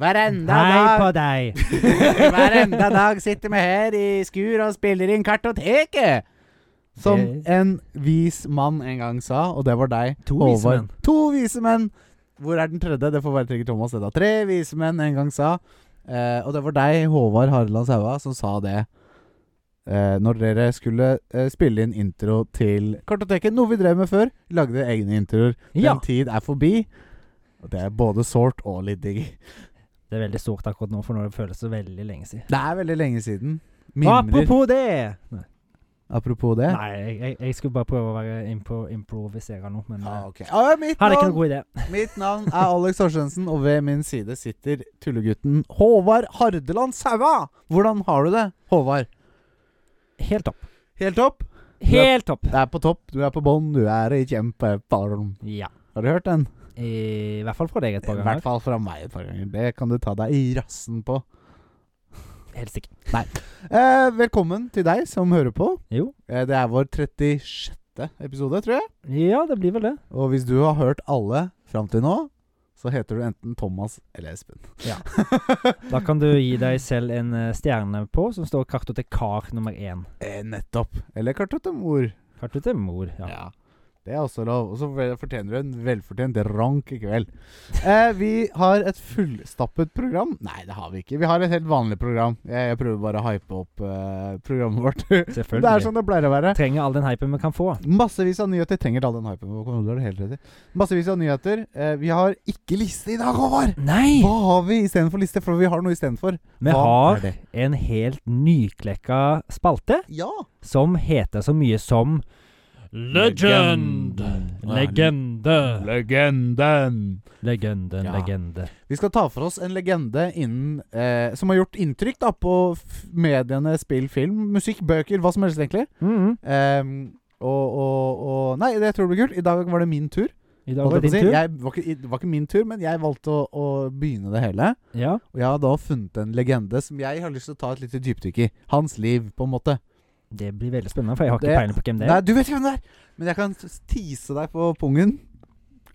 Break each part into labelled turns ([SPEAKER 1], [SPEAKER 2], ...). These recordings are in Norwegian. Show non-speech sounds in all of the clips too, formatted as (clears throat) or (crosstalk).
[SPEAKER 1] Hver enda
[SPEAKER 2] Hei
[SPEAKER 1] dag
[SPEAKER 2] på deg!
[SPEAKER 1] Hver enda dag sitter vi her i skur og spiller inn Kartoteket! Som
[SPEAKER 2] Det-
[SPEAKER 1] en vis mann en gang sa, og det var deg.
[SPEAKER 2] To
[SPEAKER 1] Håvard.
[SPEAKER 2] vise menn.
[SPEAKER 1] To vise menn! Hvor er den tredje? Det får være Trigger Thomas. Det da. Tre vise menn en gang sa. Eh, og det var deg, Håvard Harland Saua, som sa det eh, når dere skulle eh, spille inn intro til Kartoteket. Noe vi drev med før. Lagde egne introer.
[SPEAKER 2] (laughs) Ja.
[SPEAKER 1] Den tid er forbi. Og det er både sårt og litt digg.
[SPEAKER 2] Det er veldig stort akkurat nå, for nå føles det veldig lenge siden.
[SPEAKER 1] Det er veldig lenge siden.
[SPEAKER 2] Apropos det! Nei,
[SPEAKER 1] Apropos det.
[SPEAKER 2] Nei jeg, jeg, jeg skulle bare prøve å være impro improvisere nå, men
[SPEAKER 1] Ah,
[SPEAKER 2] ah,
[SPEAKER 1] ok. Ah, mitt,
[SPEAKER 2] hadde ikke noen
[SPEAKER 1] navn,
[SPEAKER 2] god idé.
[SPEAKER 1] mitt navn er Alex Torstensen, og ved min side sitter tullegutten Håvard Hardeland Saua. Hvordan har du det, Håvard?
[SPEAKER 2] Helt topp.
[SPEAKER 1] Helt topp?
[SPEAKER 2] Helt topp!
[SPEAKER 1] Det er på topp, du er på bånn, du er i kjempeform.
[SPEAKER 2] Ja.
[SPEAKER 1] Har du hørt den?
[SPEAKER 2] I hvert fall fra deg
[SPEAKER 1] I
[SPEAKER 2] et par
[SPEAKER 1] hvert
[SPEAKER 2] ganger.
[SPEAKER 1] fall fra meg et par ganger. Det kan du ta deg i rassen på.
[SPEAKER 2] Helt sikkert.
[SPEAKER 1] Eh, velkommen til deg som hører på.
[SPEAKER 2] Jo.
[SPEAKER 1] Eh, det er vår 36. episode, tror jeg.
[SPEAKER 2] Ja, det blir vel det.
[SPEAKER 1] Og hvis du har hørt alle fram til nå, så heter du enten Thomas eller Espen. (laughs)
[SPEAKER 2] Da kan du gi deg selv en eh, stjerne på som står kartotekar nummer én.
[SPEAKER 1] Eh, nettopp. Eller kartotemor.
[SPEAKER 2] Kartotemor, ja.
[SPEAKER 1] Ja. Det er også lov. Og så vel- fortjener du en velfortjent rank i kveld. Eh, vi har et fullstappet program. Nei, det har vi ikke. Vi har et helt vanlig program. Jeg, jeg prøver bare å hype opp eh, programmet vårt. (laughs) det
[SPEAKER 2] Selvfølgelig.
[SPEAKER 1] er sånn det pleier å være.
[SPEAKER 2] Trenger all den hypen vi kan få.
[SPEAKER 1] Massevis av nyheter. Trenger all den hypen. Hvor kommer du? Det er helt rett i. Massevis av nyheter. Eh, vi har ikke liste i dag, Håvard!
[SPEAKER 2] Nei!
[SPEAKER 1] Hva har vi istedenfor liste? For vi har noe istedenfor.
[SPEAKER 2] Vi
[SPEAKER 1] Hva
[SPEAKER 2] har en helt nyklekka spalte
[SPEAKER 1] Ja!
[SPEAKER 2] som heter så mye som
[SPEAKER 1] Legend.
[SPEAKER 2] Legende.
[SPEAKER 1] Legenden!
[SPEAKER 2] Legenden,
[SPEAKER 1] Ja.
[SPEAKER 2] legende.
[SPEAKER 1] Vi skal ta for oss en legende innen, eh, som har gjort inntrykk da, på f mediene, spill, film, musikk, bøker, hva som helst egentlig.
[SPEAKER 2] Mhm.
[SPEAKER 1] Ehm, og, og, og Nei, det tror jeg blir kult. I dag var det min tur.
[SPEAKER 2] I dag
[SPEAKER 1] holdt jeg på
[SPEAKER 2] var det
[SPEAKER 1] å si.
[SPEAKER 2] din tur.
[SPEAKER 1] Jeg, var ikke, det var ikke min tur, men jeg valgte å, å begynne det hele.
[SPEAKER 2] Ja.
[SPEAKER 1] Og jeg har da funnet en legende som jeg har lyst til å ta et lite dypdykk i. Hans liv, på en måte.
[SPEAKER 2] Det blir veldig spennende, for jeg har ikke
[SPEAKER 1] Det-
[SPEAKER 2] peiling på hvem det
[SPEAKER 1] Nei,
[SPEAKER 2] er.
[SPEAKER 1] du vet ikke hvem det er! Men jeg kan s- tease deg på pungen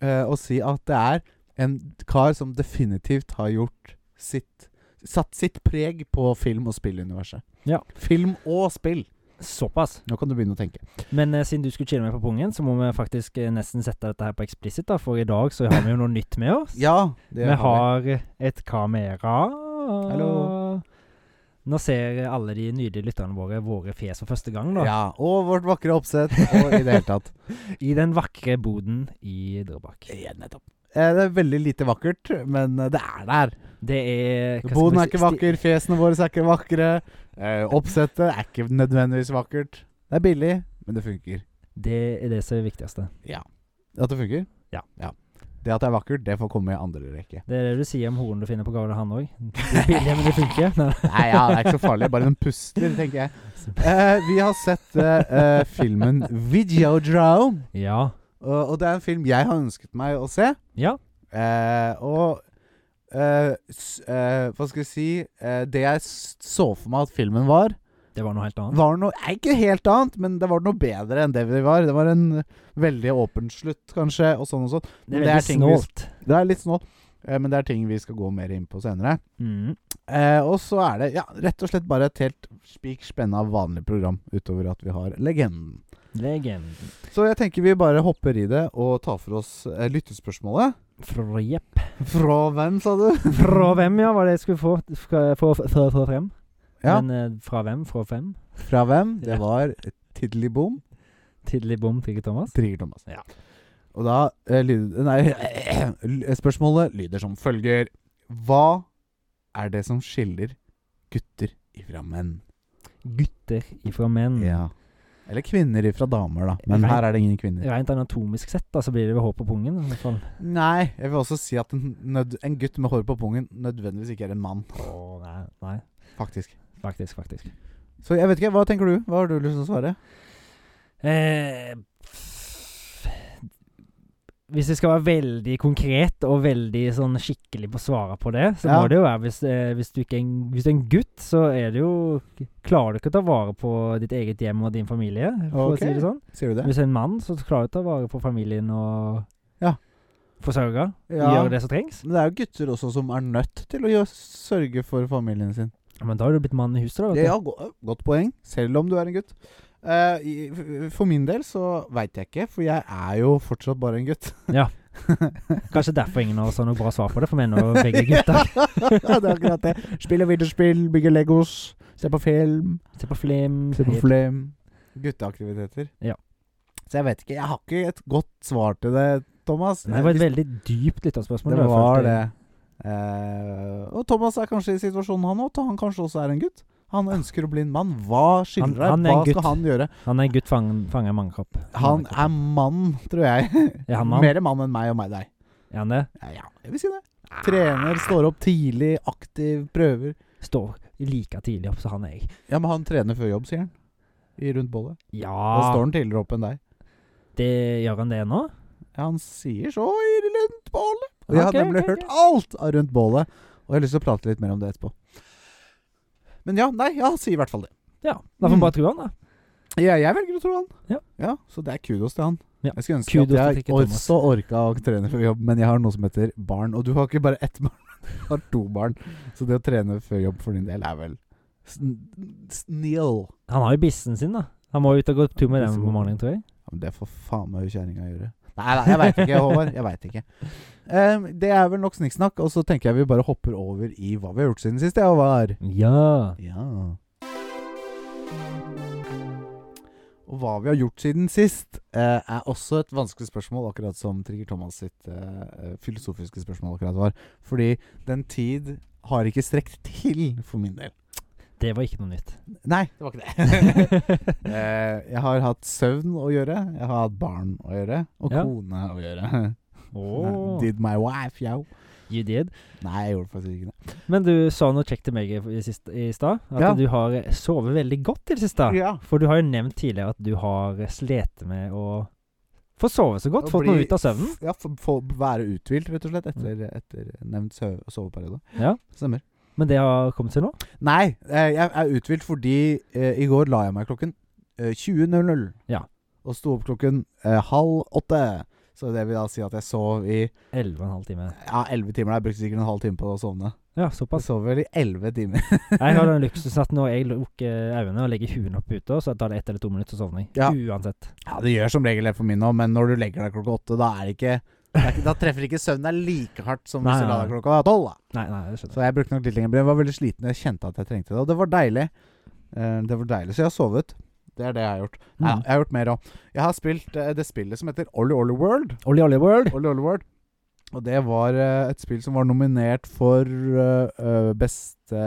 [SPEAKER 1] eh, og si at det er en kar som definitivt har gjort sitt Satt sitt preg på film- og spilluniverset.
[SPEAKER 2] Ja.
[SPEAKER 1] Film og spill.
[SPEAKER 2] Såpass.
[SPEAKER 1] Nå kan du begynne å tenke.
[SPEAKER 2] Men eh, siden du skulle chille meg på pungen, så må vi faktisk eh, nesten sette dette her på eksplisitt, da, for i dag så har vi jo noe nytt med oss.
[SPEAKER 1] Ja, det
[SPEAKER 2] Vi har et kamera.
[SPEAKER 1] Hallo.
[SPEAKER 2] Nå ser alle de nydelige lytterne våre våre fjes for første gang,
[SPEAKER 1] vi.
[SPEAKER 2] da.
[SPEAKER 1] Ja, og vårt vakre oppsett, og i det hele tatt. (laughs)
[SPEAKER 2] I den vakre boden i Drøbak.
[SPEAKER 1] Ja, nettopp. Eh, Det er veldig lite vakkert, men eh, det er der.
[SPEAKER 2] Det er hva skal
[SPEAKER 1] Boden
[SPEAKER 2] vi
[SPEAKER 1] er
[SPEAKER 2] si-
[SPEAKER 1] ikke vakker, fjesene våre er ikke vakre. eh, Oppsettet er ikke nødvendigvis vakkert. Det er billig, men det funker.
[SPEAKER 2] sti- Det er det som er viktigste.
[SPEAKER 1] At det funker?
[SPEAKER 2] Ja.
[SPEAKER 1] Det at det er vakkert, det får komme i andre rekke.
[SPEAKER 2] Det er det du sier om horen du finner på gavene, han òg. Men (laughs) det (laughs) funker. Nei.
[SPEAKER 1] Nei, ja, det er ikke så farlig. Bare den puster, tenker jeg. Eh, vi har sett eh, eh, filmen Videodrome.
[SPEAKER 2] Ja.
[SPEAKER 1] Og, og det er en film jeg har ønsket meg å se.
[SPEAKER 2] Ja.
[SPEAKER 1] Eh, og eh, s- eh, Hva skal jeg si eh, Det jeg s- så for meg at filmen var,
[SPEAKER 2] Det var noe helt annet.
[SPEAKER 1] var noe nei, Ikke helt annet, men det var noe bedre enn det vi var. Det var en veldig åpen slutt, kanskje, og sånn og sånn.
[SPEAKER 2] Det
[SPEAKER 1] Men
[SPEAKER 2] er
[SPEAKER 1] det er
[SPEAKER 2] veldig
[SPEAKER 1] ting vi-
[SPEAKER 2] snålt.
[SPEAKER 1] Det er litt snålt, eh, men det er ting vi skal gå mer inn på senere.
[SPEAKER 2] Mm.
[SPEAKER 1] Eh, og så er det ja, rett og slett bare et helt spik spenna vanlig program utover at vi har legenden.
[SPEAKER 2] Legenden.
[SPEAKER 1] Så jeg tenker vi bare hopper i det og tar for oss eh, lyttespørsmålet. (laughs)
[SPEAKER 2] Fra Jepp.
[SPEAKER 1] Fra hvem, sa du?
[SPEAKER 2] (laughs) Fra hvem, ja, var det jeg skulle få, fra- få, få, få frem.
[SPEAKER 1] Ja.
[SPEAKER 2] Men eh, fra hvem? Fra hvem?
[SPEAKER 1] Fra hvem? Det
[SPEAKER 2] Ja.
[SPEAKER 1] var Tiddly Boom.
[SPEAKER 2] Tidlig bom, Trigger Thomas.
[SPEAKER 1] Trigger Thomas.
[SPEAKER 2] Ja.
[SPEAKER 1] Og da eh, lyder (clears throat) Nei, spørsmålet lyder som følger. Hva er det som skiller gutter ifra menn?
[SPEAKER 2] Gutter ifra menn.
[SPEAKER 1] Ja. Eller kvinner ifra damer, da. Men
[SPEAKER 2] Nei.
[SPEAKER 1] her er det ingen kvinner.
[SPEAKER 2] Rent anatomisk sett da, så blir det ved hår på pungen. I hvert fall.
[SPEAKER 1] Nei, jeg vil også si at en, nød, en gutt med hår på pungen nødvendigvis ikke er en mann,
[SPEAKER 2] Åh, nei, nei,
[SPEAKER 1] faktisk.
[SPEAKER 2] faktisk, faktisk.
[SPEAKER 1] Så jeg vet ikke, hva tenker du? Hva har du lyst til å svare?
[SPEAKER 2] Eh, pff. hvis jeg skal være veldig konkret og veldig sånn skikkelig på å svare på det, så
[SPEAKER 1] Ja.
[SPEAKER 2] må det jo være hvis, eh, hvis, du ikke er en, hvis du er en gutt, så er det jo Klarer du ikke å ta vare på ditt eget hjem og din familie, for
[SPEAKER 1] Ok.
[SPEAKER 2] å si det sånn.
[SPEAKER 1] Sier du det?
[SPEAKER 2] Hvis du er en mann, så klarer du å ta vare på familien og
[SPEAKER 1] Ja.
[SPEAKER 2] forsørga,
[SPEAKER 1] Ja.
[SPEAKER 2] gjør det som trengs.
[SPEAKER 1] Men det er jo gutter også som er nødt til å gjøre, sørge for familien sin.
[SPEAKER 2] Ja, Men da har du blitt mann i huset, da.
[SPEAKER 1] Det
[SPEAKER 2] Vet du.
[SPEAKER 1] er go godt poeng, selv om du er en gutt. Eh, i- f- for min del så veit jeg ikke, for jeg er jo fortsatt bare en gutt. (laughs)
[SPEAKER 2] Kanskje derfor ingen av oss har noe bra svar på det, for vi er nå begge
[SPEAKER 1] (laughs)
[SPEAKER 2] gutter.
[SPEAKER 1] Ja, det er akkurat det. Spiller videospill, bygger Legos, ser på film,
[SPEAKER 2] Se på film.
[SPEAKER 1] ser på film. Gutteaktiviteter.
[SPEAKER 2] Ja.
[SPEAKER 1] Så jeg vet ikke. Jeg har ikke et godt svar til det, Thomas.
[SPEAKER 2] Det var et veldig dypt lytterspørsmål.
[SPEAKER 1] Det
[SPEAKER 2] jeg
[SPEAKER 1] var
[SPEAKER 2] følte.
[SPEAKER 1] det. Eh, og Thomas er kanskje i situasjonen han òg. Han kanskje også er en gutt. Han ønsker å bli en mann. Hva skiller deg?
[SPEAKER 2] han er en
[SPEAKER 1] Hva
[SPEAKER 2] gutt.
[SPEAKER 1] skal Ah. han gjøre?
[SPEAKER 2] Han er en gutt fangen- fanget i mannekropp.
[SPEAKER 1] Han er mann, tror jeg.
[SPEAKER 2] Er han mann?
[SPEAKER 1] Mer mann enn meg og meg deg.
[SPEAKER 2] Er han det?
[SPEAKER 1] Ja, ja, jeg vil si det. Trener, står opp tidlig, aktiv, prøver.
[SPEAKER 2] Står like tidlig opp som han er jeg.
[SPEAKER 1] Ja, men han trener før jobb, sier han. Ah. I rundt bollet. Da står
[SPEAKER 2] Ja,
[SPEAKER 1] han tidligere opp enn deg.
[SPEAKER 2] det gjør han det nå?
[SPEAKER 1] Ja, han sier så i rundt bålet. Og jeg har
[SPEAKER 2] Ok,
[SPEAKER 1] nemlig
[SPEAKER 2] ok,
[SPEAKER 1] hørt
[SPEAKER 2] ok.
[SPEAKER 1] alt av rundt bålet, og jeg har lyst til å prate litt mer om det etterpå. Men ja, nei, ja, han sier i hvert fall det.
[SPEAKER 2] Ja. Da får
[SPEAKER 1] Mm.
[SPEAKER 2] vi bare tro han, da.
[SPEAKER 1] Ja, jeg velger å tro han.
[SPEAKER 2] Ja.
[SPEAKER 1] Så det er kudos til han.
[SPEAKER 2] Ja.
[SPEAKER 1] Jeg skulle ønske
[SPEAKER 2] Kudos til
[SPEAKER 1] at jeg
[SPEAKER 2] Trikke Thomas.
[SPEAKER 1] også orka å trene før jobb, men jeg har noe som heter barn. Og du har ikke bare ett (laughs) barn, du har to barn. Så det å trene før jobb for din del er vel sn- snill.
[SPEAKER 2] Han har jo bissen sin, da. Han må ut og gå tur med den på morgenen, tror jeg.
[SPEAKER 1] Ja, men det får faen meg hun kjerringa gjøre. Nei, nei, jeg veit ikke, Håvard. Jeg vet ikke. Em, det er vel nok snikksnakk, og så tenker jeg vi bare hopper over i hva vi har gjort siden sist, jeg, Håvard.
[SPEAKER 2] Ja.
[SPEAKER 1] Ja. Og hva vi har gjort siden sist, eh, er også et vanskelig spørsmål, akkurat som Trigger Thomas sitt eh, eh, filosofiske spørsmål akkurat var. Fordi den tid har ikke strekt til, for min del.
[SPEAKER 2] Det var ikke noe
[SPEAKER 1] (laughs)
[SPEAKER 2] nytt. (laughs)
[SPEAKER 1] Nei, det var ikke det. (laughs) eh, jeg har hatt søvn å gjøre, jeg har hatt barn å gjøre, og
[SPEAKER 2] Ja.
[SPEAKER 1] kone å gjøre. (laughs)
[SPEAKER 2] Åh.
[SPEAKER 1] Did my wife, yo.
[SPEAKER 2] You did.
[SPEAKER 1] Nei, jeg gjorde faktisk ikke det.
[SPEAKER 2] Men du sa noe kjekt til meg i, i sist- i stad. At
[SPEAKER 1] Ja.
[SPEAKER 2] du har sovet veldig godt i det siste. For du har jo nevnt tidligere at du har slitt med å få sove så godt.
[SPEAKER 1] Å
[SPEAKER 2] Fått
[SPEAKER 1] bli-
[SPEAKER 2] noe ut av søvnen. Mm.
[SPEAKER 1] Ja, for, for å være uthvilt, rett og slett, etter, etter nevnt søv soveperiode.
[SPEAKER 2] Ja.
[SPEAKER 1] Stemmer.
[SPEAKER 2] Men det har kommet seg nå.
[SPEAKER 1] Nei, eh, jeg er uthvilt fordi eh, i går la jeg meg klokken eh, 20.00.
[SPEAKER 2] Ja.
[SPEAKER 1] Og sto opp klokken eh, halv åtte. Så det vil da si at jeg sov i
[SPEAKER 2] Elleve og en halv time.
[SPEAKER 1] ja, 11 timer. Jeg brukte sikkert en halv time på å sovne.
[SPEAKER 2] Ja,
[SPEAKER 1] Jeg
[SPEAKER 2] såpass.
[SPEAKER 1] sov vel i 11 timer.
[SPEAKER 2] Jeg har den luksusen at når jeg lukker øynene og legger huet opp ute, så tar det ett eller to minutter, så sovner jeg.
[SPEAKER 1] Ja.
[SPEAKER 2] Uansett.
[SPEAKER 1] Ja, det gjør som regel det for min òg, men når du legger deg klokka åtte, da er det ikke det er ikke- da treffer ikke søvnen deg like hardt som hvis
[SPEAKER 2] Nei,
[SPEAKER 1] du la
[SPEAKER 2] nei,
[SPEAKER 1] deg klokka tolv. da.
[SPEAKER 2] Nei, nei, det skjønner jeg.
[SPEAKER 1] Så jeg brukte nok litt lenger. men Jeg var veldig sliten. Jeg kjente at jeg trengte det. Og det var deilig. Eh, Det var deilig. Så jeg har sovet. Det er det jeg har gjort. Nei,
[SPEAKER 2] Mm.
[SPEAKER 1] jeg har gjort mer òg. Jeg har spilt eh, det spillet som heter Ollie Ollie World.
[SPEAKER 2] Ollie Ollie World.
[SPEAKER 1] Ollie Ollie World. Og det var eh, et spill som var nominert for eh, eh, beste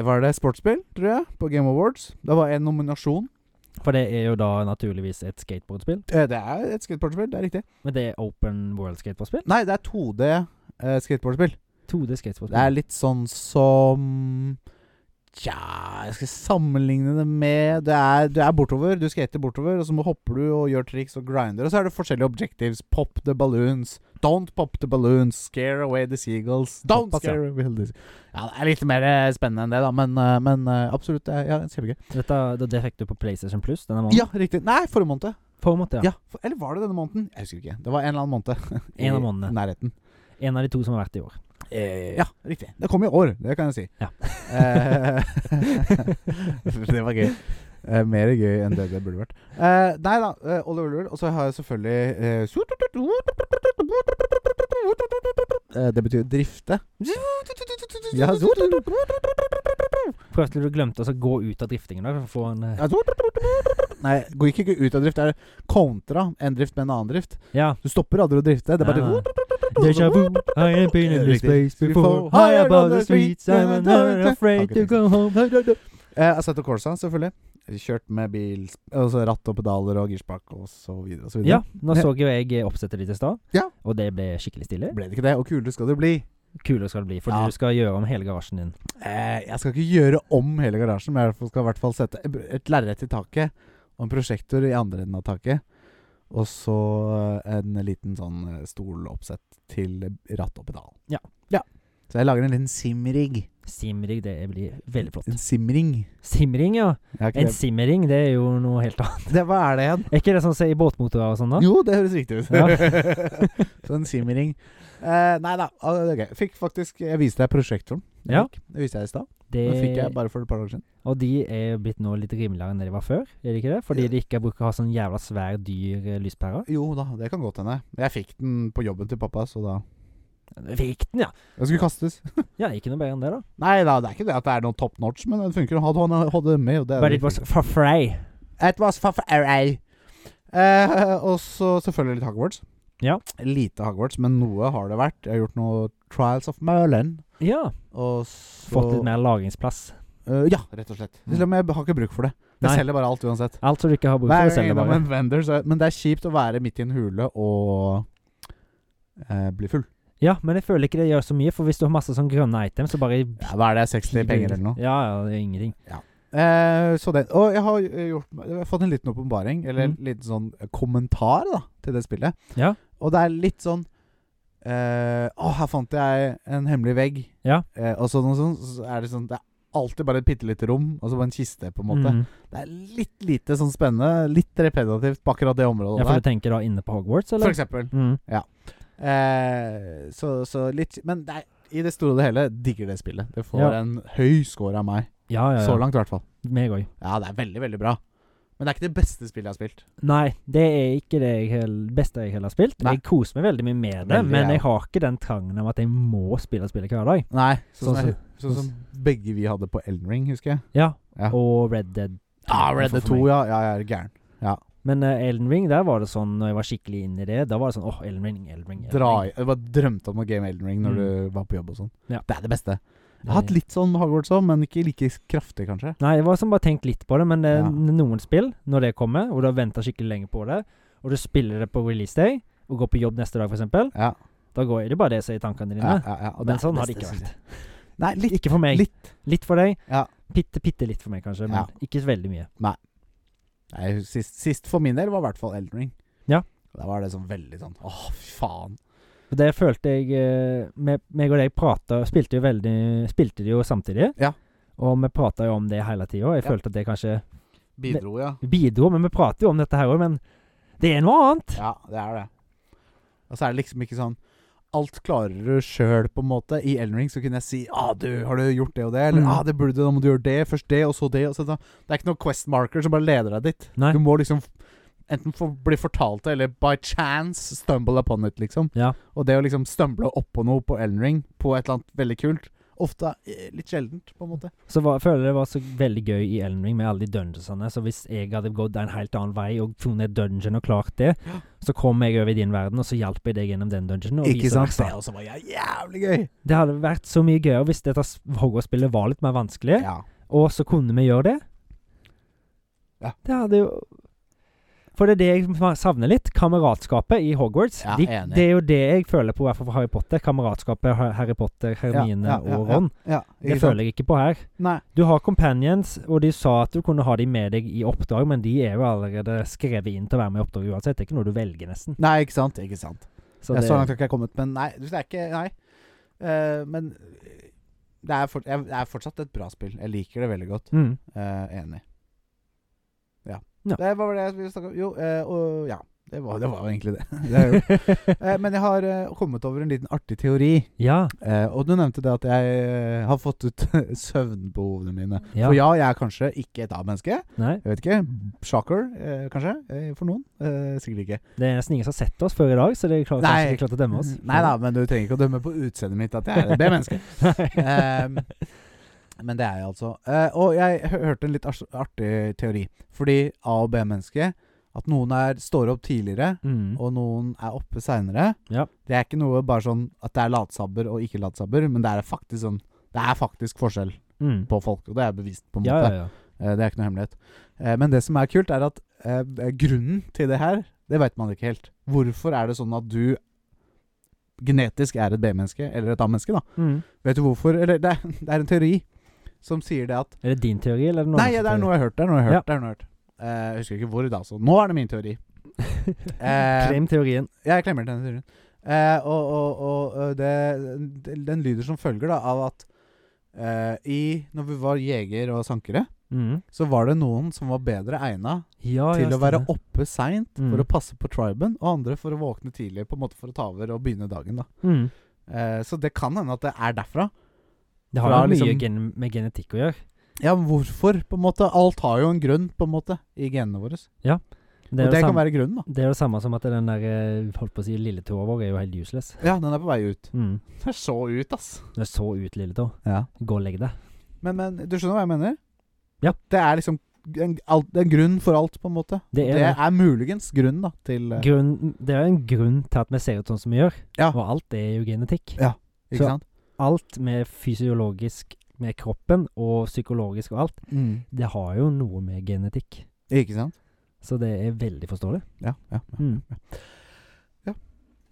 [SPEAKER 1] Var det sportsspill, tror jeg, på Game Awards. Det var en nominasjon.
[SPEAKER 2] For det er jo da naturligvis et skateboardspill.
[SPEAKER 1] Eh, Det er et skateboardspill, det er riktig.
[SPEAKER 2] Men det er open world skateboardspill?
[SPEAKER 1] Nei, det er 2D eh, skateboardspill.
[SPEAKER 2] 2D
[SPEAKER 1] Det er
[SPEAKER 2] skateboardspill.
[SPEAKER 1] litt sånn som Tja, jeg skal sammenligne det med Det er, du er bortover, du skater bortover, og så må- hopper du og gjør triks og grinder. Og så er det forskjellige objectives. Pop the balloons. Don't pop the balloons. Scare away the seagulls. Don't
[SPEAKER 2] Såpass, ja.
[SPEAKER 1] scare away the seagulls. Ja, det er litt mer eh, spennende enn det, da, men, eh, men eh, absolutt. Det er, ja, kjempegøy.
[SPEAKER 2] Dette, det, det fikk du på PlayStation Plus denne måneden?
[SPEAKER 1] Ja, riktig. Nei, forrige måned.
[SPEAKER 2] På en måte, ja.
[SPEAKER 1] Ja. for- Eller var det denne måneden? Jeg husker ikke. Det var en eller annen måned. (laughs) I
[SPEAKER 2] En av månedene.
[SPEAKER 1] Nærheten.
[SPEAKER 2] En av de to som har vært i år.
[SPEAKER 1] Eh, ja, riktig. Det kom i år, det kan jeg si.
[SPEAKER 2] Ja.
[SPEAKER 1] Eh, det var gøy. Eh, mer gøy enn det det burde vært. Eh, nei da, eh, Olli Oliver. Og så har jeg selvfølgelig eh, eh, Det betyr drifte. Ja,
[SPEAKER 2] Prøv til du glemte å så gå ut av driftingen da, for å få en eh,
[SPEAKER 1] Nei, går ikke ikke ut av drift. Det er kontra en drift med en annen drift.
[SPEAKER 2] Ja.
[SPEAKER 1] Du stopper aldri å drifte. Det er
[SPEAKER 2] Nei,
[SPEAKER 1] bare
[SPEAKER 2] nei. Deja vu, I ain't been in this place before. High above the streets, I'm not afraid to go home.
[SPEAKER 1] Eh, Assetto Corsa, selvfølgelig. Kjørt med bil, og så ratt og pedaler og girspak og så videre og så
[SPEAKER 2] Ja,
[SPEAKER 1] videre.
[SPEAKER 2] nå så jo jeg eh, oppsettet ditt i stad,
[SPEAKER 1] Ja.
[SPEAKER 2] og det ble skikkelig stille.
[SPEAKER 1] Ble det ikke det? Og kulere skal det bli.
[SPEAKER 2] Kulere skal det bli, for
[SPEAKER 1] Ja.
[SPEAKER 2] du skal gjøre om hele garasjen din.
[SPEAKER 1] Eh, jeg skal ikke gjøre om hele garasjen, men jeg i hvert fall skal i hvert fall sette et lerret i taket og en prosjektor i andre enden av taket. Og så eh, en liten sånn eh, stoloppsett til ratt og pedal.
[SPEAKER 2] Ja.
[SPEAKER 1] Så jeg lager en liten simrig.
[SPEAKER 2] Simring, det blir veldig flott.
[SPEAKER 1] En simring.
[SPEAKER 2] Simring, ja.
[SPEAKER 1] Jeg har ikke
[SPEAKER 2] En
[SPEAKER 1] det.
[SPEAKER 2] simmering, det er jo noe helt annet. (laughs)
[SPEAKER 1] det. Hva er det igjen?
[SPEAKER 2] Er ikke det sånn som i båtmotorer og sånn, da?
[SPEAKER 1] Jo, det høres riktig ut.
[SPEAKER 2] Ja.
[SPEAKER 1] (laughs) så en simring. Eh, nei da. ah, det er gøy. Fikk faktisk Jeg viste deg prosjektoren. jeg
[SPEAKER 2] Ja. Eh.
[SPEAKER 1] fikk. Det viste jeg i stad.
[SPEAKER 2] Det,
[SPEAKER 1] Den fikk jeg bare for et par dager siden.
[SPEAKER 2] og de er jo blitt nå litt rimeligere enn det de var før, er de ikke det? Fordi
[SPEAKER 1] Ja.
[SPEAKER 2] de ikke bruker å ha sånn jævla svær, dyr eh, lyspære.
[SPEAKER 1] Jo da, det kan godt hende. Jeg fikk den på jobben til pappa, så da
[SPEAKER 2] Fikk den, ja!
[SPEAKER 1] Den skulle kastes.
[SPEAKER 2] Ja, ikke noe bedre enn det, da.
[SPEAKER 1] Nei da, det er ikke det at det er noe top notch, men den funker. Han hadde- Han hadde med, og det er
[SPEAKER 2] But
[SPEAKER 1] det
[SPEAKER 2] it was
[SPEAKER 1] viktigste.
[SPEAKER 2] for free.
[SPEAKER 1] It was for free. Eh, og så selvfølgelig litt Hogwarts.
[SPEAKER 2] Ja.
[SPEAKER 1] Lite Hogwarts, men noe har det vært. Jeg har gjort noe Trials of Merlin.
[SPEAKER 2] Ja.
[SPEAKER 1] Og så
[SPEAKER 2] Fått litt mer lagringsplass.
[SPEAKER 1] Eh, ja, rett og slett. Selv om jeg har ikke bruk for det. Jeg
[SPEAKER 2] Nei.
[SPEAKER 1] selger bare alt uansett.
[SPEAKER 2] Alt som du ikke har bruk
[SPEAKER 1] Hver gang jeg
[SPEAKER 2] for,
[SPEAKER 1] er
[SPEAKER 2] selger
[SPEAKER 1] innom
[SPEAKER 2] bare.
[SPEAKER 1] en vendor, så Men det er kjipt å være midt i en hule og eh, bli full.
[SPEAKER 2] Ja, men jeg føler ikke det gjør så mye, for hvis du har masse sånn grønne items, så bare
[SPEAKER 1] Ja, da er det 60 penger eller noe.
[SPEAKER 2] Ja, ja, det er ingenting.
[SPEAKER 1] Eh, så det. Og jeg har, eh, gjort, jeg har fått en liten åpenbaring, eller en
[SPEAKER 2] Mm.
[SPEAKER 1] liten sånn kommentar, da, til det spillet.
[SPEAKER 2] Ja.
[SPEAKER 1] Og det er litt sånn eh, Å, her fant jeg en hemmelig vegg.
[SPEAKER 2] Ja.
[SPEAKER 1] Eh, og så noe sånt. Så er det sånn Det er alltid bare et bitte lite rom, og så bare en kiste, på en måte.
[SPEAKER 2] Mm.
[SPEAKER 1] Det er litt lite sånn spennende, litt repetitivt på akkurat det området
[SPEAKER 2] Ja, for du
[SPEAKER 1] der.
[SPEAKER 2] tenker da inne på Hogwarts,
[SPEAKER 1] For
[SPEAKER 2] eller?
[SPEAKER 1] eksempel.
[SPEAKER 2] Mm.
[SPEAKER 1] Eh, så, så litt Men det er, i det store og det hele digger det spillet. Det får
[SPEAKER 2] Ja.
[SPEAKER 1] en høy score av meg.
[SPEAKER 2] Ja, ja, ja.
[SPEAKER 1] Så langt, i hvert fall.
[SPEAKER 2] Meg òg.
[SPEAKER 1] Ja, det er veldig, veldig bra. Men det er ikke det beste spillet jeg har spilt.
[SPEAKER 2] Nei, det er ikke det jeg hel- beste jeg heller har spilt.
[SPEAKER 1] Nei.
[SPEAKER 2] Jeg koser meg veldig mye med det,
[SPEAKER 1] Veldig,
[SPEAKER 2] men
[SPEAKER 1] ja.
[SPEAKER 2] jeg har ikke den trangen om at jeg må spille spillet hver dag.
[SPEAKER 1] Nei, sånn,
[SPEAKER 2] Sånn
[SPEAKER 1] som, jeg, sånn som begge vi hadde på Elden Ring, husker jeg.
[SPEAKER 2] Ja,
[SPEAKER 1] Ja.
[SPEAKER 2] og Red Dead.
[SPEAKER 1] Ah, Red Dead
[SPEAKER 2] For
[SPEAKER 1] 2,
[SPEAKER 2] meg.
[SPEAKER 1] ja. Ja, jeg er gæren.
[SPEAKER 2] Men eh, Elden Ring, der var det sånn, når jeg var skikkelig inn i det, da var det sånn åh, Elden Ring, Elden Ring. Elden
[SPEAKER 1] Dra i
[SPEAKER 2] Ring.
[SPEAKER 1] Jeg bare drømte om å game Elden Ring når
[SPEAKER 2] Mm.
[SPEAKER 1] du var på jobb og sånn.
[SPEAKER 2] Ja.
[SPEAKER 1] Det er det beste. Jeg har hatt litt sånn med Hogwarts òg, men ikke like kraftig, kanskje.
[SPEAKER 2] Eh, Nei, jeg var som bare tenkt litt på det, men det er
[SPEAKER 1] Ja.
[SPEAKER 2] n- noen spill, når det kommer, og du har venta skikkelig lenge på det, og du spiller det på release day, og går på jobb neste dag, f.eks.,
[SPEAKER 1] Ja,
[SPEAKER 2] da går det bare det som er i tankene
[SPEAKER 1] ja,
[SPEAKER 2] dine.
[SPEAKER 1] ja, ja. og
[SPEAKER 2] Men
[SPEAKER 1] er
[SPEAKER 2] sånn har det
[SPEAKER 1] beste,
[SPEAKER 2] ikke
[SPEAKER 1] synes jeg.
[SPEAKER 2] vært.
[SPEAKER 1] Nei, litt.
[SPEAKER 2] Ikke for meg.
[SPEAKER 1] Litt.
[SPEAKER 2] Litt for deg.
[SPEAKER 1] Ja.
[SPEAKER 2] Bitte, bitte litt for meg, kanskje, men
[SPEAKER 1] Ja.
[SPEAKER 2] ikke veldig mye.
[SPEAKER 1] Nei, sist, sist for min del var i hvert fall Elden Ring.
[SPEAKER 2] Ja.
[SPEAKER 1] Da var det sånn veldig sånn Åh, fy faen.
[SPEAKER 2] Og det følte jeg eh, me- Meg og deg prata Spilte jo veldig Spilte det jo samtidig.
[SPEAKER 1] Ja.
[SPEAKER 2] Og vi prata jo om det hele tida. Jeg
[SPEAKER 1] Ja.
[SPEAKER 2] følte at det kanskje
[SPEAKER 1] Bidro, ja.
[SPEAKER 2] bidro, men vi prater jo om dette her òg. Men det er noe annet.
[SPEAKER 1] Ja, det er det. Og så er det liksom ikke sånn Alt klarer du sjøl, på en måte. I Elden Ring så kunne jeg si ah, du, 'Har du gjort det og det?' Eller
[SPEAKER 2] Mm.
[SPEAKER 1] ah, 'Det burde du, da må du gjøre det, først det, og så det.' Og så, da. Det er ikke noe quest marker som bare leder deg dit.
[SPEAKER 2] Nei.
[SPEAKER 1] Du må liksom f- enten få bli fortalt det, eller by chance stumble upon it, liksom.
[SPEAKER 2] Ja.
[SPEAKER 1] Og det å liksom stumble oppå noe på Elden Ring, på et eller annet veldig kult, ofte eh, litt sjeldent, på en måte.
[SPEAKER 2] Så var, føler jeg det var så veldig gøy i Elden Ring med alle de dungeonsene. Så hvis jeg hadde gått en helt annen vei og funnet et dungeon og klart det,
[SPEAKER 1] Ja.
[SPEAKER 2] så kom jeg over i din verden, og så hjalp jeg deg gjennom den dungeonen. Og
[SPEAKER 1] Ikke
[SPEAKER 2] vice
[SPEAKER 1] sant?
[SPEAKER 2] versa.
[SPEAKER 1] Det også var jævlig gøy.
[SPEAKER 2] Det hadde vært så mye gøyere hvis dette s- Hogwarts-spillet var litt mer vanskelig,
[SPEAKER 1] Ja.
[SPEAKER 2] og så kunne vi gjøre det.
[SPEAKER 1] Ja.
[SPEAKER 2] Det hadde jo For det er det jeg ma- savner litt. Kameratskapet i Hogwarts.
[SPEAKER 1] Ja,
[SPEAKER 2] De,
[SPEAKER 1] enig.
[SPEAKER 2] det er jo det jeg føler på, i hvert fall for Harry Potter. Kameratskapet, Har- Harry Potter, Hermine
[SPEAKER 1] ja, ja,
[SPEAKER 2] og Ron.
[SPEAKER 1] Ja,
[SPEAKER 2] Det føler jeg ikke på her.
[SPEAKER 1] Nei.
[SPEAKER 2] Du har companions, og de sa at du kunne ha de med deg i oppdrag, men de er jo allerede skrevet inn til å være med i oppdrag uansett. Det er ikke noe du velger, nesten.
[SPEAKER 1] Nei, ikke sant? Ikke sant.
[SPEAKER 2] Så
[SPEAKER 1] ja,
[SPEAKER 2] det,
[SPEAKER 1] så langt har ikke jeg kommet, men nei. Det er ikke Nei. Eh, men det er, fort, jeg, det er fortsatt et bra spill. Jeg liker det veldig godt.
[SPEAKER 2] mm.
[SPEAKER 1] Eh, enig. Ja.
[SPEAKER 2] Ja.
[SPEAKER 1] Det var det jeg ville snakke om. Jo, eh, og ja. Det var, det var jo egentlig det. (laughs) det er jo. Eh, men jeg har eh, kommet over en liten artig teori.
[SPEAKER 2] (laughs) ja,
[SPEAKER 1] Eh, og du nevnte det at jeg eh, har fått ut (laughs) søvnbehovene mine.
[SPEAKER 2] ja.
[SPEAKER 1] For ja, jeg er kanskje ikke et A-menneske.
[SPEAKER 2] Nei,
[SPEAKER 1] Jeg vet ikke. Shocker, eh, kanskje. Eh, for noen. Eh, sikkert ikke.
[SPEAKER 2] det er nesten ingen som har sett oss før i dag, så det er klart,
[SPEAKER 1] Nei.
[SPEAKER 2] kanskje ikke klart å dømme oss.
[SPEAKER 1] Nei da, men du trenger ikke å dømme på utseendet mitt at jeg er det mennesket.
[SPEAKER 2] (laughs)
[SPEAKER 1] Ehm, men det er jeg altså. Eh, og jeg hø- hørte en litt ars- artig teori. Fordi A- og B-mennesket At noen er, står opp tidligere,
[SPEAKER 2] Mm.
[SPEAKER 1] og noen er oppe seinere.
[SPEAKER 2] Ja.
[SPEAKER 1] Det er ikke noe bare sånn at det er latsabber og ikke latsabber, men det er faktisk sånn Det er faktisk forskjell
[SPEAKER 2] Mm.
[SPEAKER 1] på folk, og det er bevist, på en måte.
[SPEAKER 2] Ja, ja, ja.
[SPEAKER 1] Eh, det er ikke noe hemmelighet. Eh, men det som er kult, er at eh, grunnen til det her, det veit man ikke helt. Hvorfor er det sånn at du genetisk er et B-menneske, eller et A-menneske, da?
[SPEAKER 2] Mm.
[SPEAKER 1] Vet du hvorfor? Eller det, er- det er en teori som sier det at
[SPEAKER 2] Er det din teori, eller er det noen
[SPEAKER 1] Nei, ja, det er noe
[SPEAKER 2] (laughs)
[SPEAKER 1] jeg har hørt. Det er noe jeg har hørt.
[SPEAKER 2] Ja.
[SPEAKER 1] Det er noe jeg har hørt. Eh,
[SPEAKER 2] (laughs)
[SPEAKER 1] jeg husker ikke hvor, da. Så nå er det min teori.
[SPEAKER 2] noe
[SPEAKER 1] Eh,
[SPEAKER 2] Klem teorien.
[SPEAKER 1] jeg klemmer til den teorien. Eh, og og, og eh, det, den lyder som følger da, av at eh, i, når vi var jeger og sankere,
[SPEAKER 2] Mm.
[SPEAKER 1] så var det noen som var bedre egna
[SPEAKER 2] Ja, ja,
[SPEAKER 1] til å være
[SPEAKER 2] stemmer.
[SPEAKER 1] oppe seint
[SPEAKER 2] Mm.
[SPEAKER 1] for å passe på triben, og andre for å våkne tidlig på en måte for å ta over og begynne dagen. da.
[SPEAKER 2] mm.
[SPEAKER 1] Eh, så det kan hende at det er derfra.
[SPEAKER 2] Det har
[SPEAKER 1] Fra
[SPEAKER 2] jo mye
[SPEAKER 1] liksom-
[SPEAKER 2] gen med genetikk å gjøre.
[SPEAKER 1] Ja, men hvorfor? på en måte? Alt har jo en grunn på en måte, i genene våre.
[SPEAKER 2] Det
[SPEAKER 1] Og
[SPEAKER 2] er,
[SPEAKER 1] det
[SPEAKER 2] jo
[SPEAKER 1] kan
[SPEAKER 2] samme,
[SPEAKER 1] være grunnen. da.
[SPEAKER 2] det er jo samme som at den der eh, holdt på å si lilletåa vår er jo helt useless.
[SPEAKER 1] Ja, den er på vei
[SPEAKER 2] (laughs)
[SPEAKER 1] ut.
[SPEAKER 2] Mm.
[SPEAKER 1] Den er så ut, ass.
[SPEAKER 2] Du er så ut, lilletå.
[SPEAKER 1] Ja.
[SPEAKER 2] Gå og legg deg.
[SPEAKER 1] Men, men du skjønner hva jeg mener?
[SPEAKER 2] Ja.
[SPEAKER 1] Det er liksom en, alt, det er en grunn for alt, på en måte.
[SPEAKER 2] Det er
[SPEAKER 1] det
[SPEAKER 2] det.
[SPEAKER 1] er muligens grunnen da, til eh,
[SPEAKER 2] Grunn, det er jo en grunn til at vi ser ut sånn som vi gjør.
[SPEAKER 1] Ja.
[SPEAKER 2] Og alt er jo genetikk.
[SPEAKER 1] Ikke
[SPEAKER 2] så-
[SPEAKER 1] sant?
[SPEAKER 2] Alt med fysiologisk med kroppen og psykologisk og alt, det har jo noe med genetikk.
[SPEAKER 1] Mm. Ikke sant?
[SPEAKER 2] Så det er veldig forståelig.
[SPEAKER 1] Ja, ja, ja.
[SPEAKER 2] Mm.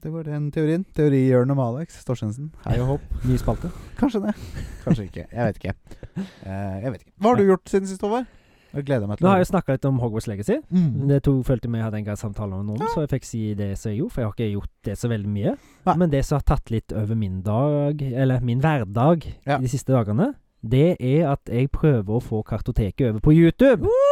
[SPEAKER 1] Det var den teorien. Teorihjørnet med Alex Torstensen.
[SPEAKER 2] (laughs)
[SPEAKER 1] Hei og håp.
[SPEAKER 2] Ny spalte.
[SPEAKER 1] Kanskje det. Kanskje ikke. Jeg vet ikke. Eh, jeg vet ikke. Hva har du gjort siden sist, Håvard? Jeg gleder meg til
[SPEAKER 2] Nå har jeg snakka litt om Hogwarts Legacy.
[SPEAKER 1] Mm.
[SPEAKER 2] Det to følte vi hadde en grei samtale om, noen, så jeg fikk si det som jeg gjorde. For jeg har ikke gjort det så veldig mye.
[SPEAKER 1] Nei.
[SPEAKER 2] Men det som har tatt litt over min dag, eller min hverdag,
[SPEAKER 1] Ja.
[SPEAKER 2] de siste dagene, det er at jeg prøver å få kartoteket over på YouTube.
[SPEAKER 1] Woohoo!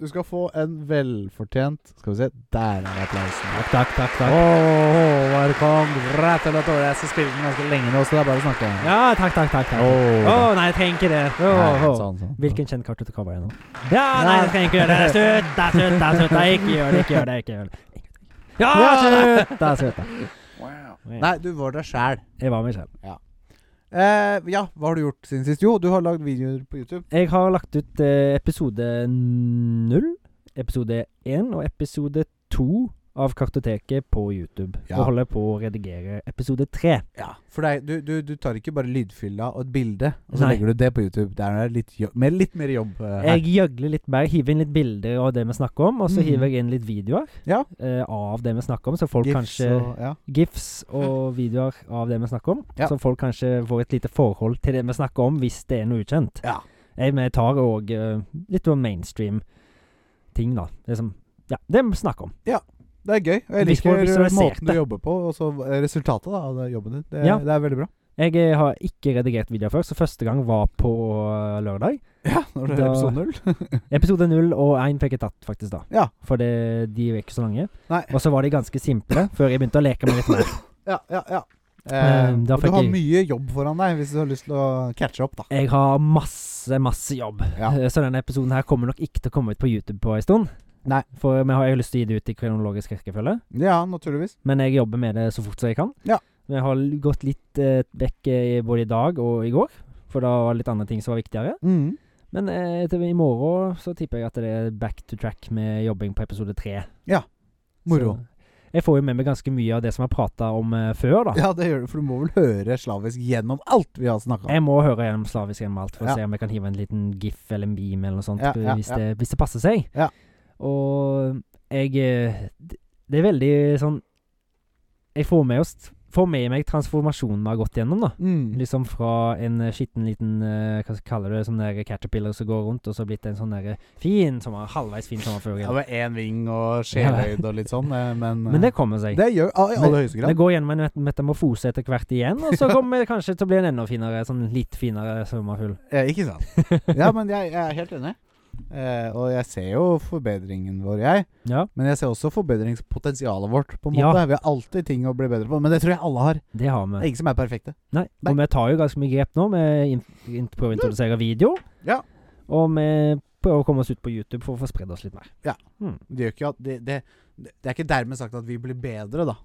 [SPEAKER 1] Du skal få en velfortjent Skal vi se, der er applausen.
[SPEAKER 2] Takk, takk, takk.
[SPEAKER 1] Å,
[SPEAKER 2] takk.
[SPEAKER 1] Håvard kom rett til dette året. Jeg skal spille den ganske lenge nå, så det er bare å snakke.
[SPEAKER 2] Ja, takk, takk, takk. takk. Å,
[SPEAKER 1] Åh,
[SPEAKER 2] nei, jeg trenger ikke det. Å,
[SPEAKER 1] Nei,
[SPEAKER 2] å.
[SPEAKER 1] sånn, sånn.
[SPEAKER 2] Hvilken kjent kartotek var det nå? Ja, nei, jeg trenger ikke gjøre det. Det er Slutt, det er slutt, det er slutt. Nei, Ikke gjør det, ikke gjør det. ikke gjør det.
[SPEAKER 1] Ja,
[SPEAKER 2] Ja, det er slutt, det er slutt.
[SPEAKER 1] Nei, du var deg sjæl.
[SPEAKER 2] Jeg var meg selv.
[SPEAKER 1] Eh, ja, hva har du gjort siden sist? Jo, du har lagd videoer på YouTube.
[SPEAKER 2] Jeg har lagt ut eh, episode null, episode én og episode to av Kartoteket på YouTube.
[SPEAKER 1] Ja.
[SPEAKER 2] Og holder på å redigere episode tre.
[SPEAKER 1] Ja, for deg, du, du, du tar ikke bare lydfylla og et bilde, og så
[SPEAKER 2] Nei.
[SPEAKER 1] legger du det på YouTube. Der er det litt, jo- mer, litt mer jobb. eh, her.
[SPEAKER 2] Jeg gjøgler litt mer, hiver inn litt bilder av det vi snakker om, og så
[SPEAKER 1] Mhm.
[SPEAKER 2] hiver jeg inn litt videoer
[SPEAKER 1] Ja.
[SPEAKER 2] eh, av det vi snakker om, så folk
[SPEAKER 1] Gifs
[SPEAKER 2] kanskje
[SPEAKER 1] og- ja.
[SPEAKER 2] GIFs og videoer av det vi snakker om,
[SPEAKER 1] Mm. Ja.
[SPEAKER 2] så folk kanskje får et lite forhold til det vi snakker om, hvis det er noe ukjent.
[SPEAKER 1] Ja.
[SPEAKER 2] Jeg, vi tar òg litt om mainstream-ting, da. Det som Ja, det vi snakker om.
[SPEAKER 1] Det er gøy. og Jeg
[SPEAKER 2] Hvis folk
[SPEAKER 1] liker
[SPEAKER 2] visualiserte.
[SPEAKER 1] måten du jobber på, og så eh, resultatet da, av det jobben din. Det,
[SPEAKER 2] Ja.
[SPEAKER 1] det er veldig bra.
[SPEAKER 2] Jeg eh, har ikke redigert videoer før, så første gang var på eh, lørdag.
[SPEAKER 1] Ja, når det er
[SPEAKER 2] Da-
[SPEAKER 1] episode null.
[SPEAKER 2] Episode null og én fikk jeg tatt, faktisk, da.
[SPEAKER 1] Ja.
[SPEAKER 2] For det, de er ikke så lange.
[SPEAKER 1] Nei.
[SPEAKER 2] Og så var de ganske simple, før jeg begynte å leke meg litt mer.
[SPEAKER 1] Ja, ja, ja.
[SPEAKER 2] Eh,
[SPEAKER 1] Eh,
[SPEAKER 2] da
[SPEAKER 1] og du
[SPEAKER 2] fikk
[SPEAKER 1] har
[SPEAKER 2] jeg-
[SPEAKER 1] mye jobb foran deg hvis du har lyst til å catche opp, da.
[SPEAKER 2] Jeg har masse, masse jobb. (laughs)
[SPEAKER 1] Ja.
[SPEAKER 2] Eh, Så denne episoden her kommer nok ikke til å komme ut på YouTube på en stund.
[SPEAKER 1] Nei.
[SPEAKER 2] For vi har jo lyst til å gi det ut i kronologisk rekkefølge,
[SPEAKER 1] Ja, naturligvis.
[SPEAKER 2] men jeg jobber med det så fort som jeg kan.
[SPEAKER 1] Ja.
[SPEAKER 2] Vi har l- gått litt eh, vekk eh, både i dag og i går, for da var det litt andre ting som var viktigere.
[SPEAKER 1] Mm.
[SPEAKER 2] Men eh, til i morgen så tipper jeg at det er back to track med jobbing på episode tre.
[SPEAKER 1] Moro.
[SPEAKER 2] Så Jeg får jo med meg ganske mye av det som jeg har prata om eh, før, da.
[SPEAKER 1] Ja, det gjør du, for du må vel høre slavisk gjennom alt vi har snakka om.
[SPEAKER 2] Jeg må høre gjennom slavisk gjennom alt for
[SPEAKER 1] Ja.
[SPEAKER 2] å se om jeg kan hive en liten gif eller en meme eller noe sånt,
[SPEAKER 1] Ja, ja,
[SPEAKER 2] hvis,
[SPEAKER 1] ja.
[SPEAKER 2] Det, hvis det passer seg.
[SPEAKER 1] Ja.
[SPEAKER 2] Og jeg eh, d- Det er veldig sånn Jeg får med, oss, får med meg transformasjonen vi har gått gjennom, da.
[SPEAKER 1] Mm.
[SPEAKER 2] Liksom fra en eh, skitten liten eh, Hva kaller du det? Sånn der caterpillar som går rundt, og så blitt en sånn der fin sommer, halvveis fin sommerfugl.
[SPEAKER 1] Ja, med én ving og sjeløyd og litt sånn, eh, men, eh,
[SPEAKER 2] Men det kommer seg.
[SPEAKER 1] det gjør ah, i aller høyeste
[SPEAKER 2] Det
[SPEAKER 1] grad.
[SPEAKER 2] går gjennom en met- metamorfose etter hvert igjen, og så kommer det kanskje til å bli en enda finere, sånn litt finere sommerfugl.
[SPEAKER 1] Eh, ikke sant? Ja, men jeg, jeg er helt enig. Eh, og jeg ser jo forbedringen vår, jeg.
[SPEAKER 2] (laughs) Ja,
[SPEAKER 1] Men jeg ser også forbedringspotensialet vårt. på en
[SPEAKER 2] Ja.
[SPEAKER 1] måte. Vi har alltid ting å bli bedre på, men det tror jeg alle har.
[SPEAKER 2] det har vi.
[SPEAKER 1] Det er ingen som er perfekte.
[SPEAKER 2] Nei.
[SPEAKER 1] Nei. Mm.
[SPEAKER 2] Og vi tar jo ganske mye grep nå. Vi in- in- prøver å introdusere video.
[SPEAKER 1] Ja.
[SPEAKER 2] Og vi prøver å komme oss ut på YouTube for å få spredd oss litt mer.
[SPEAKER 1] Det, gjør ikke at det, det, det er ikke dermed sagt at vi blir bedre, da.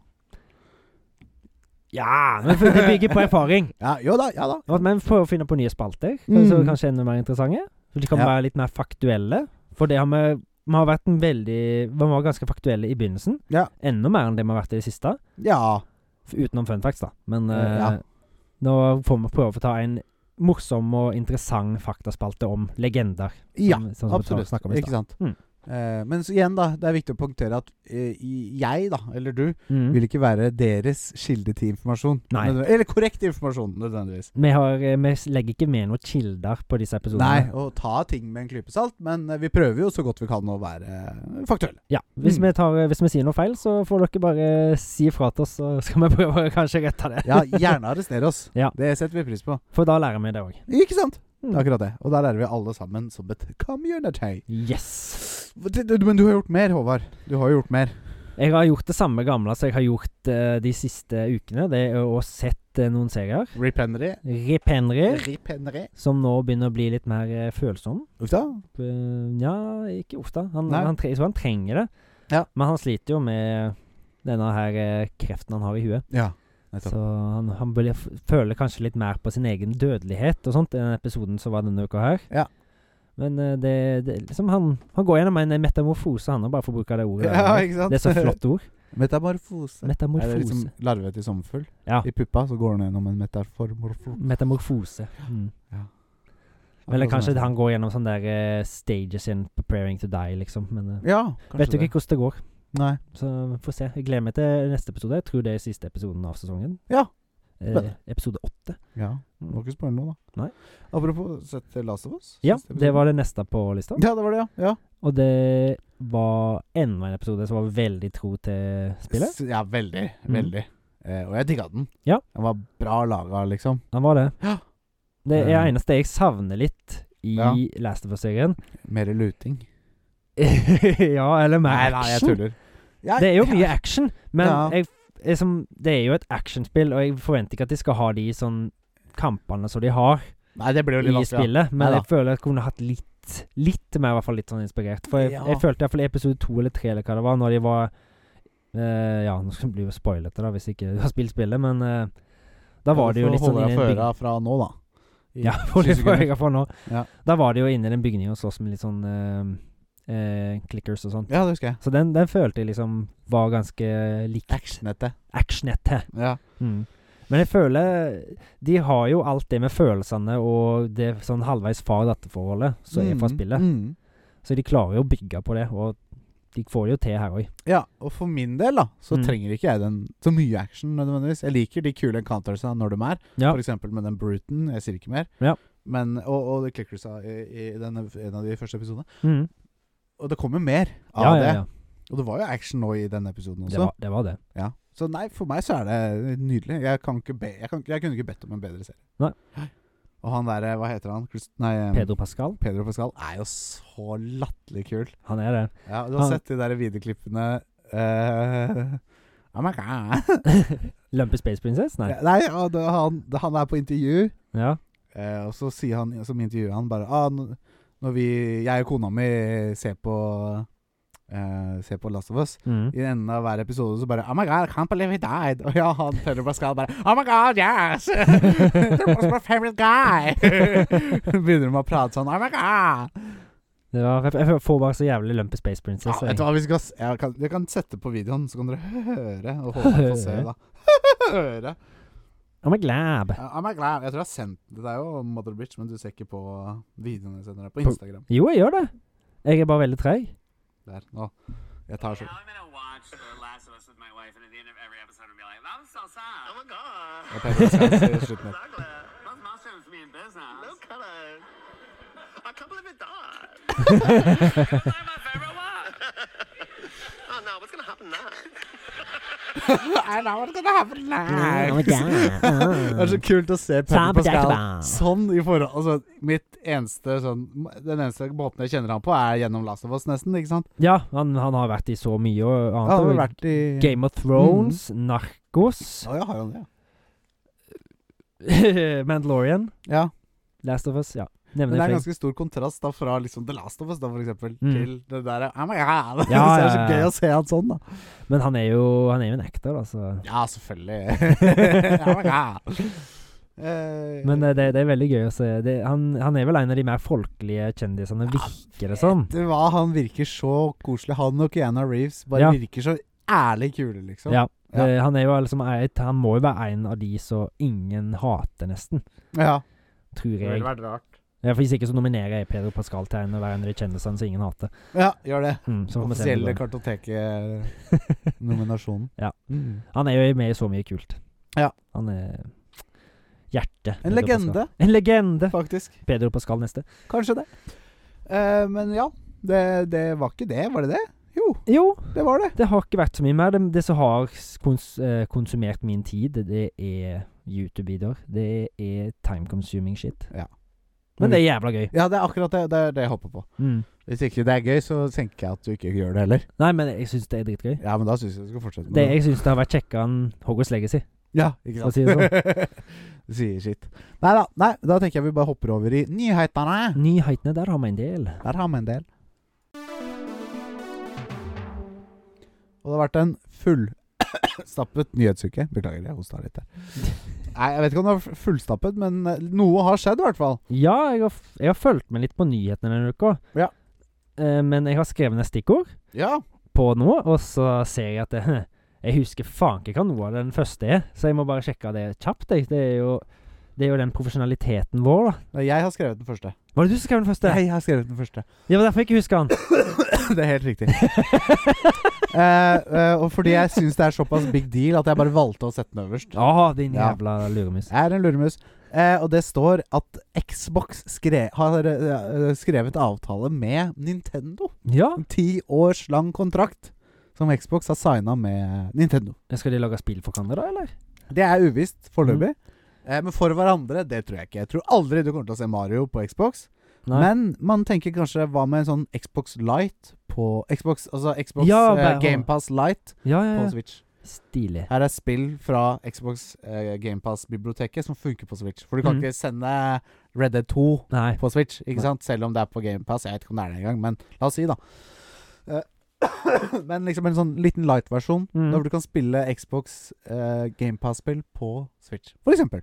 [SPEAKER 2] Ja! Men for- det bygger på erfaring.
[SPEAKER 1] Ja, jo da, (laughs) ja da.
[SPEAKER 2] Og at vi prøver å finne på nye spalter,
[SPEAKER 1] Mm.
[SPEAKER 2] så kanskje enda mer interessante. Så de kan
[SPEAKER 1] Ja.
[SPEAKER 2] være litt mer faktuelle. For det har vi vi har vært en veldig Vi var ganske faktuelle i begynnelsen.
[SPEAKER 1] Ja.
[SPEAKER 2] Enda mer enn det vi har vært i det siste.
[SPEAKER 1] Ja.
[SPEAKER 2] f- Utenom fun facts, da. Men
[SPEAKER 1] Eh,
[SPEAKER 2] eh,
[SPEAKER 1] ja.
[SPEAKER 2] nå får vi prøve å ta en morsom og interessant faktaspalte om legender.
[SPEAKER 1] ja
[SPEAKER 2] som- sånn som vi
[SPEAKER 1] absolutt.
[SPEAKER 2] snakket om i stad.
[SPEAKER 1] Ikke sant.
[SPEAKER 2] Mm.
[SPEAKER 1] Eh, men så igjen, da. Det er viktig å punktere at eh, i- jeg, da, eller du,
[SPEAKER 2] Mm.
[SPEAKER 1] vil ikke være deres kilde til informasjon.
[SPEAKER 2] Nei.
[SPEAKER 1] Nødvendig- Eller korrekt informasjon, nødvendigvis.
[SPEAKER 2] Vi, har, eh, vi legger ikke med noen kilder på disse
[SPEAKER 1] Nei,
[SPEAKER 2] episodene.
[SPEAKER 1] å ta ting med en klype salt, men eh, vi prøver jo så godt vi kan å være eh, faktuelle.
[SPEAKER 2] Ja, hvis,
[SPEAKER 1] Mm.
[SPEAKER 2] vi tar, eh, hvis vi sier noe feil, så får dere bare si ifra til oss, så (laughs) skal vi prøve å kanskje rette
[SPEAKER 1] (laughs)
[SPEAKER 2] det.
[SPEAKER 1] Ja, gjerne arrestere oss.
[SPEAKER 2] Ja.
[SPEAKER 1] Det setter vi pris på.
[SPEAKER 2] For da lærer vi det òg.
[SPEAKER 1] Ikke sant?
[SPEAKER 2] Mm.
[SPEAKER 1] Det er akkurat det. Og der er vi alle sammen som et community.
[SPEAKER 2] Yes.
[SPEAKER 1] Det- det- Men du har gjort mer, Håvard. Du har jo gjort mer.
[SPEAKER 2] Jeg har gjort det samme gamle som jeg har gjort eh, de siste ukene. Det er å sett eh, noen serier.
[SPEAKER 1] Rependery.
[SPEAKER 2] Rip Henry,
[SPEAKER 1] Rependery.
[SPEAKER 2] som nå begynner å bli litt mer eh, følsom.
[SPEAKER 1] Uff da.
[SPEAKER 2] Eh, ja, ikke ofte. Han,
[SPEAKER 1] Nei.
[SPEAKER 2] han, tre, jeg tror han trenger det.
[SPEAKER 1] Ja.
[SPEAKER 2] Men han sliter jo med denne her eh, kreften han har i huet.
[SPEAKER 1] Ja. Nettopp.
[SPEAKER 2] Så han, han blir- f- føler kanskje litt mer på sin egen dødelighet og sånt i den episoden som var denne uka her.
[SPEAKER 1] Ja.
[SPEAKER 2] Men eh, det, det er liksom han, han går gjennom en metamorfose, han, og bare får bruke det ordet.
[SPEAKER 1] Ja, ikke sant?
[SPEAKER 2] det er så flott
[SPEAKER 1] (laughs)
[SPEAKER 2] ord.
[SPEAKER 1] Metamorfose. Er
[SPEAKER 2] Metamorfose.
[SPEAKER 1] det liksom larve til sommerfugl?
[SPEAKER 2] Ja.
[SPEAKER 1] I puppa så går den gjennom en metaformorfo...
[SPEAKER 2] Metamorfose. Mm. Eller kanskje
[SPEAKER 1] sånn.
[SPEAKER 2] han går gjennom sånne der eh, stages in preparing to die, liksom. Men eh,
[SPEAKER 1] Ja, kanskje
[SPEAKER 2] vet jo ikke hvordan det går.
[SPEAKER 1] Nei.
[SPEAKER 2] Så vi får se. Jeg gleder meg til neste episode. Jeg tror det er siste episoden av sesongen.
[SPEAKER 1] Ja.
[SPEAKER 2] Eh, episode åtte.
[SPEAKER 1] Ja. Må ikke spørre noe, da.
[SPEAKER 2] Nei.
[SPEAKER 1] Apropos sett eh, Last of Us.
[SPEAKER 2] Ja,
[SPEAKER 1] siste
[SPEAKER 2] det
[SPEAKER 1] episode.
[SPEAKER 2] var det neste på lista.
[SPEAKER 1] Ja, det var det, ja. ja.
[SPEAKER 2] Og det var enda en episode som var veldig tro til spillet.
[SPEAKER 1] S- Ja, veldig.
[SPEAKER 2] Mm.
[SPEAKER 1] Veldig. Eh, og jeg digga den.
[SPEAKER 2] Ja.
[SPEAKER 1] Den var bra laga, liksom.
[SPEAKER 2] Den var det.
[SPEAKER 1] Ja.
[SPEAKER 2] Det er
[SPEAKER 1] Eh.
[SPEAKER 2] eneste jeg savner litt i
[SPEAKER 1] Ja.
[SPEAKER 2] Last of Us-serien. (laughs)
[SPEAKER 1] Mer luting.
[SPEAKER 2] ja, eller med
[SPEAKER 1] Nei,
[SPEAKER 2] action.
[SPEAKER 1] nei, jeg tuller. Ja,
[SPEAKER 2] Det er jo mye
[SPEAKER 1] ja.
[SPEAKER 2] action, men
[SPEAKER 1] Ja.
[SPEAKER 2] jeg, jeg, som, det er jo et actionspill, og jeg forventer ikke at de skal ha de sånn kampene som de har
[SPEAKER 1] (laughs) Nei, det blir jo
[SPEAKER 2] i
[SPEAKER 1] litt vanskelig.
[SPEAKER 2] spillet, men
[SPEAKER 1] Neida.
[SPEAKER 2] jeg føler at jeg kunne hatt litt Litt mer, i hvert fall litt sånn inspirert. For jeg,
[SPEAKER 1] Ja.
[SPEAKER 2] jeg følte i hvert fall i episode to eller tre eller hva det var, når de var eh, Ja, nå skal det bli jo spoilete, da, hvis ikke du har spilt spillet, men eh, da
[SPEAKER 1] Ja,
[SPEAKER 2] var det jo litt sånn
[SPEAKER 1] Du får holde
[SPEAKER 2] i
[SPEAKER 1] deg for
[SPEAKER 2] en bygning-
[SPEAKER 1] øra fra nå, da. I
[SPEAKER 2] Ja, (laughs) får det
[SPEAKER 1] sju
[SPEAKER 2] for
[SPEAKER 1] sekunder.
[SPEAKER 2] øra fra nå.
[SPEAKER 1] Ja.
[SPEAKER 2] Da var det jo inne i den bygningen og slåss med litt sånn eh, eh, clickers og sånn.
[SPEAKER 1] Ja, det husker jeg.
[SPEAKER 2] Så den, den følte jeg liksom var ganske lik
[SPEAKER 1] Actionete.
[SPEAKER 2] actionete.
[SPEAKER 1] Ja.
[SPEAKER 2] Mm. Men jeg føler De har jo alt det med følelsene og det sånn halvveis far-datter-forholdet som er fra
[SPEAKER 1] Mm,
[SPEAKER 2] spillet.
[SPEAKER 1] Mm.
[SPEAKER 2] Så de klarer jo å bygge på det, og de får det jo til her òg.
[SPEAKER 1] Ja, og for min del da så
[SPEAKER 2] Mm.
[SPEAKER 1] trenger ikke jeg den så mye action nødvendigvis. Jeg liker de kule encountersene når de er,
[SPEAKER 2] Ja.
[SPEAKER 1] For f.eks. med den Bruton. Jeg sier ikke mer.
[SPEAKER 2] Ja.
[SPEAKER 1] Men, og, og The Clickersa i, i den, en av de første episodene.
[SPEAKER 2] Mm.
[SPEAKER 1] Og det kommer mer av
[SPEAKER 2] Ja, ja, ja.
[SPEAKER 1] det. Og det var jo action nå i den episoden
[SPEAKER 2] Det
[SPEAKER 1] også.
[SPEAKER 2] var, det var det.
[SPEAKER 1] Ja. Så nei, for meg så er det nydelig. Jeg, kan ikke be, jeg, kan, ikke- jeg kunne ikke bedt om en bedre serie.
[SPEAKER 2] Nei.
[SPEAKER 1] Og han derre, hva heter han? Christ, nei, eh,
[SPEAKER 2] Pedro Pascal,
[SPEAKER 1] Pedro Pascal er jo så latterlig kul.
[SPEAKER 2] han
[SPEAKER 1] (laughs)
[SPEAKER 2] er det.
[SPEAKER 1] Ja, du har
[SPEAKER 2] Han-
[SPEAKER 1] sett de der videoklippene eh, (laughs) Oh my god.
[SPEAKER 2] Lumpy Space Princess? Nei.
[SPEAKER 1] Ja, Nei, ja, det, han, det, han er på intervju,
[SPEAKER 2] Ja.
[SPEAKER 1] eh, og så sier han som intervjuer han bare ah, n- Når vi, jeg og kona mi ser på eh, Ser på Last of Us
[SPEAKER 2] Mm.
[SPEAKER 1] i enden av hver episode så bare Oh my god, I can't believe he died. Og ja, han Pedro Pascal bare Oh my god, (laughs) yes! That was my favorite (laughs) guy! Begynner de å prate sånn Oh my god!
[SPEAKER 2] Det var, jeg, jeg får bare så jævlig Lumpy Space
[SPEAKER 1] Ja,
[SPEAKER 2] Princess.
[SPEAKER 1] vet du
[SPEAKER 2] jeg.
[SPEAKER 1] hva, vi skal, s- jeg, kan, jeg kan sette på videoen, så kan dere høre. Og håpe dere får se, da. (laughs) høre.
[SPEAKER 2] Oh my glad.
[SPEAKER 1] Ja, I'm glad. Jeg tror jeg har sendt det deg jo, Mother Bitch, men du ser ikke på videoene jeg sender deg på Instagram.
[SPEAKER 2] Jo, jeg gjør det. Jeg er bare veldig treig.
[SPEAKER 1] Der, nå. Jeg tar så
[SPEAKER 3] Now I'm gonna watch The Last of Us with my wife, and at the end of every episode, I'm gonna be like, "That was so sad." Oh my god.
[SPEAKER 1] Jeg pleier å se- se slutten
[SPEAKER 3] (laughs)
[SPEAKER 1] her.
[SPEAKER 3] Those monsters be in business. No color. I can't believe it (laughs) died. my favorite one. (laughs) oh no, what's gonna happen now?
[SPEAKER 1] I know what's gonna happen next.
[SPEAKER 2] Oh my
[SPEAKER 1] (laughs) Det er
[SPEAKER 2] god.
[SPEAKER 1] så kult å se
[SPEAKER 2] Sam
[SPEAKER 1] Pedro Pascal
[SPEAKER 2] Jackman.
[SPEAKER 1] sånn i forhold Altså, mitt eneste sånn Den eneste måten jeg kjenner han på, er gjennom Last of Us, nesten, ikke sant?
[SPEAKER 2] Ja, han, han har vært i så mye
[SPEAKER 1] Han
[SPEAKER 2] og
[SPEAKER 1] har
[SPEAKER 2] annet.
[SPEAKER 1] vel
[SPEAKER 2] og
[SPEAKER 1] vært i
[SPEAKER 2] Game of Thrones,
[SPEAKER 1] Mm.
[SPEAKER 2] Narkos,
[SPEAKER 1] Å ja, har han det?
[SPEAKER 2] (laughs) Mandalorian,
[SPEAKER 1] Ja.
[SPEAKER 2] Last of Us, ja.
[SPEAKER 1] Men
[SPEAKER 2] Nevner
[SPEAKER 1] det er
[SPEAKER 2] flere.
[SPEAKER 1] ganske stor kontrast da fra liksom The Last of Us, da, for eksempel,
[SPEAKER 2] Mm.
[SPEAKER 1] til det derre oh my god.
[SPEAKER 2] Ja,
[SPEAKER 1] (laughs) Så det er så
[SPEAKER 2] ja, ja,
[SPEAKER 1] gøy
[SPEAKER 2] ja.
[SPEAKER 1] å se han sånn, da.
[SPEAKER 2] Men han er, jo, han er jo en actor, da, så
[SPEAKER 1] Ja, (laughs) selvfølgelig. oh my god. Eh,
[SPEAKER 2] Men eh, det, det er veldig gøy å se. Det, han, han er vel en av de mer folkelige kjendisene, virker det sånn? som.
[SPEAKER 1] Vet du hva, han virker så koselig. Han og Keanu Reeves bare
[SPEAKER 2] Ja.
[SPEAKER 1] virker så ærlig kule, liksom.
[SPEAKER 2] Ja.
[SPEAKER 1] Ja.
[SPEAKER 2] Eh, Han, er jo liksom, et- han må jo være en av de som ingen hater, nesten.
[SPEAKER 1] Ja.
[SPEAKER 2] Tror
[SPEAKER 1] Det
[SPEAKER 2] jeg.
[SPEAKER 1] ville vært rart.
[SPEAKER 2] Ja, for Hvis ikke så nominerer jeg Pedro Pascal til en av hverandre i kjendisene så ingen hater.
[SPEAKER 1] Ja, gjør det.
[SPEAKER 2] Mm, så får vi se om
[SPEAKER 1] Offisielle
[SPEAKER 2] det går.
[SPEAKER 1] kartoteket-nominasjonen.
[SPEAKER 2] (laughs) Ja.
[SPEAKER 1] Mm.
[SPEAKER 2] Han er jo med i så mye kult.
[SPEAKER 1] Ja.
[SPEAKER 2] Han er hjertet.
[SPEAKER 1] En
[SPEAKER 2] Pedro Pascal.
[SPEAKER 1] legende,
[SPEAKER 2] En legende!
[SPEAKER 1] faktisk.
[SPEAKER 2] Pedro Pascal neste.
[SPEAKER 1] Kanskje det. Eh, men ja, det, det var ikke det, var det det? Jo,
[SPEAKER 2] Jo,
[SPEAKER 1] det var det.
[SPEAKER 2] det har ikke vært så mye mer. Det, det som har s- kons eh, konsumert min tid, det er YouTube-videoer. Det er time-consuming shit.
[SPEAKER 1] Ja.
[SPEAKER 2] Men det er jævla gøy.
[SPEAKER 1] Ja, det er akkurat det, det, er det jeg håper på.
[SPEAKER 2] Mm.
[SPEAKER 1] Hvis ikke det er gøy, så tenker jeg at du ikke gjør det heller.
[SPEAKER 2] Nei, men jeg syns det er dritgøy.
[SPEAKER 1] Ja, men da syns jeg du skal fortsette med
[SPEAKER 2] Det,
[SPEAKER 1] det.
[SPEAKER 2] jeg syns det har vært kjekkere enn Hogwarts Legacy.
[SPEAKER 1] Ja, ikke
[SPEAKER 2] Skal
[SPEAKER 1] sant.
[SPEAKER 2] jeg si sånn.
[SPEAKER 1] (laughs) du sier sitt. Nei da. Nei, da tenker jeg vi bare hopper over i nyhetene.
[SPEAKER 2] Nyhetene, der har vi en del.
[SPEAKER 1] Der har vi en del. Og det har vært en fullstappet nyhetsuke. Beklager, jeg hosta litt der. Nei, jeg vet ikke om det var fullstappet, men eh, noe har skjedd, i hvert fall.
[SPEAKER 2] Ja, jeg har, f- jeg har fulgt med litt på nyhetene denne uka.
[SPEAKER 1] Ja.
[SPEAKER 2] Eh, men jeg har skrevet ned stikkord
[SPEAKER 1] Ja.
[SPEAKER 2] på nå, og så ser jeg at det, (laughs) jeg husker faen ikke hva noe av den første er, så jeg må bare sjekke det kjapt. Jeg. Det, er jo, det er jo den profesjonaliteten vår, da.
[SPEAKER 1] Nei, Jeg har skrevet den første.
[SPEAKER 2] Var det du som skrev den første?
[SPEAKER 1] Jeg har skrevet den første.
[SPEAKER 2] Det var derfor jeg ikke husker den.
[SPEAKER 1] (laughs) Det er helt riktig. Eh, eh, og fordi jeg syns det er såpass big deal at jeg bare valgte å sette den øverst.
[SPEAKER 2] Å, din
[SPEAKER 1] Ja.
[SPEAKER 2] jævla luremus.
[SPEAKER 1] Jeg er en luremus. Eh, og det står at Xbox skre har eh, skrevet avtale med Nintendo.
[SPEAKER 2] Ja,
[SPEAKER 1] En ti års lang kontrakt som Xbox har signa med Nintendo.
[SPEAKER 2] skal de lage spill for hverandre, da, eller?
[SPEAKER 1] Det er uvisst foreløpig.
[SPEAKER 2] Mhm.
[SPEAKER 1] Eh, men for hverandre, det tror jeg ikke. Jeg tror aldri du kommer til å se Mario på Xbox. Men man tenker kanskje hva med en sånn Xbox Light på Xbox, altså Xbox
[SPEAKER 2] Ja,
[SPEAKER 1] eh,
[SPEAKER 2] bare-
[SPEAKER 1] Game Pass Light
[SPEAKER 2] ja, ja,
[SPEAKER 1] på
[SPEAKER 2] ja.
[SPEAKER 1] Switch.
[SPEAKER 2] Stilig.
[SPEAKER 1] Her er spill fra Xbox eh, GamePass-biblioteket som funker på Switch. For du kan
[SPEAKER 2] Mhm.
[SPEAKER 1] ikke sende Red Dead 2
[SPEAKER 2] Nei.
[SPEAKER 1] på Switch, ikke
[SPEAKER 2] Nei.
[SPEAKER 1] sant? Selv om det er på GamePass. Jeg vet ikke om det er det engang, men la oss si, da. Eh, (coughs) men liksom en sånn liten light-versjon,
[SPEAKER 2] Mhm.
[SPEAKER 1] der hvor du kan spille Xbox eh, GamePass-spill på Switch, for eksempel.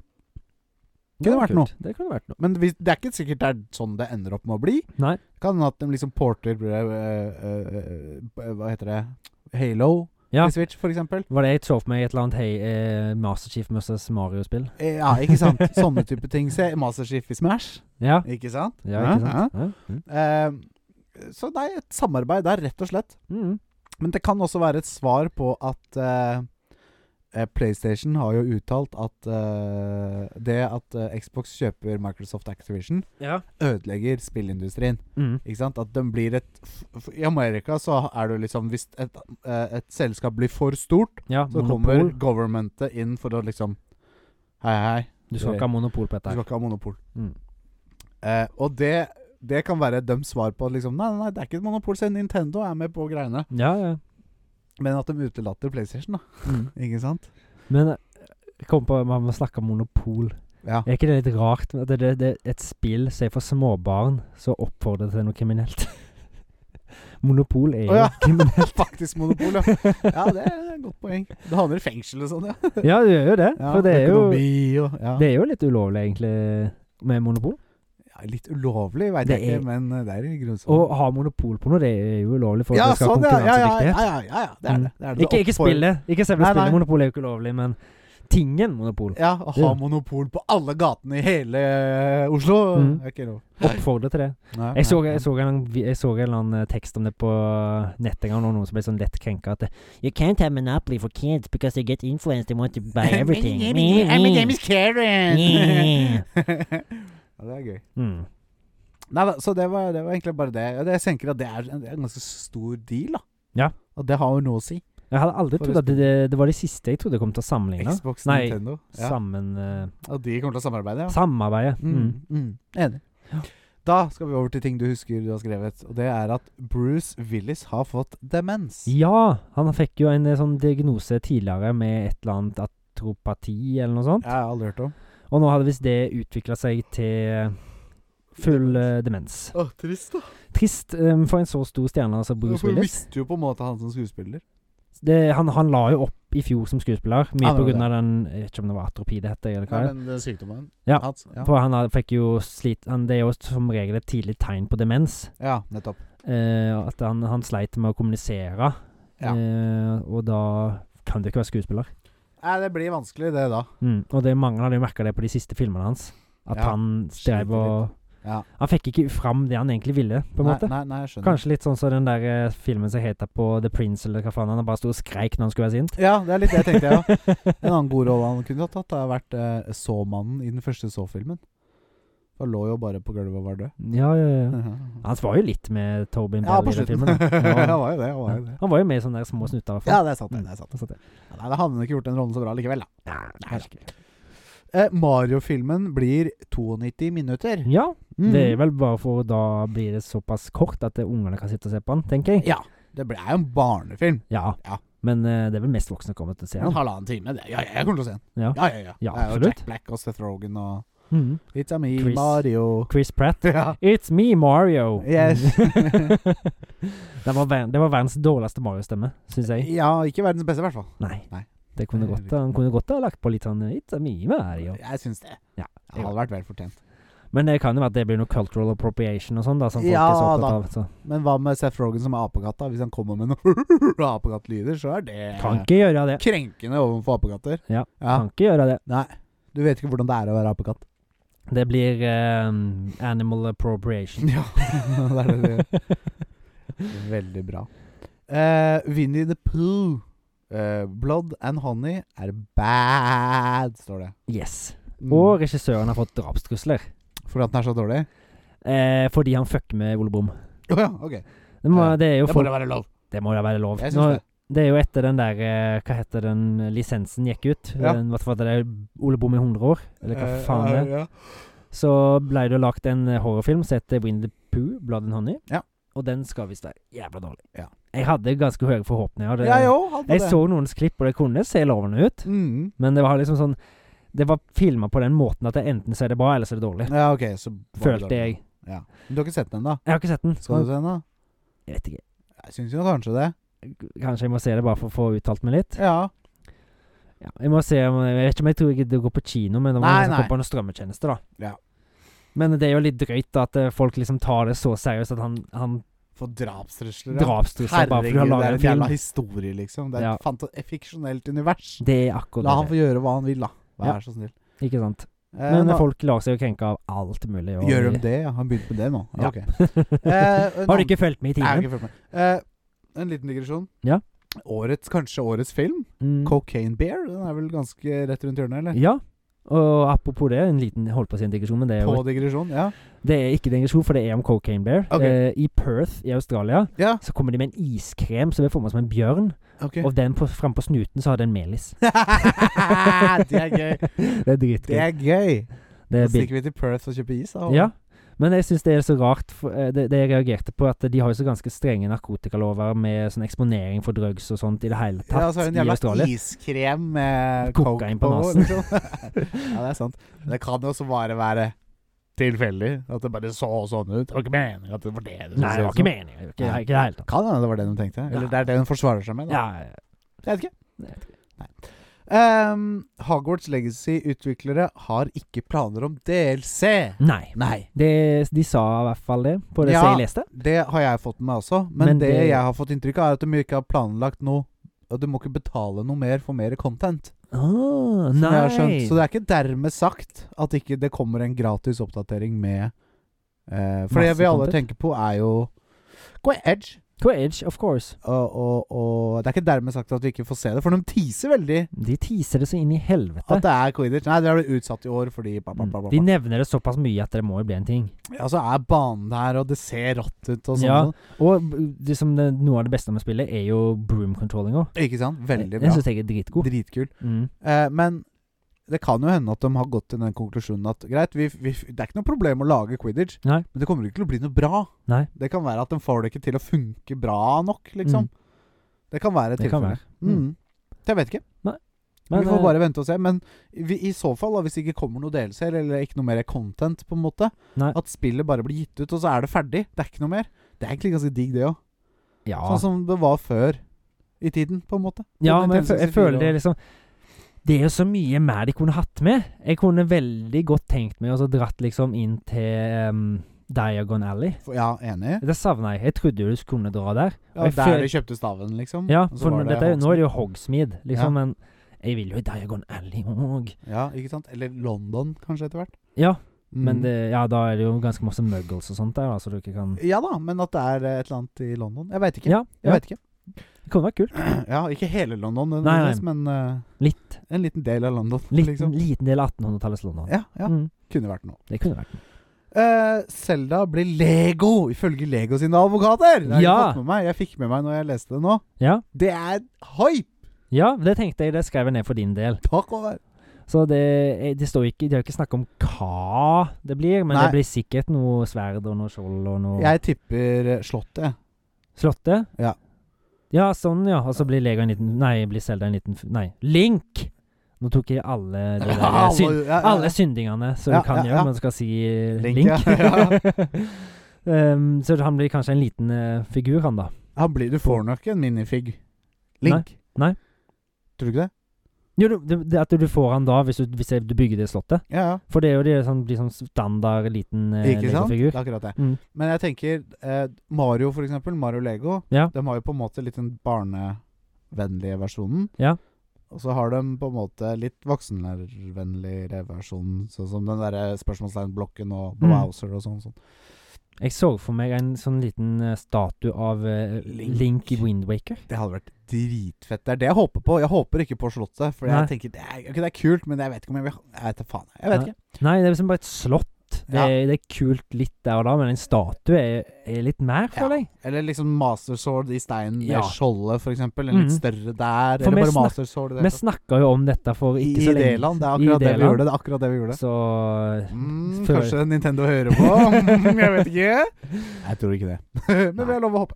[SPEAKER 1] Kunne vært
[SPEAKER 2] kult.
[SPEAKER 1] noe.
[SPEAKER 2] Det kunne vært noe.
[SPEAKER 1] Men hvis, det er ikke sikkert det er sånn det ender opp med å bli.
[SPEAKER 2] Nei.
[SPEAKER 1] Kan hende at de liksom porter eh, eh, eh, Hva heter det? Halo
[SPEAKER 2] Ja.
[SPEAKER 1] til Switch, for eksempel.
[SPEAKER 2] Var det jeg så for meg i et eller annet hei, eh, Master Chief versus Mario-spill?
[SPEAKER 1] Eh, Ja, ikke sant? Sånne type ting. Se Master Chief i Smash.
[SPEAKER 2] Ja.
[SPEAKER 1] Ikke sant?
[SPEAKER 2] ja, ikke sant? Ja. Mm.
[SPEAKER 1] Eh, så det er et samarbeid der, rett og slett.
[SPEAKER 2] Mm.
[SPEAKER 1] Men det kan også være et svar på at eh, eh, PlayStation har jo uttalt at eh, det at eh, Xbox kjøper Microsoft Activision,
[SPEAKER 2] Ja.
[SPEAKER 1] ødelegger spillindustrien.
[SPEAKER 2] Mm.
[SPEAKER 1] Ikke sant? At den blir et f f I Amerika så er det jo liksom Hvis et, eh, et selskap blir for stort,
[SPEAKER 2] ja
[SPEAKER 1] så
[SPEAKER 2] monopol.
[SPEAKER 1] kommer governmentet inn for å liksom Hei, hei.
[SPEAKER 2] Du skal ikke ha monopol på
[SPEAKER 1] Du
[SPEAKER 2] dette.
[SPEAKER 1] skal
[SPEAKER 2] her.
[SPEAKER 1] ikke ha monopol.
[SPEAKER 2] Mm.
[SPEAKER 1] Eh, og det, det kan være et dømt svar på at liksom, nei, nei, nei, det er ikke et monopol, selv Nintendo er med på greiene.
[SPEAKER 2] Ja, ja.
[SPEAKER 1] Men at de utelater PlayStation, da.
[SPEAKER 2] Mm.
[SPEAKER 1] Ikke sant?
[SPEAKER 2] Men eh, jeg kom på man må snakke om monopol.
[SPEAKER 1] Ja.
[SPEAKER 2] Er ikke det litt rart? At det, det, det er et spill som er for småbarn, som oppfordrer til noe kriminelt. (laughs) monopol er jo
[SPEAKER 1] Å ja.
[SPEAKER 2] (laughs) kriminelt.
[SPEAKER 1] Faktisk monopol, ja. Ja, det er et godt poeng. Det havner i fengsel og sånn, ja.
[SPEAKER 2] Ja, det gjør jo det.
[SPEAKER 1] ja.
[SPEAKER 2] for det er, jo,
[SPEAKER 1] Økonomi og ja.
[SPEAKER 2] det er jo litt ulovlig, egentlig, med monopol.
[SPEAKER 1] ja, Litt ulovlig, veit
[SPEAKER 2] Det
[SPEAKER 1] jeg ikke,
[SPEAKER 2] er-
[SPEAKER 1] men eh, det er i
[SPEAKER 2] Å
[SPEAKER 1] grunnsonen.
[SPEAKER 2] ha monopol på noe, det er jo ulovlig for
[SPEAKER 1] ja,
[SPEAKER 2] at det skal ha
[SPEAKER 1] sånn, ja, ja, ja,
[SPEAKER 2] konkurransedyktighet. Mm.
[SPEAKER 1] ja, ja, ja, ja, det er det. det, er det.
[SPEAKER 2] Ikke, ikke
[SPEAKER 1] oppfor-
[SPEAKER 2] spillet. Ikke selve
[SPEAKER 1] Nei, nei.
[SPEAKER 2] spillet. Monopol er jo ikke ulovlig, men tingen monopol
[SPEAKER 1] Ja, å ha
[SPEAKER 2] Ja.
[SPEAKER 1] monopol på alle gatene i hele eh, Oslo
[SPEAKER 2] Mm.
[SPEAKER 1] er ikke lov.
[SPEAKER 2] oppfordrer til det.
[SPEAKER 1] Nei,
[SPEAKER 2] Jeg så,
[SPEAKER 1] nei,
[SPEAKER 2] jeg, så en, jeg så en eller annen eh, tekst om det på eh, nettet en gang, og noen som ble sånn lett krenka at det, You can't have monopoly for kids because they get influenced and want
[SPEAKER 1] (laughs)
[SPEAKER 2] to buy everything.
[SPEAKER 1] Karen.
[SPEAKER 2] Yeah.
[SPEAKER 1] (laughs) ja, det er gøy.
[SPEAKER 2] Mm.
[SPEAKER 1] Nei da, så det var, det var egentlig bare det. Jeg- Jeg tenker at det er, en- det er en ganske stor deal, da.
[SPEAKER 2] Ja.
[SPEAKER 1] Og det har jo noe å si.
[SPEAKER 2] Jeg hadde aldri
[SPEAKER 1] For
[SPEAKER 2] trodd at det, det, det var de siste jeg trodde kom til å sammenligne.
[SPEAKER 1] Xbox,
[SPEAKER 2] Nei.
[SPEAKER 1] Nintendo. Ja.
[SPEAKER 2] Sammen eh,
[SPEAKER 1] Og de kommer til å samarbeide, ja.
[SPEAKER 2] Samarbeidet. Mm.
[SPEAKER 1] Mm, mm. Enig. Da skal vi over til ting du husker du har skrevet. Og det er at Bruce Willis har fått demens.
[SPEAKER 2] Ja, han fikk jo en eh, sånn diagnose tidligere med et eller annet atropati eller noe sånt.
[SPEAKER 1] Jeg har aldri hørt om.
[SPEAKER 2] Og nå hadde visst det utvikla seg til full eh, demens.
[SPEAKER 1] Å, trist, da.
[SPEAKER 2] Trist eh, for en så stor stjerne som Bruce
[SPEAKER 1] For du
[SPEAKER 2] Willis.
[SPEAKER 1] mister jo på en måte han som skuespiller.
[SPEAKER 2] det, han, han la jo opp i fjor som skuespiller, mye
[SPEAKER 1] Han gjorde
[SPEAKER 2] pga. den Jeg vet ikke om det var atropi det heter, eller hva det er.
[SPEAKER 1] men eh, sykdommen
[SPEAKER 2] Ja.
[SPEAKER 1] hans. Ja.
[SPEAKER 2] For han har- fikk jo slit han, Det er jo som regel et tidlig tegn på demens.
[SPEAKER 1] ja, nettopp.
[SPEAKER 2] Eh, at han, han sleit med å kommunisere.
[SPEAKER 1] Ja.
[SPEAKER 2] Eh, og da kan du ikke være skuespiller.
[SPEAKER 1] Nei, det blir vanskelig, det da.
[SPEAKER 2] Mm. Og det er mange har jo merka det på de siste filmene hans. At
[SPEAKER 1] Ja,
[SPEAKER 2] han drev
[SPEAKER 1] sliter
[SPEAKER 2] og
[SPEAKER 1] Ja.
[SPEAKER 2] Han fikk ikke fram det han egentlig ville, på en
[SPEAKER 1] nei,
[SPEAKER 2] måte.
[SPEAKER 1] Nei, nei, jeg skjønner.
[SPEAKER 2] Kanskje litt sånn som den der eh, filmen som heter på The Prince, eller hva faen. Han bare sto og skreik når han skulle være sint.
[SPEAKER 1] Ja, det er litt det jeg tenkte,
[SPEAKER 2] (laughs)
[SPEAKER 1] ja. En annen god rolle han kunne ha tatt, det har vært eh, Så-mannen i den første Så-filmen. Han lå jo bare på gulvet og var død.
[SPEAKER 2] Ja, ja, ja. Han var jo litt med Tobin
[SPEAKER 1] Ja,
[SPEAKER 2] Bell
[SPEAKER 1] på
[SPEAKER 2] i den
[SPEAKER 1] slutten. (laughs)
[SPEAKER 2] filmen. da.
[SPEAKER 1] Han
[SPEAKER 2] Ja.
[SPEAKER 1] var jo det. Han var jo det.
[SPEAKER 2] Han var jo med i sånne der små snutter. i hvert fall.
[SPEAKER 1] Ja, Mm. det er sant. Det, det er sant.
[SPEAKER 2] Og sånt der.
[SPEAKER 1] Ja, Nei, da hadde han ikke gjort den rollen så bra likevel, da.
[SPEAKER 2] Nei,
[SPEAKER 1] Nei da.
[SPEAKER 2] kanskje ikke.
[SPEAKER 1] Eh, Mario-filmen blir 92 minutter.
[SPEAKER 2] Ja,
[SPEAKER 1] Mm.
[SPEAKER 2] det er vel bare for da blir det såpass kort at eh, ungene kan sitte og se på den, tenker jeg.
[SPEAKER 1] Ja. Det ble- er jo en barnefilm.
[SPEAKER 2] Ja.
[SPEAKER 1] Ja.
[SPEAKER 2] Men eh, det er vel mest voksne som kommer til å se
[SPEAKER 1] En
[SPEAKER 2] den.
[SPEAKER 1] halvannen time. Det. Ja, ja, jeg kommer til å se den.
[SPEAKER 2] Ja.
[SPEAKER 1] Ja, ja, ja.
[SPEAKER 2] Ja,
[SPEAKER 1] det er jo
[SPEAKER 2] absolutt.
[SPEAKER 1] Jack Black og Seth Rogen og
[SPEAKER 2] Mhm.
[SPEAKER 1] It's a me,
[SPEAKER 2] Chris.
[SPEAKER 1] Mario.
[SPEAKER 2] Chris Pratt.
[SPEAKER 1] Ja.
[SPEAKER 2] It's me, Mario! (laughs)
[SPEAKER 1] Yes.
[SPEAKER 2] det, var ver det var verdens dårligste Mario-stemme, syns jeg.
[SPEAKER 1] ja, ikke verdens beste, i hvert fall.
[SPEAKER 2] Nei.
[SPEAKER 1] Nei.
[SPEAKER 2] Det kunne
[SPEAKER 1] Nei,
[SPEAKER 2] godt, han kunne godt ha lagt på litt sånn It's me, Mario.
[SPEAKER 1] Jeg syns det.
[SPEAKER 2] Ja.
[SPEAKER 1] Det hadde vært vel fortjent.
[SPEAKER 2] Men det kan jo være at det blir noe cultural appropriation og sånn, da, som folk
[SPEAKER 1] Ja,
[SPEAKER 2] er så
[SPEAKER 1] da.
[SPEAKER 2] opptatt av. Så.
[SPEAKER 1] Men hva med Seth Rogen som er apekatta? Hvis han kommer med noen (laughs) apekattlyder, så er det
[SPEAKER 2] Kan ikke gjøre det.
[SPEAKER 1] krenkende overfor apekatter.
[SPEAKER 2] Ja. Kan ikke gjøre det.
[SPEAKER 1] Nei. Du vet ikke hvordan det er å være
[SPEAKER 2] (laughs)
[SPEAKER 1] apekatt.
[SPEAKER 2] Det blir ehm, animal appropriation.
[SPEAKER 1] Ja, (laughs) det er det. det er. Veldig bra. Eh, Winnie the Pooh. Eh, blood and honey er bad, står det.
[SPEAKER 2] Yes.
[SPEAKER 1] Mm.
[SPEAKER 2] Og regissøren har fått drapstrusler.
[SPEAKER 1] Fordi at den er så dårlig?
[SPEAKER 2] Eh, fordi han fucker med Ole Brumm.
[SPEAKER 1] Å ja, ok.
[SPEAKER 2] Det, må,
[SPEAKER 1] Ja,
[SPEAKER 2] det er jo
[SPEAKER 1] Det må
[SPEAKER 2] folk-
[SPEAKER 1] da være lov.
[SPEAKER 2] det må da være lov.
[SPEAKER 1] Jeg
[SPEAKER 2] Nå,
[SPEAKER 1] syns det.
[SPEAKER 2] det er jo etter den der eh, Hva heter den eh, lisensen gikk ut?
[SPEAKER 1] Ja.
[SPEAKER 2] Den, hva var det, Ole Brumm i 100 år? Eller hva
[SPEAKER 1] Eh,
[SPEAKER 2] faen det er?
[SPEAKER 1] ja.
[SPEAKER 2] Så ble det jo lagt en eh, horrorfilm som heter Wind the Pooh, Blood and Honey.
[SPEAKER 1] Ja.
[SPEAKER 2] Og den skal visst være jævla dårlig.
[SPEAKER 1] Ja.
[SPEAKER 2] Jeg hadde ganske høye forhåpninger. Det,
[SPEAKER 1] Jeg òg hadde det.
[SPEAKER 2] jeg så noens klipp, og det kunne se lovende ut.
[SPEAKER 1] Mm.
[SPEAKER 2] Men det var liksom sånn Det var filma på den måten at det enten så er det bra, eller så er det dårlig.
[SPEAKER 1] Ja, ok, så var det
[SPEAKER 2] Følte
[SPEAKER 1] dårlig.
[SPEAKER 2] jeg.
[SPEAKER 1] Ja. Men du har ikke sett den, da?
[SPEAKER 2] Jeg har ikke sett den.
[SPEAKER 1] Skal du se den, da?
[SPEAKER 2] Jeg vet ikke.
[SPEAKER 1] Jeg syns jo kanskje det.
[SPEAKER 2] Kanskje jeg må se det bare for å få uttalt meg litt.
[SPEAKER 1] Ja.
[SPEAKER 2] Ja, jeg må se om- Jeg vet ikke om jeg tror jeg gidder å gå på kino, men det må
[SPEAKER 1] Nei,
[SPEAKER 2] liksom
[SPEAKER 1] nei.
[SPEAKER 2] komme på noen strømmetjenester, da.
[SPEAKER 1] Ja.
[SPEAKER 2] Men det er jo litt drøyt da, at eh, folk liksom tar det så seriøst at han, han
[SPEAKER 1] For drapstrusler, ja.
[SPEAKER 2] drapstrusler bare fordi du har
[SPEAKER 1] det er
[SPEAKER 2] laga en
[SPEAKER 1] en jævla
[SPEAKER 2] film.
[SPEAKER 1] historie, liksom. Det er
[SPEAKER 2] Ja.
[SPEAKER 1] et fanta- et fiksjonelt univers.
[SPEAKER 2] Det er
[SPEAKER 1] La han
[SPEAKER 2] akkurat det.
[SPEAKER 1] få gjøre hva han vil, da. Vær
[SPEAKER 2] Ja.
[SPEAKER 1] så snill.
[SPEAKER 2] Ikke sant.
[SPEAKER 1] Eh,
[SPEAKER 2] Men
[SPEAKER 1] nå-
[SPEAKER 2] folk lar seg jo krenke av alt mulig. og-
[SPEAKER 1] Gjør de det? Ja, han begynte med det nå? Ja,
[SPEAKER 2] Ja.
[SPEAKER 1] ok. Eh,
[SPEAKER 2] (laughs)
[SPEAKER 1] en
[SPEAKER 2] Har du
[SPEAKER 1] annen-
[SPEAKER 2] ikke fulgt med i
[SPEAKER 1] Nei, jeg har
[SPEAKER 2] timen?
[SPEAKER 1] ikke fulgt med. Eh, en liten digresjon.
[SPEAKER 2] Ja.
[SPEAKER 1] Årets, kanskje årets film,
[SPEAKER 2] Mm.
[SPEAKER 1] 'Cocaine Bear', den er vel ganske rett rundt hjørnet, eller?
[SPEAKER 2] Ja. Og apropos det, en liten holdt på å si en digresjon, men det er jo
[SPEAKER 1] På digresjon, ja.
[SPEAKER 2] Det er ikke digresjon, for det er om Cocaine Bear.
[SPEAKER 1] Ok.
[SPEAKER 2] Eh, I Perth i Australia
[SPEAKER 1] Ja,
[SPEAKER 2] så kommer de med en iskrem som er formet som en bjørn.
[SPEAKER 1] ok.
[SPEAKER 2] Og den på, frem på snuten så har det en melis.
[SPEAKER 1] (laughs) det er gøy.
[SPEAKER 2] (laughs) Det er dritgøy.
[SPEAKER 1] Det er gøy.
[SPEAKER 2] Det
[SPEAKER 1] Da
[SPEAKER 2] er bil-
[SPEAKER 1] stikker vi til Perth og kjøper is, da.
[SPEAKER 2] Eh, ja. Men jeg syns det er så rart. For, eh, det, det jeg reagerte på, at de har jo så ganske strenge narkotikalover med sånn eksponering for drugs og sånt i det hele tatt
[SPEAKER 1] Ja, og så er det en
[SPEAKER 2] i
[SPEAKER 1] jævla
[SPEAKER 2] Australia.
[SPEAKER 1] iskrem med coke
[SPEAKER 2] Kokain på nasen.
[SPEAKER 1] liksom.
[SPEAKER 2] (laughs)
[SPEAKER 1] ja, det er sant. Det kan jo også bare være tilfeldig. At det bare så sånn ut. Det var ikke meningen at det var det. det
[SPEAKER 2] Nei,
[SPEAKER 1] så
[SPEAKER 2] det var
[SPEAKER 1] ut
[SPEAKER 2] ikke
[SPEAKER 1] som.
[SPEAKER 2] meningen. Ikke, ikke i det hele tatt.
[SPEAKER 1] Kan hende det var det de tenkte. Eller
[SPEAKER 2] Ja.
[SPEAKER 1] det er det hun forsvarer seg med. Da.
[SPEAKER 2] Ja,
[SPEAKER 1] Jeg vet ikke.
[SPEAKER 2] Jeg vet
[SPEAKER 1] Nei. Ehm, Hogwarts Legacy-utviklere har ikke planer om DLC.
[SPEAKER 2] nei.
[SPEAKER 1] Nei.
[SPEAKER 2] Det, de sa i hvert fall det på det
[SPEAKER 1] Ja.
[SPEAKER 2] som jeg leste.
[SPEAKER 1] Det har jeg fått med meg også, men,
[SPEAKER 2] Men
[SPEAKER 1] det,
[SPEAKER 2] det-
[SPEAKER 1] jeg har fått inntrykk av, er at de ikke har planlagt noe. Og du må ikke betale noe mer for mer content.
[SPEAKER 2] Ah,
[SPEAKER 1] Som jeg har skjønt.
[SPEAKER 2] nei.
[SPEAKER 1] Så det er ikke dermed sagt at ikke det kommer en gratis oppdatering med eh, For det
[SPEAKER 2] Masse
[SPEAKER 1] vi alle
[SPEAKER 2] content.
[SPEAKER 1] tenker på, er jo Gå i Edge.
[SPEAKER 2] Quage, of course.
[SPEAKER 1] Og, og, og det er ikke dermed sagt at vi ikke får se det, for de teaser veldig
[SPEAKER 2] De teaser det så inn i helvete.
[SPEAKER 1] at det er Quidditch. Nei, det har blitt utsatt i år fordi bla, bla,
[SPEAKER 2] Mm.
[SPEAKER 1] bla, bla,
[SPEAKER 2] De
[SPEAKER 1] bla.
[SPEAKER 2] nevner det såpass mye at det må jo bli en ting.
[SPEAKER 1] Ja, så Altså, er banen der, og det ser rått ut og sånn.
[SPEAKER 2] Ja. Og b- det som det, noe av det beste med spillet, er jo broom controllinga.
[SPEAKER 1] Ikke sant? Veldig
[SPEAKER 2] Den
[SPEAKER 1] bra.
[SPEAKER 2] syns jeg er dritgod.
[SPEAKER 1] Dritkul.
[SPEAKER 2] Mm.
[SPEAKER 1] Eh, men det kan jo hende at de har gått til den konklusjonen at greit, vi, vi, det er ikke noe problem å lage quidditch,
[SPEAKER 2] Nei.
[SPEAKER 1] men det kommer ikke til å bli noe bra.
[SPEAKER 2] Nei.
[SPEAKER 1] Det kan være at de får det ikke til å funke bra nok, liksom.
[SPEAKER 2] Mm.
[SPEAKER 1] Det kan være
[SPEAKER 2] Det kan
[SPEAKER 1] tilfellet.
[SPEAKER 2] være.
[SPEAKER 1] Mm. Så jeg vet ikke.
[SPEAKER 2] Men,
[SPEAKER 1] vi får
[SPEAKER 2] eh,
[SPEAKER 1] bare vente og se. Men vi, i så fall, da, hvis det ikke kommer noe delelser eller ikke noe mer content, på en måte,
[SPEAKER 2] Nei.
[SPEAKER 1] at spillet bare blir gitt ut, og så er det ferdig. Det er ikke noe mer. Det er egentlig ganske digg, det òg.
[SPEAKER 2] ja.
[SPEAKER 1] Sånn som det var før i tiden, på en måte.
[SPEAKER 2] ja,
[SPEAKER 1] På
[SPEAKER 2] men jeg, fø- jeg
[SPEAKER 1] 64
[SPEAKER 2] føler
[SPEAKER 1] og-
[SPEAKER 2] det er liksom Det er jo så mye mer de kunne hatt med. Jeg kunne veldig godt tenkt meg å så dratt liksom inn til em, Diagon Alley.
[SPEAKER 1] Ja, enig.
[SPEAKER 2] Det savna jeg. Jeg trodde jo du kunne dra der.
[SPEAKER 1] Ja,
[SPEAKER 2] Og jeg
[SPEAKER 1] der
[SPEAKER 2] føl-
[SPEAKER 1] du kjøpte staven, liksom?
[SPEAKER 2] Ja,
[SPEAKER 1] og så
[SPEAKER 2] for
[SPEAKER 1] var
[SPEAKER 2] nå, dette, er jo- nå er
[SPEAKER 1] Hogsmeade.
[SPEAKER 2] det jo Hogsmeade, liksom, men jeg vil jo i Diagon Alley òg.
[SPEAKER 1] Ja, ikke sant? Eller London, kanskje, etter hvert. Mm.
[SPEAKER 2] Ja. Men det, ja, da er det jo ganske masse muggles og sånt der, da, så du ikke kan
[SPEAKER 1] Ja da, men at det er eh, et eller annet i London. Jeg veit ikke.
[SPEAKER 2] Ja,
[SPEAKER 1] Jeg
[SPEAKER 2] ja.
[SPEAKER 1] vet ikke. (clears throat)
[SPEAKER 2] det kunne vært kult.
[SPEAKER 1] Ja, ikke hele London,
[SPEAKER 2] nei.
[SPEAKER 1] nødvendigvis, men eh,
[SPEAKER 2] Litt.
[SPEAKER 1] en liten del av London.
[SPEAKER 2] Liten,
[SPEAKER 1] liksom.
[SPEAKER 2] liten del av 1800-tallets London.
[SPEAKER 1] Ja, ja.
[SPEAKER 2] Mm,
[SPEAKER 1] Kunne vært noe.
[SPEAKER 2] det kunne vært noe.
[SPEAKER 1] Eh, Selda blir Lego, ifølge Lego sine advokater! Det har jeg
[SPEAKER 2] Ja.
[SPEAKER 1] fått med meg. Jeg fikk med meg når jeg leste det nå.
[SPEAKER 2] Ja.
[SPEAKER 1] Det er hype!
[SPEAKER 2] ja, det tenkte jeg. Det skrev jeg ned for din del.
[SPEAKER 1] Takk og vær.
[SPEAKER 2] Så det, eh, det står ikke De har ikke snakket om hva det blir, men
[SPEAKER 1] Nei.
[SPEAKER 2] det blir sikkert noe sverd og noe skjold og noe
[SPEAKER 1] Jeg tipper eh, Slottet.
[SPEAKER 2] Slottet?
[SPEAKER 1] Ja.
[SPEAKER 2] Ja, sånn, ja. Og så blir Lego en liten Nei, blir Zelda en liten Nei, Link! Nå tok jeg alle
[SPEAKER 1] (laughs)
[SPEAKER 2] de der
[SPEAKER 1] Ja,
[SPEAKER 2] synd,
[SPEAKER 1] ja, ja.
[SPEAKER 2] Alle syndingene som
[SPEAKER 1] Ja,
[SPEAKER 2] du kan
[SPEAKER 1] ja,
[SPEAKER 2] gjøre,
[SPEAKER 1] ja.
[SPEAKER 2] men du skal si eh,
[SPEAKER 1] Link,
[SPEAKER 2] (laughs) Link.
[SPEAKER 1] ja,
[SPEAKER 2] Ehm, så han blir kanskje en liten eh, figur, han da.
[SPEAKER 1] Han blir, du får nok en minifig. Link.
[SPEAKER 2] Nei, nei.
[SPEAKER 1] Tror du ikke det?
[SPEAKER 2] Jo, du- du- det, at du får han da, hvis du, hvis du bygger det slottet.
[SPEAKER 1] Ja, ja.
[SPEAKER 2] For det er jo de, sånn, de sånn standard liten eh,
[SPEAKER 1] Ikke sant? Det
[SPEAKER 2] Lego-figur.
[SPEAKER 1] er akkurat det.
[SPEAKER 2] Mm.
[SPEAKER 1] Men jeg tenker eh, Mario, for eksempel. Mario Lego.
[SPEAKER 2] Ja.
[SPEAKER 1] De har jo på en måte litt den barnevennlige versjonen.
[SPEAKER 2] Ja.
[SPEAKER 1] Og så har de på en måte litt voksenlærervennligere versjon, sånn som den derre spørsmålstegnblokken og
[SPEAKER 2] Mm.
[SPEAKER 1] Browser og sånn. sånn.
[SPEAKER 2] Jeg så for meg en sånn liten eh, statue av eh,
[SPEAKER 1] Link.
[SPEAKER 2] Link i Windwaker.
[SPEAKER 1] Det hadde vært dritfett. Det er det jeg håper på. Jeg håper ikke på Slottet, for
[SPEAKER 2] Nei.
[SPEAKER 1] jeg tenker det er, ok, det er kult, men jeg vet ikke om jeg vil ha- Jeg vet da faen. Jeg vet
[SPEAKER 2] Nei.
[SPEAKER 1] ikke.
[SPEAKER 2] Nei, det er liksom bare et slott. Det,
[SPEAKER 1] Ja.
[SPEAKER 2] er- det er kult litt der og da, men en statue er, er litt mer, føler jeg.
[SPEAKER 1] Eller liksom Master Sword i steinen med
[SPEAKER 2] Ja.
[SPEAKER 1] skjoldet, for eksempel. En litt
[SPEAKER 2] Mhm.
[SPEAKER 1] større der.
[SPEAKER 2] For vi
[SPEAKER 1] eller bare
[SPEAKER 2] snak-
[SPEAKER 1] Master Sword i det
[SPEAKER 2] Vi
[SPEAKER 1] hele tatt.
[SPEAKER 2] snakka jo om dette for
[SPEAKER 1] I
[SPEAKER 2] ikke så lenge
[SPEAKER 1] Ideland. Det er
[SPEAKER 2] I
[SPEAKER 1] akkurat det vi
[SPEAKER 2] Ideland.
[SPEAKER 1] gjorde. Det er akkurat det vi gjorde.
[SPEAKER 2] Så
[SPEAKER 1] Mm,
[SPEAKER 2] Før-
[SPEAKER 1] kanskje Nintendo hører på? (laughs) Mm, jeg vet ikke. Jeg tror ikke det. (laughs) Men vi har lov å håpe.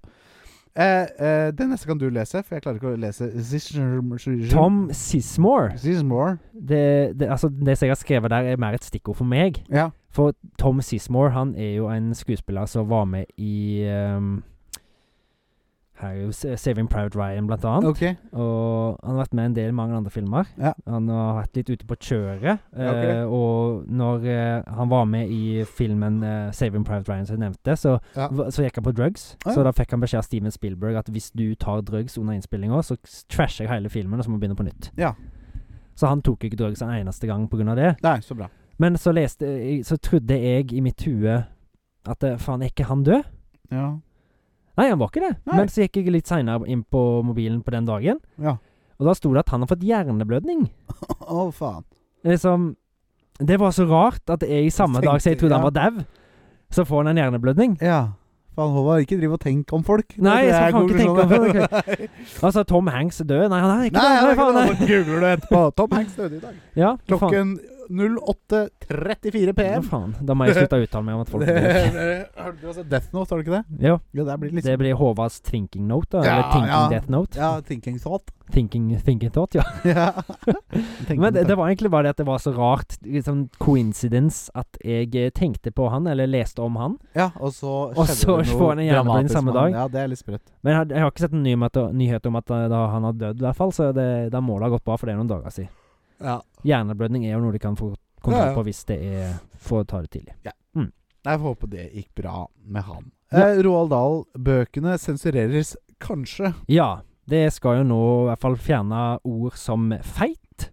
[SPEAKER 1] Eh, eh, det neste kan du lese, for jeg klarer ikke å lese
[SPEAKER 2] Tom Sismore
[SPEAKER 1] Sismore.
[SPEAKER 2] det, det, altså, det som jeg har skrevet der, er mer et stikkord for meg.
[SPEAKER 1] Ja.
[SPEAKER 2] For Tom Sismore, han er jo en skuespiller som var med i ehm, her er jo S- Saving Private Ryan, blant annet.
[SPEAKER 1] Ok.
[SPEAKER 2] Og han har vært med i en del mange andre filmer.
[SPEAKER 1] Ja.
[SPEAKER 2] Han har vært litt ute på kjøret.
[SPEAKER 1] Ja, ok.
[SPEAKER 2] eh, og når eh, han var med i filmen eh, 'Saving Private Ryan', som jeg nevnte, så,
[SPEAKER 1] Ja.
[SPEAKER 2] v- så gikk han på drugs.
[SPEAKER 1] Ah, ja.
[SPEAKER 2] Så da fikk han beskjed av Steven Spielberg at hvis du tar drugs under innspillinga, så s- trasher jeg hele filmen, og så må vi begynne på nytt.
[SPEAKER 1] Ja.
[SPEAKER 2] Så han tok jo ikke drugs en eneste gang pga. det.
[SPEAKER 1] Nei, så bra.
[SPEAKER 2] Men så leste jeg- Så trodde jeg i mitt hue at eh, faen, er ikke han død?
[SPEAKER 1] Ja.
[SPEAKER 2] Nei, han var ikke det.
[SPEAKER 1] Nei.
[SPEAKER 2] Men så gikk jeg litt seinere inn på mobilen på den dagen,
[SPEAKER 1] ja. (laughs)
[SPEAKER 2] og da sto det at han har fått hjerneblødning.
[SPEAKER 1] Å, faen.
[SPEAKER 2] Liksom Det var så rart at jeg samme dag som jeg
[SPEAKER 1] Tenkte-
[SPEAKER 2] trodde
[SPEAKER 1] ja.
[SPEAKER 2] han var dau, så får han en hjerneblødning.
[SPEAKER 1] Ja. Faen, Håvard, ikke driv og tenk om folk. Det tror
[SPEAKER 2] Nei, jeg skal
[SPEAKER 1] er
[SPEAKER 2] faen ikke
[SPEAKER 1] konklusjonen. (laughs)
[SPEAKER 2] Altså, Tom Hanks er død. Nei, han er ikke
[SPEAKER 1] Nei,
[SPEAKER 2] død.
[SPEAKER 1] nei,
[SPEAKER 2] Nei,
[SPEAKER 1] nei,
[SPEAKER 2] faen,
[SPEAKER 1] nei,
[SPEAKER 2] nei.
[SPEAKER 1] nå googler du
[SPEAKER 2] (laughs)
[SPEAKER 1] etterpå. Tom Hanks døde i dag.
[SPEAKER 2] Ja, faen.
[SPEAKER 1] Klokken 08.34
[SPEAKER 2] Ja,
[SPEAKER 1] PM.
[SPEAKER 2] faen. Da må jeg slutte å uttale meg om at folk
[SPEAKER 1] Det-
[SPEAKER 2] dør.
[SPEAKER 1] (laughs) det- Har du også Death Note, har du ikke det?
[SPEAKER 2] Ja,
[SPEAKER 1] Ja, det blir litt
[SPEAKER 2] det blir Håvards thinking note, da.
[SPEAKER 1] Ja,
[SPEAKER 2] eller thinking
[SPEAKER 1] ja.
[SPEAKER 2] death note.
[SPEAKER 1] Ja, thinking thought.
[SPEAKER 2] Thinking, thinking thought, ja.
[SPEAKER 1] (laughs) ja. Tenker
[SPEAKER 2] Men det,
[SPEAKER 1] på
[SPEAKER 2] det var egentlig bare det at det var så rart, liksom coincidence, at jeg eh, tenkte på han, eller leste om han.
[SPEAKER 1] Ja, og så
[SPEAKER 2] Og
[SPEAKER 1] skjedde
[SPEAKER 2] så
[SPEAKER 1] det noe
[SPEAKER 2] får han en hjerneblødning
[SPEAKER 1] dramatisk
[SPEAKER 2] samme
[SPEAKER 1] med han.
[SPEAKER 2] dag.
[SPEAKER 1] Ja, det er litt sprøtt.
[SPEAKER 2] Men jeg, har- jeg har ikke sett en ny møte- nyhet om at eh, da han har dødd, i hvert fall, så det, da må det ha gått bra, for det er noen dager siden.
[SPEAKER 1] Ja.
[SPEAKER 2] Hjerneblødning er jo noe de kan få
[SPEAKER 1] Ja,
[SPEAKER 2] kontroll
[SPEAKER 1] ja.
[SPEAKER 2] på hvis det er for å ta det tidlig.
[SPEAKER 1] Jeg får håpe det gikk bra med han.
[SPEAKER 2] Ja.
[SPEAKER 1] Eh, Roald Dahl-bøkene sensureres kanskje.
[SPEAKER 2] Ja, det skal jo nå i hvert fall fjerne ord som
[SPEAKER 1] (laughs)
[SPEAKER 2] feit,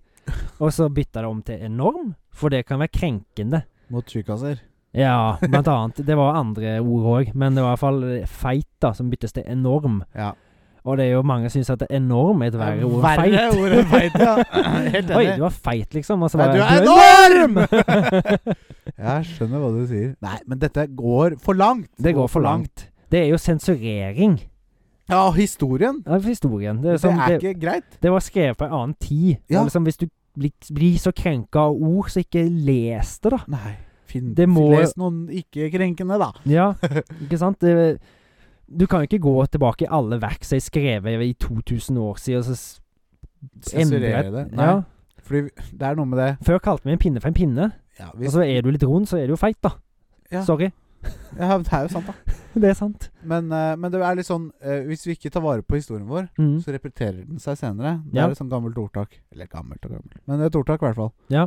[SPEAKER 2] og så bytte det om til enorm, for det kan være krenkende.
[SPEAKER 1] Mot tjukkaser.
[SPEAKER 2] Ja,
[SPEAKER 1] (laughs)
[SPEAKER 2] blant annet. Det var andre ord òg, men det var i hvert fall feit da, som byttes til enorm.
[SPEAKER 1] Ja.
[SPEAKER 2] Og det er jo mange som syns at det er enorm er et verre ord enn
[SPEAKER 1] Verre
[SPEAKER 2] feit.
[SPEAKER 1] ord enn feit, ja.
[SPEAKER 2] (laughs)
[SPEAKER 1] Helt enig.
[SPEAKER 2] Oi, du var feit, liksom. Og så
[SPEAKER 1] Nei,
[SPEAKER 2] bare
[SPEAKER 1] du er
[SPEAKER 2] enorm!
[SPEAKER 1] (laughs) Jeg skjønner hva du sier. Nei, men dette går for langt.
[SPEAKER 2] (laughs) det går for langt. Det er jo sensurering
[SPEAKER 1] Ja, historien.
[SPEAKER 2] av historien.
[SPEAKER 1] Det er,
[SPEAKER 2] Det, er som, det,
[SPEAKER 1] ikke greit.
[SPEAKER 2] det var skrevet på en annen tid.
[SPEAKER 1] Ja.
[SPEAKER 2] Og liksom, hvis du blir, blir så krenka av ord, så ikke les det, da.
[SPEAKER 1] Nei. Finn,
[SPEAKER 2] Det må-
[SPEAKER 1] Les noen ikke-krenkende, da. (laughs)
[SPEAKER 2] Ja, ikke sant? Det, du kan jo ikke gå tilbake i alle verk som er skrevet i 2000 år siden, og så s-
[SPEAKER 1] Sensurere
[SPEAKER 2] endre-
[SPEAKER 1] det. Nei.
[SPEAKER 2] Ja.
[SPEAKER 1] Fordi det er noe med det
[SPEAKER 2] Før kalte vi en pinne for en pinne,
[SPEAKER 1] ja,
[SPEAKER 2] og
[SPEAKER 1] hvis,
[SPEAKER 2] så er du litt rund, så er du jo feit, da.
[SPEAKER 1] Ja.
[SPEAKER 2] Sorry. (laughs)
[SPEAKER 1] ja, Det er jo sant, da.
[SPEAKER 2] Det er sant.
[SPEAKER 1] Men, eh, men det er litt sånn eh, Hvis vi ikke tar vare på historien vår,
[SPEAKER 2] Mm.
[SPEAKER 1] så repeterer den seg senere. Det
[SPEAKER 2] Ja.
[SPEAKER 1] er et sånt gammelt ordtak. Eller gammelt og gammelt, men et ordtak i hvert fall.
[SPEAKER 2] Ja.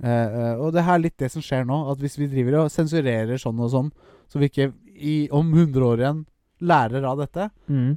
[SPEAKER 1] Eh, eh, og det her er litt det som skjer nå, at hvis vi driver og sensurerer sånn og sånn, så vi ikke i, om 100 år igjen lærer av dette,
[SPEAKER 2] Mm.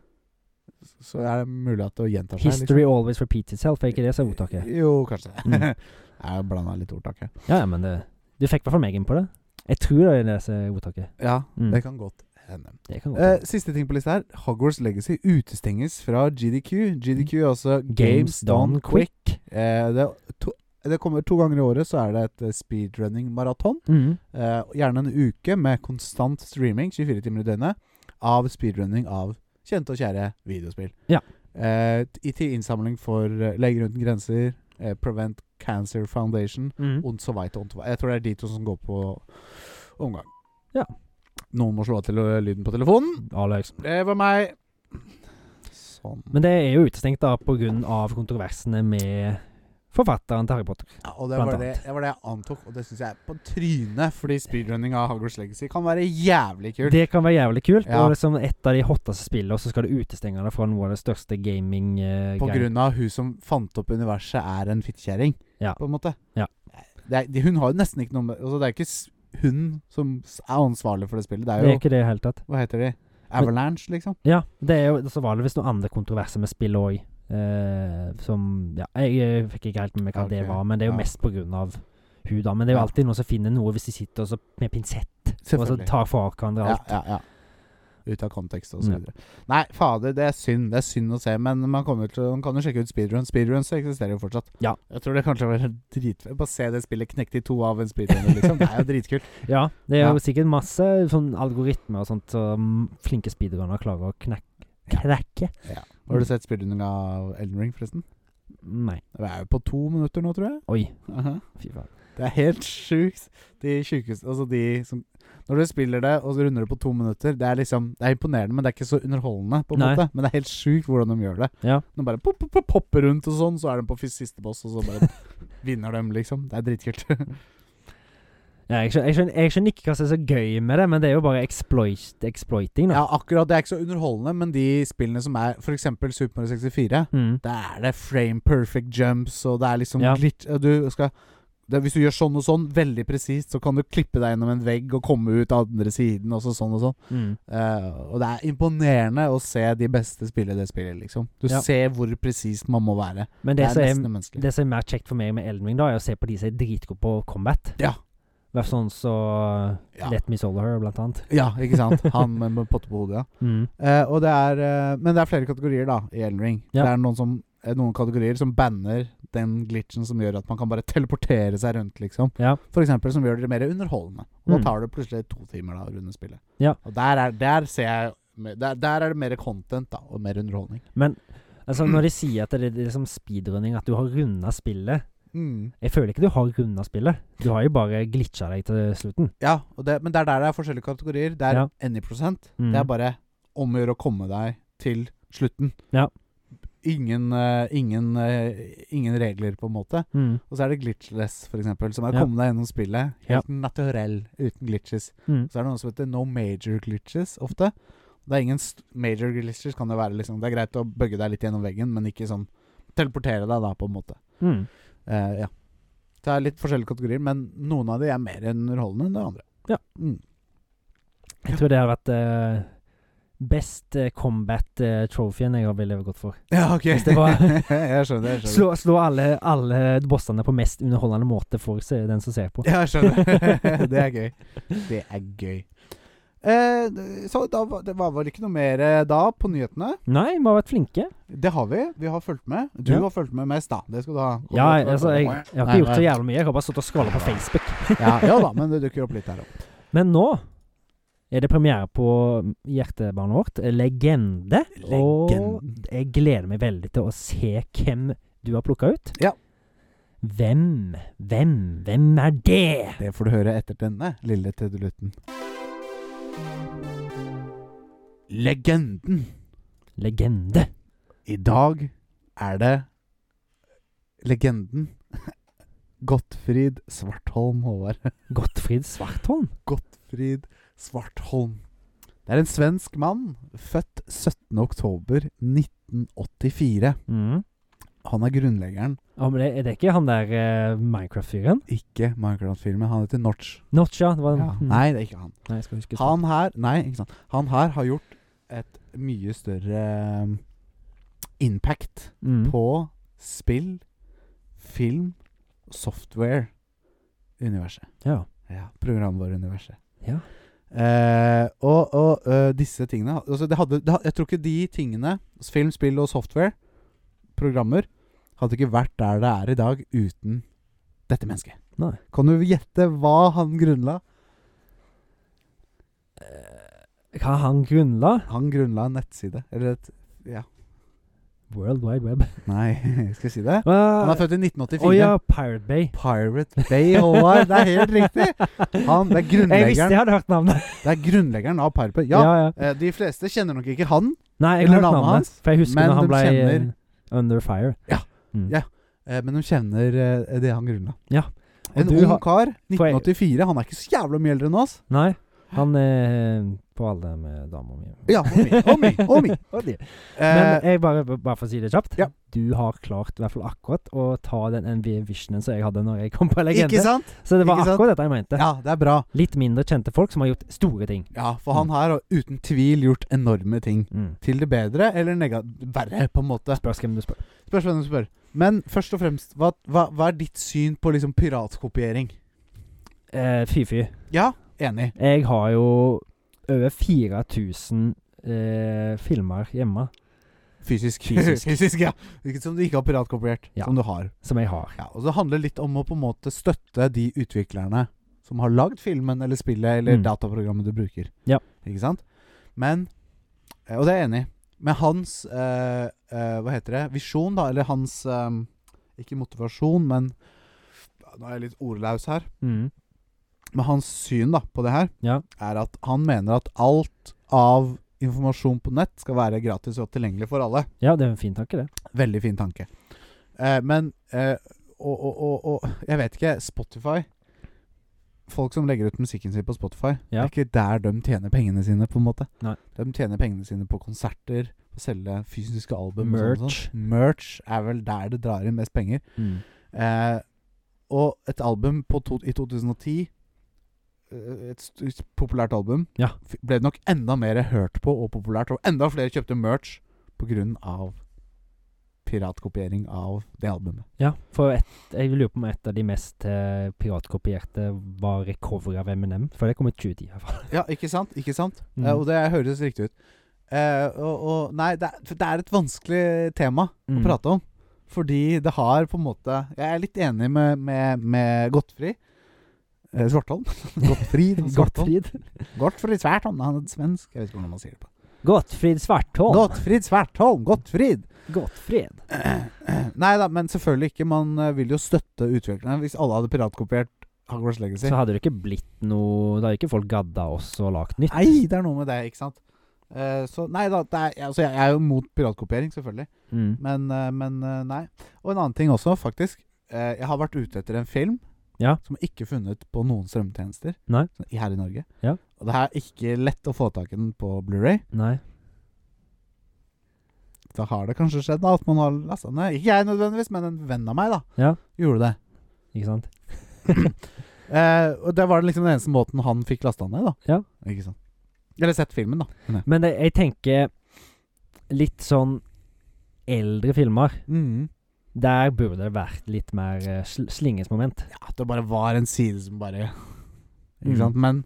[SPEAKER 1] så er det mulig at det gjentar seg. liksom.
[SPEAKER 2] History always repeats itself, er ikke det som er ordtaket?
[SPEAKER 1] Jo, kanskje det.
[SPEAKER 2] Mm.
[SPEAKER 1] (laughs) Jeg blanda litt ordtak her.
[SPEAKER 2] Ja, ja, men det Du fikk i hvert fall meg inn på det. Jeg tror det er det som er ordtaket.
[SPEAKER 1] Ja,
[SPEAKER 2] Mm.
[SPEAKER 1] det kan godt hende.
[SPEAKER 2] Det kan godt
[SPEAKER 1] Eh,
[SPEAKER 2] være.
[SPEAKER 1] siste ting på lista her. Hogwarts Legacy utestenges fra GDQ. GDQ er også Games Done Quick. Eh, det, er to, det kommer to ganger i året, så er det et eh, speedrunning-maraton.
[SPEAKER 2] Mm.
[SPEAKER 1] Eh, gjerne en uke med konstant streaming 24 timer i døgnet av speedrunning av kjente og kjære videospill.
[SPEAKER 2] Ja.
[SPEAKER 1] Eh, t- i til innsamling for eh, Leger uten grenser, eh, Prevent Cancer Foundation,
[SPEAKER 2] Mm.
[SPEAKER 1] Ondt så veit og ondt så veit. Jeg tror det er de to som går på omgang.
[SPEAKER 2] Ja.
[SPEAKER 1] Noen må slå av til eh, lyden på telefonen.
[SPEAKER 2] Alex.
[SPEAKER 1] Det var meg. Sånn.
[SPEAKER 2] Men det er jo utestengt da pga. kontroversene med forfatteren til Harry Potter.
[SPEAKER 1] Ja, og det
[SPEAKER 2] Blant
[SPEAKER 1] var det,
[SPEAKER 2] annet.
[SPEAKER 1] det var det jeg antok, og det syns jeg er på trynet, fordi speedrunning av Hogwarts Legacy kan være jævlig kult.
[SPEAKER 2] Det kan være jævlig kult.
[SPEAKER 1] Ja.
[SPEAKER 2] Og liksom et av de hotteste spillene, og så skal du utestenge det fra noe av det største gaming eh,
[SPEAKER 1] På
[SPEAKER 2] greien.
[SPEAKER 1] grunn av hun som fant opp universet, er en fittekjerring.
[SPEAKER 2] Ja.
[SPEAKER 1] På en måte.
[SPEAKER 2] Ja.
[SPEAKER 1] Det er, de, hun har jo nesten ikke noe med altså Det er ikke s- hun som s- er ansvarlig for det spillet. Det
[SPEAKER 2] Det
[SPEAKER 1] er
[SPEAKER 2] er
[SPEAKER 1] jo
[SPEAKER 2] ikke det i det hele tatt.
[SPEAKER 1] Hva heter de? Avalanche, liksom?
[SPEAKER 2] Ja, det er jo, så var det visst noen andre kontroverser med spill òg. Eh, som Ja, jeg eh, fikk ikke helt med meg hva det
[SPEAKER 1] Ok,
[SPEAKER 2] var, men det er
[SPEAKER 1] ja.
[SPEAKER 2] jo mest på grunn av hun, da. Men det er jo
[SPEAKER 1] Ja.
[SPEAKER 2] alltid noen som finner noe hvis de sitter og så med pinsett og så tar fra hverandre
[SPEAKER 1] Ja,
[SPEAKER 2] alt.
[SPEAKER 1] ja, ja. Ut av kontekst og så
[SPEAKER 2] Mm.
[SPEAKER 1] videre. Nei, fader, det er synd. Det er synd å se, men man, kommer til, man kan jo sjekke ut speedrun. Speedruns eksisterer jo fortsatt.
[SPEAKER 2] Ja.
[SPEAKER 1] Jeg tror det kanskje var dritfett. Bare se det spillet knekt i to av en speedrunner, liksom. Det er jo (laughs) dritkult.
[SPEAKER 2] Ja, det er jo
[SPEAKER 1] Ja.
[SPEAKER 2] sikkert masse sånn algoritmer og sånt som flinke speedrunnere klarer å knekke. Knekke?
[SPEAKER 1] Har du sett speedrunning av Elden Ring, forresten?
[SPEAKER 2] Nei.
[SPEAKER 1] Det er jo på to minutter nå, tror jeg.
[SPEAKER 2] Oi.
[SPEAKER 1] Aha.
[SPEAKER 2] Fy faen.
[SPEAKER 1] Det er helt sjukt. De sjukeste Altså, de som Når du spiller det, og så runder det på to minutter, det er liksom Det er imponerende, men det er ikke så underholdende, på en
[SPEAKER 2] Nei.
[SPEAKER 1] måte. Men det er helt sjukt hvordan de gjør det.
[SPEAKER 2] Ja.
[SPEAKER 1] De bare pop, pop, pop, popper rundt og sånn, så er de på fis- siste boss, og så bare (laughs) vinner de, liksom. Det er dritkult.
[SPEAKER 2] Ja, jeg, skjønner, jeg, skjønner, jeg skjønner ikke hva som er så gøy med det, men det er jo bare exploit, exploiting, da.
[SPEAKER 1] (laughs) ja, akkurat. Det er ikke så underholdende, men de spillene som er For eksempel Super Mario 64,
[SPEAKER 2] Mm.
[SPEAKER 1] der er det frame perfect jumps, og det er liksom
[SPEAKER 2] Ja.
[SPEAKER 1] glitch Du skal det, Hvis du gjør sånn og sånn, veldig presist, så kan du klippe deg gjennom en vegg og komme ut av andre siden, og så sånn og sånn.
[SPEAKER 2] Mm.
[SPEAKER 1] Eh, og det er imponerende å se de beste spille det spillet, liksom. Du
[SPEAKER 2] Ja.
[SPEAKER 1] ser hvor presist man må være.
[SPEAKER 2] Men
[SPEAKER 1] Det er
[SPEAKER 2] det, som
[SPEAKER 1] nesten
[SPEAKER 2] er,
[SPEAKER 1] umenneskelig.
[SPEAKER 2] det som er mer kjekt for meg med Elden Ring, da, er å se på de som er dritgode på combat.
[SPEAKER 1] Ja.
[SPEAKER 2] Vær sånn så
[SPEAKER 1] Ja.
[SPEAKER 2] Let Me Solo Her, blant annet.
[SPEAKER 1] Ja, ikke sant? Han med, med potte på hodet, ja.
[SPEAKER 2] Mm.
[SPEAKER 1] Eh, og det er, eh, men det er flere kategorier, da, i Elden Ring.
[SPEAKER 2] Ja.
[SPEAKER 1] Det er noen, som, eh, noen kategorier som banner den glitchen som gjør at man kan bare teleportere seg rundt, liksom.
[SPEAKER 2] Ja.
[SPEAKER 1] For eksempel som gjør det mer underholdende. Og da
[SPEAKER 2] Mm.
[SPEAKER 1] tar det plutselig to timer da å runde spillet.
[SPEAKER 2] Ja.
[SPEAKER 1] Og der, er, der ser jeg der, der er det mer content, da, og mer underholdning.
[SPEAKER 2] Men altså, når de sier at det, det er liksom speedrunning, at du har runda spillet
[SPEAKER 1] Mm.
[SPEAKER 2] Jeg føler ikke du har runda spillet. Du har jo bare glitcha deg til slutten.
[SPEAKER 1] Ja, og det, men det er der det er forskjellige kategorier. Det er
[SPEAKER 2] Ja.
[SPEAKER 1] any prosent.
[SPEAKER 2] Mm.
[SPEAKER 1] Det er bare om å gjøre å komme deg til slutten.
[SPEAKER 2] Ja.
[SPEAKER 1] Ingen, eh, ingen, eh, ingen regler, på en måte.
[SPEAKER 2] mm.
[SPEAKER 1] Og så er det glitchless, f.eks., som er å
[SPEAKER 2] Ja.
[SPEAKER 1] komme deg gjennom spillet helt naturell, uten glitches.
[SPEAKER 2] Mm.
[SPEAKER 1] Så er det noe som heter no major glitches, ofte. Det er ingen st major glitches, kan det være liksom Det er greit å bøgge deg litt gjennom veggen, men ikke sånn teleportere deg, da, på en måte.
[SPEAKER 2] Mm.
[SPEAKER 1] Eh, ja. Så det er litt forskjellige kategorier, men noen av de er mer underholdende enn det andre.
[SPEAKER 2] Ja.
[SPEAKER 1] Mm.
[SPEAKER 2] Jeg tror det hadde vært eh, best eh, combat uh, trophyen jeg ville gått for.
[SPEAKER 1] Ja, ok.
[SPEAKER 2] Hvis det var-
[SPEAKER 1] (laughs) jeg skjønner. jeg skjønner.
[SPEAKER 2] Slå, slå alle, alle bossene på mest underholdende måte for se, den som ser på.
[SPEAKER 1] Ja, jeg skjønner. (laughs) det er gøy. Det er gøy. Eh, d- så da var, det var vel ikke noe mer eh, da på nyhetene?
[SPEAKER 2] Nei, vi har vært flinke.
[SPEAKER 1] Det har vi. Vi har fulgt med. Du
[SPEAKER 2] Ja.
[SPEAKER 1] har fulgt med mest, da. Det skal du ha.
[SPEAKER 2] Ja, altså, jeg, jeg har
[SPEAKER 1] Nei,
[SPEAKER 2] ikke gjort så
[SPEAKER 1] nei.
[SPEAKER 2] jævlig mye. Jeg har bare sittet og scrolla på Facebook.
[SPEAKER 1] ja, ja da, men det dukker opp litt her òg.
[SPEAKER 2] Men nå er det premiere på hjertebarnet vårt, Legende.
[SPEAKER 1] Legenden.
[SPEAKER 2] (laughs) Og jeg gleder meg veldig til å se hvem du har plukka ut.
[SPEAKER 1] Ja.
[SPEAKER 2] Hvem, hvem, hvem er det?
[SPEAKER 1] Det får du høre etter denne lille trudelutten. Legenden.
[SPEAKER 2] Legende.
[SPEAKER 1] I dag er det legenden (laughs) Gottfrid Svartholm, Håvard. (laughs)
[SPEAKER 2] Gottfrid Svartholm.
[SPEAKER 1] Gottfrid Svartholm. Det er en svensk mann, født 17. oktober 1984.
[SPEAKER 2] Mm.
[SPEAKER 1] Han er grunnleggeren,
[SPEAKER 2] Ja, men det, er det ikke han der eh, Minecraft-fyren?
[SPEAKER 1] ikke Minecraft-filmen. Han heter Notch.
[SPEAKER 2] Notch, ja. Det var,
[SPEAKER 1] Ja.
[SPEAKER 2] mm.
[SPEAKER 1] Nei, det er ikke han.
[SPEAKER 2] Nei, jeg skal huske
[SPEAKER 1] Han her Nei, ikke sant. Han her har gjort et mye større um, impact
[SPEAKER 2] mm.
[SPEAKER 1] på spill, film, software-universet.
[SPEAKER 2] Ja.
[SPEAKER 1] Ja, programvareuniverset.
[SPEAKER 2] Ja.
[SPEAKER 1] Eh, og og eh, disse tingene altså det hadde, det, ha- Jeg tror ikke de tingene, altså film, spill og software, programmer, hadde ikke vært der det er i dag uten dette mennesket.
[SPEAKER 2] Nei.
[SPEAKER 1] Kan du gjette hva han grunnla?
[SPEAKER 2] Hva han grunnla?
[SPEAKER 1] Han grunnla en nettside. Eller et
[SPEAKER 2] World Wide Web.
[SPEAKER 1] Nei, skal jeg si det? (laughs) Han
[SPEAKER 2] Han
[SPEAKER 1] er født i 1984.
[SPEAKER 2] Å ja, Pirate Bay.
[SPEAKER 1] Pirate Bay Håvard. Det er helt riktig! Han, det, er
[SPEAKER 2] (laughs) Jeg visste
[SPEAKER 1] grunnleggeren,
[SPEAKER 2] jeg hadde hørt navnet.
[SPEAKER 1] det er grunnleggeren av Pirate Bay. Ja,
[SPEAKER 2] ja, ja.
[SPEAKER 1] eh, de fleste kjenner nok ikke han.
[SPEAKER 2] Nei, jeg
[SPEAKER 1] Eller
[SPEAKER 2] har hørt
[SPEAKER 1] navnet
[SPEAKER 2] navnet hans. For jeg husker
[SPEAKER 1] men
[SPEAKER 2] når
[SPEAKER 1] de
[SPEAKER 2] han ble eh,
[SPEAKER 1] kjenner-
[SPEAKER 2] Under Fire.
[SPEAKER 1] Ja.
[SPEAKER 2] Mm.
[SPEAKER 1] Ja. Eh, men de kjenner eh, det han grunnla.
[SPEAKER 2] Ja. Og
[SPEAKER 1] En
[SPEAKER 2] du
[SPEAKER 1] ung
[SPEAKER 2] har-
[SPEAKER 1] kar.
[SPEAKER 2] For jeg-
[SPEAKER 1] 1984. Han er ikke så jævla mye eldre enn oss.
[SPEAKER 2] Nei, han er på alder med dama mi.
[SPEAKER 1] Ja, og mi, (laughs) og mi, og mi.
[SPEAKER 2] Og de. (laughs) Men
[SPEAKER 1] Eh,
[SPEAKER 2] jeg bare, bare for å si det kjapt.
[SPEAKER 1] ja.
[SPEAKER 2] Du har klart i hvert fall akkurat å ta den NV-visionen som jeg hadde når jeg kom på
[SPEAKER 1] ikke
[SPEAKER 2] Legende.
[SPEAKER 1] sant?
[SPEAKER 2] Så det var
[SPEAKER 1] ikke sant?
[SPEAKER 2] akkurat dette jeg mente.
[SPEAKER 1] Ja, det er bra.
[SPEAKER 2] Litt mindre kjente folk som har gjort store ting.
[SPEAKER 1] Ja, For han her har uten tvil gjort enorme ting.
[SPEAKER 2] Mm.
[SPEAKER 1] Til det bedre eller nega verre, på en måte.
[SPEAKER 2] Spørs hvem du spør.
[SPEAKER 1] Spørs hvem du spør. Men først og fremst, hva, hva, hva er ditt syn på liksom piratkopiering?
[SPEAKER 2] Eh, Fy-fy.
[SPEAKER 1] Ja, enig.
[SPEAKER 2] Jeg har jo over 4000 eh, filmer hjemme
[SPEAKER 1] (laughs) Fysisk.
[SPEAKER 2] Fysisk.
[SPEAKER 1] ja. Ikke Som du ikke har piratkopiert.
[SPEAKER 2] Ja.
[SPEAKER 1] Som du har.
[SPEAKER 2] som jeg har.
[SPEAKER 1] Ja, og det handler litt om å på en måte støtte de utviklerne som har lagd filmen eller spillet eller
[SPEAKER 2] Mm.
[SPEAKER 1] dataprogrammet du bruker.
[SPEAKER 2] Ja.
[SPEAKER 1] Ikke sant? Men eh, Og det er jeg enig i. Men hans eh, eh, Hva heter det? Visjon, da? Eller hans eh, Ikke motivasjon, men ja, Nå er jeg litt ordlaus her.
[SPEAKER 2] Mm.
[SPEAKER 1] Men hans syn da på det her
[SPEAKER 2] Ja.
[SPEAKER 1] er at han mener at alt av informasjon på nett skal være gratis og tilgjengelig for alle.
[SPEAKER 2] Ja, det er en fin tanke, det.
[SPEAKER 1] Veldig fin tanke. Eh, men eh, og, og, og, og jeg vet ikke Spotify Folk som legger ut musikken sin på Spotify, det
[SPEAKER 2] Ja.
[SPEAKER 1] er ikke der de tjener pengene sine, på en måte.
[SPEAKER 2] Nei.
[SPEAKER 1] De tjener pengene sine på konserter, på å selge fysiske album. og sånt og
[SPEAKER 2] Merch.
[SPEAKER 1] sånt. Merch er vel der det drar inn mest penger.
[SPEAKER 2] Mm.
[SPEAKER 1] Eh, og et album på to, i 2010 eh, et st- populært album
[SPEAKER 2] Ja.
[SPEAKER 1] f- ble nok enda mer hørt på og populært, og enda flere kjøpte merch pga. piratkopiering av det albumet.
[SPEAKER 2] Ja, for et, jeg lurer på om et av de mest eh, piratkopierte var recovery av M&M. For det kom i 2010 i hvert fall.
[SPEAKER 1] Ja, ikke sant? Ikke sant?
[SPEAKER 2] Mm.
[SPEAKER 1] Eh, og det høres riktig ut. Eh, og, og Nei, det er, for det er et vanskelig tema å
[SPEAKER 2] Mm.
[SPEAKER 1] prate om. Fordi det har på en måte Jeg er litt enig med, med, med Gottfrid eh,
[SPEAKER 2] (laughs)
[SPEAKER 1] Svartholm. Gottfrid Svartholm.
[SPEAKER 2] Gottfried.
[SPEAKER 1] Gottfrid Svertholm, han er svensk. Jeg vet ikke hvordan man sier det på.
[SPEAKER 2] Gottfried Svartholm.
[SPEAKER 1] Gottfrid Svertholm, Gottfrid! (clears throat)
[SPEAKER 2] Gottfried.
[SPEAKER 1] Nei da, men selvfølgelig ikke. Man eh, vil jo støtte utviklerne. Hvis alle hadde piratkopiert Hogwarts Legacy
[SPEAKER 2] Så hadde det ikke blitt noe Da hadde ikke folk gadda oss og lagd nytt.
[SPEAKER 1] Nei, det er noe med det, ikke sant? Eh, så nei da, det er, altså, jeg er jo mot piratkopiering, selvfølgelig.
[SPEAKER 2] Mm.
[SPEAKER 1] Men, eh, men eh, nei. Og en annen ting også, faktisk. Eh, jeg har vært ute etter en film
[SPEAKER 2] Ja.
[SPEAKER 1] som er ikke funnet på noen strømmetjenester
[SPEAKER 2] Nei.
[SPEAKER 1] sånn i- her i Norge.
[SPEAKER 2] Ja.
[SPEAKER 1] Og det er ikke lett å få tak i den på Blu-ray.
[SPEAKER 2] Nei.
[SPEAKER 1] Da har det kanskje skjedd da, at man har lasta den ned. Ikke jeg nødvendigvis, men en venn av meg da
[SPEAKER 2] Ja.
[SPEAKER 1] gjorde det.
[SPEAKER 2] Ikke sant?
[SPEAKER 1] Eh, og det var liksom den eneste måten han fikk lasta den ned. da
[SPEAKER 2] Ja.
[SPEAKER 1] Ikke sant? Eller sett filmen, da. Men,
[SPEAKER 2] Men det, jeg tenker litt sånn eldre filmer
[SPEAKER 1] mm.
[SPEAKER 2] Der burde det vært litt mer eh, sl slingesmoment.
[SPEAKER 1] ja, at det bare var en side som bare Ikke
[SPEAKER 2] Mm.
[SPEAKER 1] sant? Men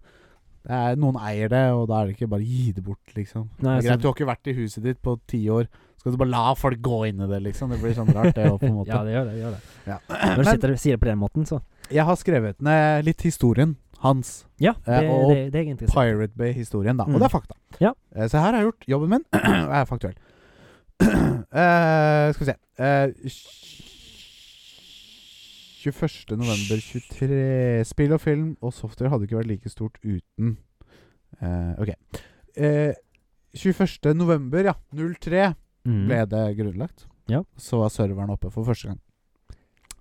[SPEAKER 1] det er, noen eier det, og da er det ikke bare gi det bort, liksom.
[SPEAKER 2] Nei, altså-
[SPEAKER 1] Det er greit, Du
[SPEAKER 2] så,
[SPEAKER 1] har ikke vært i huset ditt på ti år. Skal du bare la folk gå inn i det, liksom? Det blir sånn rart, det òg,
[SPEAKER 2] (laughs)
[SPEAKER 1] på en måte.
[SPEAKER 2] ja, det gjør det. det Gjør det.
[SPEAKER 1] Ja.
[SPEAKER 2] Når du sitter, sier det på den måten, så.
[SPEAKER 1] Jeg har skrevet ned litt historien hans.
[SPEAKER 2] Ja, det,
[SPEAKER 1] Eh, og
[SPEAKER 2] det, det er jeg interessert i.
[SPEAKER 1] Pirate Bay-historien, da.
[SPEAKER 2] Mm.
[SPEAKER 1] Og det er fakta.
[SPEAKER 2] Ja.
[SPEAKER 1] Eh, så her har jeg gjort jobben min, (clears throat) og jeg er faktuell. Eh, skal vi se Eh, tj- 21. november 23 Spill og film og software hadde ikke vært like stort uten eh, Ok. Eh, 21. november, ja. 03
[SPEAKER 2] Mm.
[SPEAKER 1] ble det grunnlagt.
[SPEAKER 2] Ja.
[SPEAKER 1] Så var serveren oppe for første gang.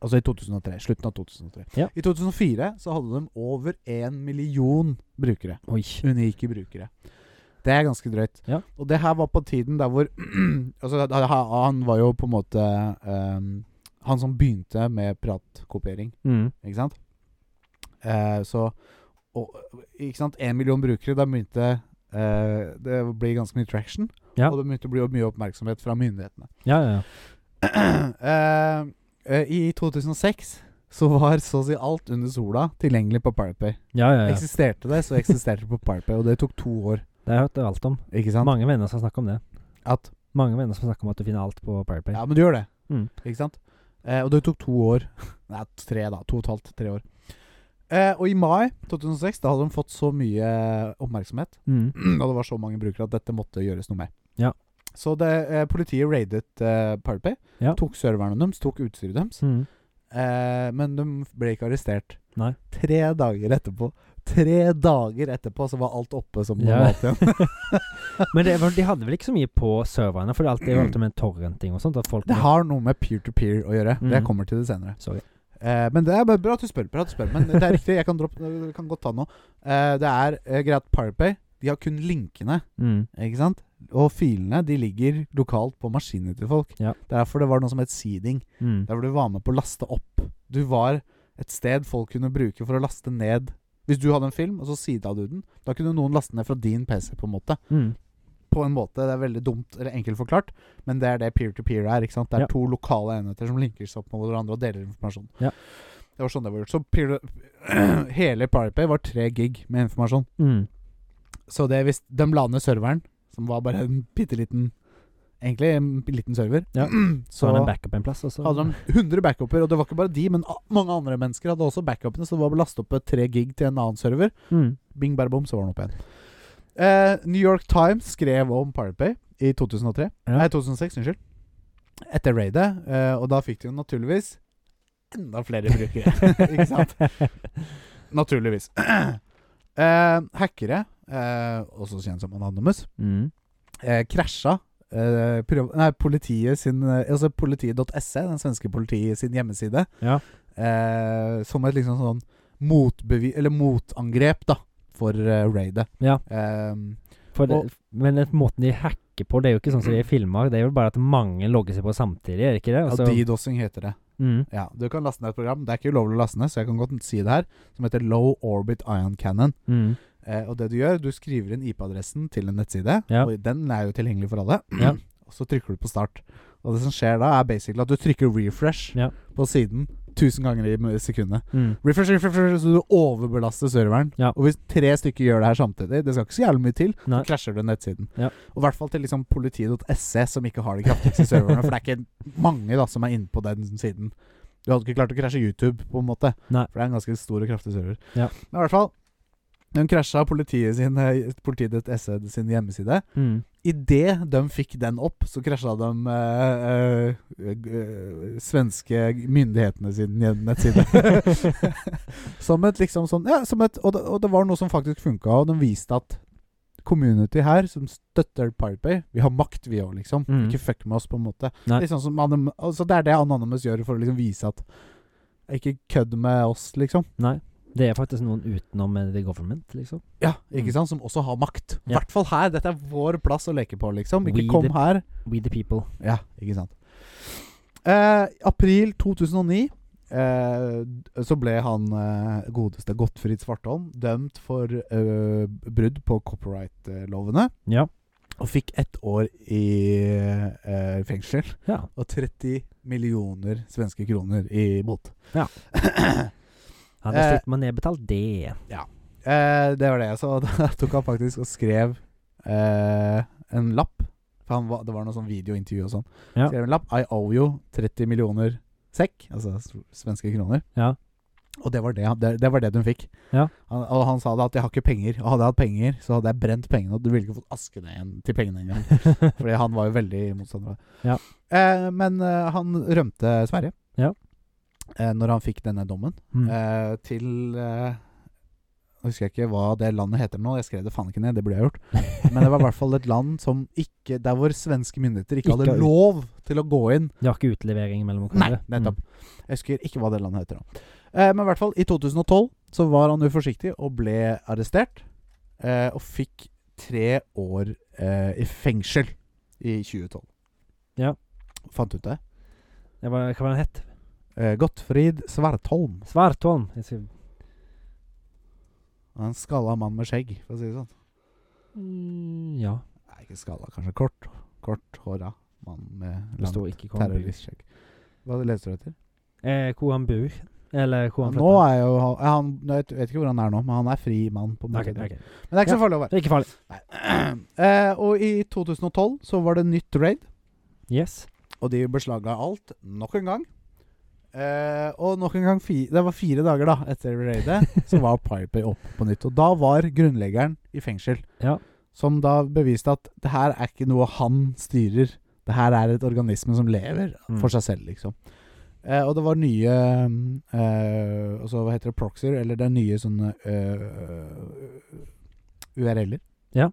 [SPEAKER 1] Altså i 2003. Slutten av 2003.
[SPEAKER 2] Ja.
[SPEAKER 1] I 2004 så hadde de over én million brukere.
[SPEAKER 2] Oi.
[SPEAKER 1] Unike brukere. Det er ganske drøyt.
[SPEAKER 2] Ja.
[SPEAKER 1] Og det her var på tiden der hvor (clears throat) Altså, da- ha- han var jo på en måte ehm, Han som begynte med piratkopiering,
[SPEAKER 2] Mm.
[SPEAKER 1] ikke sant? Eh, så og, Ikke sant, én million brukere, da begynte eh, det å bli ganske mye traction.
[SPEAKER 2] Ja.
[SPEAKER 1] Og det begynte å bli mye oppmerksomhet (clears throat) fra myndighetene.
[SPEAKER 2] Ja, ja, ja.
[SPEAKER 1] Eh, eh, I 2006 så var så å si alt under sola tilgjengelig på Pirate Bay.
[SPEAKER 2] Ja, ja, ja.
[SPEAKER 1] Eksisterte det, så eksisterte det på Pirate Bay, og det tok to år.
[SPEAKER 2] Det har jeg hørt alt om.
[SPEAKER 1] Ikke sant?
[SPEAKER 2] Mange venner som snakker om det.
[SPEAKER 1] At
[SPEAKER 2] Mange venner som snakker om at du finner alt på Pirate Bay.
[SPEAKER 1] Ja, men du gjør det.
[SPEAKER 2] Mm.
[SPEAKER 1] Ikke sant? Eh, og det tok to år. (laughs) Nei, tre, da. To og et halvt, tre år. Eh, og i mai 2006 da hadde de fått så mye eh, oppmerksomhet, (clears throat)
[SPEAKER 2] Mm.
[SPEAKER 1] og det var så mange brukere, at dette måtte gjøres noe med.
[SPEAKER 2] Ja.
[SPEAKER 1] Så det, eh, politiet raidet eh, Pirate Bay,
[SPEAKER 2] Ja.
[SPEAKER 1] tok serverne deres, tok utstyret deres,
[SPEAKER 2] Mm.
[SPEAKER 1] eh, men de ble ikke arrestert.
[SPEAKER 2] Nei.
[SPEAKER 1] Tre dager etterpå. Tre dager etterpå så var alt oppe som
[SPEAKER 2] Ja.
[SPEAKER 1] normalt igjen.
[SPEAKER 2] Men det, var- de hadde vel ikke så mye på serverne, for det er alltid, det er jo alltid med torrenting og sånt. At folk
[SPEAKER 1] Det har noe med peer-to-peer å gjøre. Det
[SPEAKER 2] Mm.
[SPEAKER 1] kommer til det senere.
[SPEAKER 2] Sorry.
[SPEAKER 1] Eh, men det er bare bra at du spør, bra at du spør. Men det er riktig, jeg kan, droppe, jeg kan godt ta nå. Eh, det er eh, greit PowerPay. De har kun linkene,
[SPEAKER 2] Mm.
[SPEAKER 1] ikke sant? Og filene de ligger lokalt på maskinene til folk.
[SPEAKER 2] Ja.
[SPEAKER 1] Det er derfor det var noe som het seeding.
[SPEAKER 2] Mm.
[SPEAKER 1] Der hvor du var med på å laste opp. Du var et sted folk kunne bruke for å laste ned. Hvis du hadde en film, og så seeda du den, da kunne noen laste ned fra din PC, på en måte.
[SPEAKER 2] Mm.
[SPEAKER 1] På en måte, Det er veldig dumt, eller enkelt forklart, men det er det peer-to-peer er. ikke sant? Det er
[SPEAKER 2] Ja.
[SPEAKER 1] to lokale enheter som linker seg opp mot hverandre og deler informasjon.
[SPEAKER 2] Ja.
[SPEAKER 1] Det var sånn det var gjort. Så peer (clears throat) hele PowerPay var tre gig med informasjon.
[SPEAKER 2] Mm.
[SPEAKER 1] Så det hvis de la ned serveren, som var bare en bitte liten Egentlig en liten server. (clears throat)
[SPEAKER 2] Ja. Så
[SPEAKER 1] Så
[SPEAKER 2] hadde de en
[SPEAKER 1] hadde
[SPEAKER 2] backup en plass, og så
[SPEAKER 1] de 100 backuper, og det var ikke bare de, men a- mange andre mennesker hadde også backupene, så det var bare å laste opp et tre gig til en annen server.
[SPEAKER 2] mm.
[SPEAKER 1] Bing, bare bom, så var den oppe igjen. Eh, New York Times skrev om Pirate Bay i 2003.
[SPEAKER 2] Ja.
[SPEAKER 1] Nei, 2006, unnskyld. Etter raidet, eh, og da fikk de jo naturligvis enda flere brukere. (laughs) Ikke sant? Naturligvis. (clears throat) Eh, hackere, eh, også kjent som Anonymous,
[SPEAKER 2] Mm.
[SPEAKER 1] eh, krasja eh, priv- nei, politiet sin eh, Altså politiet.se, den svenske politiet sin hjemmeside,
[SPEAKER 2] Ja.
[SPEAKER 1] eh, som et liksom sånn motbevi... Eller motangrep, da, for eh, raidet.
[SPEAKER 2] Ja.
[SPEAKER 1] Eh,
[SPEAKER 2] For det,
[SPEAKER 1] Og-
[SPEAKER 2] men den måten de hacker på, det er jo ikke sånn som de filmer. Det er jo bare at mange logger seg på samtidig, er det ikke det? Og
[SPEAKER 1] ja,
[SPEAKER 2] så-
[SPEAKER 1] DDoSing heter det.
[SPEAKER 2] mm.
[SPEAKER 1] Ja, Du kan laste ned et program. Det er ikke ulovlig å laste ned, så jeg kan godt si det her. Som heter Low Orbit Ion Cannon.
[SPEAKER 2] Mm.
[SPEAKER 1] Eh, og det du gjør, du skriver inn IP-adressen til en nettside.
[SPEAKER 2] Ja.
[SPEAKER 1] Og den er jo tilgjengelig for alle.
[SPEAKER 2] Ja.
[SPEAKER 1] (clears throat) Og så trykker du på start. Og det som skjer da, er basically at du trykker refresh
[SPEAKER 2] Ja.
[SPEAKER 1] på siden 1000 ganger i m- sekundet.
[SPEAKER 2] Mm.
[SPEAKER 1] Refresh, refresh, refresh, så du overbelaster serveren.
[SPEAKER 2] Ja.
[SPEAKER 1] Og hvis tre stykker gjør det her samtidig, det skal ikke så jævlig mye til,
[SPEAKER 2] Nei.
[SPEAKER 1] så krasjer du nettsiden.
[SPEAKER 2] Ja.
[SPEAKER 1] Og i hvert fall til liksom politiet.se, som ikke har de kraftigste serverne. For det er ikke mange da som er inne på den siden. Du hadde ikke klart å krasje YouTube, på en måte.
[SPEAKER 2] Nei.
[SPEAKER 1] For det er en ganske stor og kraftig server.
[SPEAKER 2] Ja.
[SPEAKER 1] Men i hvert fall, de krasja politiet sin, eh, politiet.se sin hjemmeside.
[SPEAKER 2] Mm.
[SPEAKER 1] Idet de fikk den opp, så krasja de eh, eh, eh, svenske myndighetene sin nettside. (laughs) som et liksom sånn Ja, som et, og, det, og det var noe som faktisk funka, og de viste at community her, som støtter Pirepay Vi har makt, vi òg, liksom.
[SPEAKER 2] Mm.
[SPEAKER 1] Ikke fuck med oss, på en måte.
[SPEAKER 2] Nei.
[SPEAKER 1] Litt sånn som Anom- altså, det er det Anonymous gjør for å liksom vise at Ikke kødd med oss, liksom.
[SPEAKER 2] Nei. Det er faktisk noen utenom eh, the government, liksom.
[SPEAKER 1] Ja, ikke
[SPEAKER 2] Mm.
[SPEAKER 1] sant? Som også har makt. I
[SPEAKER 2] Ja.
[SPEAKER 1] hvert fall her. Dette er vår plass å leke på, liksom. Ikke
[SPEAKER 2] We
[SPEAKER 1] kom
[SPEAKER 2] the-
[SPEAKER 1] her.
[SPEAKER 2] We the people.
[SPEAKER 1] Ja, ikke sant. Eh, april 2009 eh, d- så ble han eh, godeste Gottfrid Svartholm dømt for eh, brudd på copyright-lovene.
[SPEAKER 2] Ja.
[SPEAKER 1] Og fikk ett år i eh, fengsel
[SPEAKER 2] ja.
[SPEAKER 1] og 30 millioner svenske kroner i bot. (clears throat)
[SPEAKER 2] Ja. Han har
[SPEAKER 1] Eh.
[SPEAKER 2] slitt med å nedbetale det.
[SPEAKER 1] Eh, det var det. Så (laughs) da tok han faktisk og skrev eh, en lapp. For han var, det var noe sånn videointervju og sånn.
[SPEAKER 2] Ja.
[SPEAKER 1] Skrev en lapp. I owe you 30 millioner sekk, altså s- svenske kroner.
[SPEAKER 2] Ja.
[SPEAKER 1] Og det var det, han- det, det var det de fikk.
[SPEAKER 2] Ja.
[SPEAKER 1] Han, og han sa da at jeg har ikke penger. Og hadde jeg hatt penger, så hadde jeg brent pengene, og du ville ikke fått askene igjen til pengene engang. Fordi han var jo veldig motstander av det.
[SPEAKER 2] Ja.
[SPEAKER 1] Eh, men eh, han rømte Sverige.
[SPEAKER 2] Ja.
[SPEAKER 1] Eh, når han fikk denne dommen.
[SPEAKER 2] (laughs) Mm.
[SPEAKER 1] Eh, til eh, Nå husker jeg ikke hva det landet heter nå. Jeg skrev det faen ikke ned, det burde jeg gjort. Men
[SPEAKER 2] (laughs)
[SPEAKER 1] det var i hvert fall et land som ikke der hvor svenske myndigheter ikke,
[SPEAKER 2] Ikke
[SPEAKER 1] hadde
[SPEAKER 2] har-
[SPEAKER 1] lov til å gå inn.
[SPEAKER 2] Det var ikke utlevering mellom Mm.
[SPEAKER 1] Nei,
[SPEAKER 2] hverandre.
[SPEAKER 1] nettopp. Jeg husker ikke hva det landet heter nå. Eh, men i hvert fall, i 2012 så var han uforsiktig og ble arrestert. Eh, og fikk tre år eh, i fengsel i 2012.
[SPEAKER 2] Ja.
[SPEAKER 1] Fant ut det.
[SPEAKER 2] Mm. Det var, hva var den het?
[SPEAKER 1] Eh, Gottfrid Svartholm.
[SPEAKER 2] Svartholm. Jeg skal-
[SPEAKER 1] En skalla mann med skjegg, for å si det sånn.
[SPEAKER 2] Mm, ja.
[SPEAKER 1] Nei, ikke skalla, kanskje kort. Kort håra mann med
[SPEAKER 2] Det
[SPEAKER 1] langt
[SPEAKER 2] står ikke hvor han bor.
[SPEAKER 1] terroristskjegg. Hva leste du etter?
[SPEAKER 2] Eh, hvor han bor. Eller hvor han
[SPEAKER 1] Nå
[SPEAKER 2] flytta?
[SPEAKER 1] er jo han- ja, han Jeg vet ikke hvor han er nå, men han er fri mann, på en måte.
[SPEAKER 2] Ok, ok.
[SPEAKER 1] Men det er ikke
[SPEAKER 2] Ja.
[SPEAKER 1] så farlig å være. (clears throat)
[SPEAKER 2] Det er ikke farlig.
[SPEAKER 1] Eh, og i 2012 så var det nytt raid,
[SPEAKER 2] Yes.
[SPEAKER 1] og de beslagla alt nok en gang. Eh, og nok en gang fi, Det var fire dager da etter raidet,
[SPEAKER 2] (laughs)
[SPEAKER 1] så var Piper oppe på nytt. Og da var grunnleggeren i fengsel.
[SPEAKER 2] Ja.
[SPEAKER 1] Som da beviste at det her er ikke noe han styrer. Det her er et organisme som lever
[SPEAKER 2] Mm.
[SPEAKER 1] for seg selv, liksom. Eh, og det var nye mm, eh, altså, Hva heter det? Proxyer? Eller det er nye sånne eh, URL-er.
[SPEAKER 2] Ja.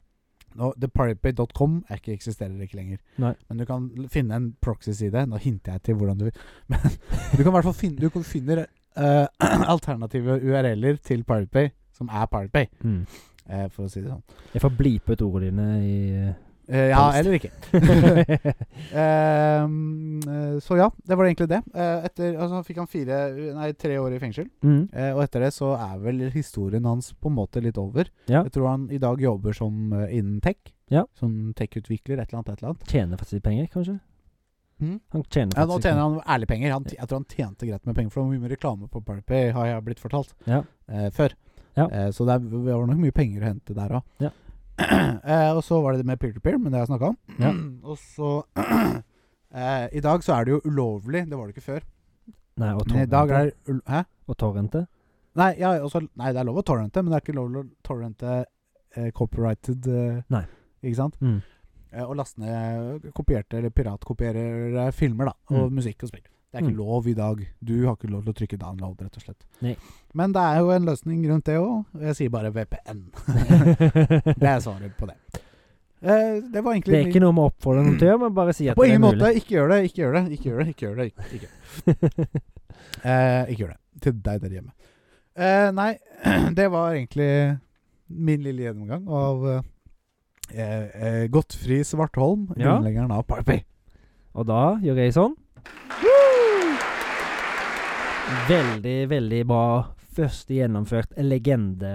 [SPEAKER 1] Nå, TheParapet.com er ikke, eksisterer ikke lenger.
[SPEAKER 2] Nei.
[SPEAKER 1] Men du kan l- finne en proxy-side. Nå hinter jeg til hvordan du vil. (laughs) Men du kan i hvert fall finne Du kan finne eh, (clears throat) alternative URL-er til PiratePay som er PiratePay,
[SPEAKER 2] Mm.
[SPEAKER 1] eh, for å si det sånn.
[SPEAKER 2] Jeg får blipe ut ordene dine (laughs) i
[SPEAKER 1] Eh, ja,
[SPEAKER 2] Post.
[SPEAKER 1] eller ikke. Ehm, eh, så ja, det var egentlig det. Eh, etter, altså, fikk han fire, nei, tre år i fengsel.
[SPEAKER 2] mm.
[SPEAKER 1] Eh, og etter det så er vel historien hans på en måte litt over.
[SPEAKER 2] Ja.
[SPEAKER 1] Jeg tror han i dag jobber som eh, innen tech.
[SPEAKER 2] Ja.
[SPEAKER 1] Som tech-utvikler, et eller annet. Et eller annet.
[SPEAKER 2] Tjener faktisk litt penger, kanskje?
[SPEAKER 1] Mm.
[SPEAKER 2] Han tjener
[SPEAKER 1] Ja, nå
[SPEAKER 2] faktisk
[SPEAKER 1] tjener han ærlig penger. Han, t- jeg tror han tjente greit med penger, for det var mye mer reklame på PowerPay, har jeg blitt fortalt,
[SPEAKER 2] Ja.
[SPEAKER 1] eh, før.
[SPEAKER 2] Ja.
[SPEAKER 1] Eh, så det er- det var nok mye penger å hente der òg.
[SPEAKER 2] Ja.
[SPEAKER 1] (clears throat) eh, og så var det det med peer-to-peer, men det har jeg snakka om.
[SPEAKER 2] Ja.
[SPEAKER 1] (clears throat) og så eh, I dag så er det jo ulovlig. Det var det ikke før.
[SPEAKER 2] Nei, og
[SPEAKER 1] Men i
[SPEAKER 2] torrente.
[SPEAKER 1] dag er det ul- Hæ?
[SPEAKER 2] Og
[SPEAKER 1] (laughs)
[SPEAKER 2] torrente.
[SPEAKER 1] Nei, ja, også, nei, det er lov å torrente, men det er ikke lov å torrente eh, copyrighted eh,
[SPEAKER 2] Nei.
[SPEAKER 1] Ikke sant?
[SPEAKER 2] Mm.
[SPEAKER 1] Eh, og laste ned kopierte eller piratkopierere filmer, da. Og musikk og spill. Det er ikke
[SPEAKER 2] Mm.
[SPEAKER 1] lov i dag. Du har ikke lov til å trykke download, rett og slett.
[SPEAKER 2] Nei.
[SPEAKER 1] Men det er jo en løsning rundt det òg. Jeg sier bare VPN. det er svaret på det. Eh, det var egentlig
[SPEAKER 2] (laughs) Det er ikke noe vi oppfordrer noen til å gjøre, men bare si at
[SPEAKER 1] På
[SPEAKER 2] det er
[SPEAKER 1] ingen
[SPEAKER 2] mulig.
[SPEAKER 1] måte. Ikke gjør det, ikke gjør det, ikke gjør det. Ikke gjør det, ikke, ikke. Eh, ikke gjør det. Til deg der hjemme. Eh, nei, (clears throat) det var egentlig min lille gjennomgang av eh, eh, Gottfri Svartholm,
[SPEAKER 2] Ja.
[SPEAKER 1] grunnleggeren av Parapy.
[SPEAKER 2] (laughs) Og da gjør jeg sånn. Veldig, veldig bra. Første gjennomført legende...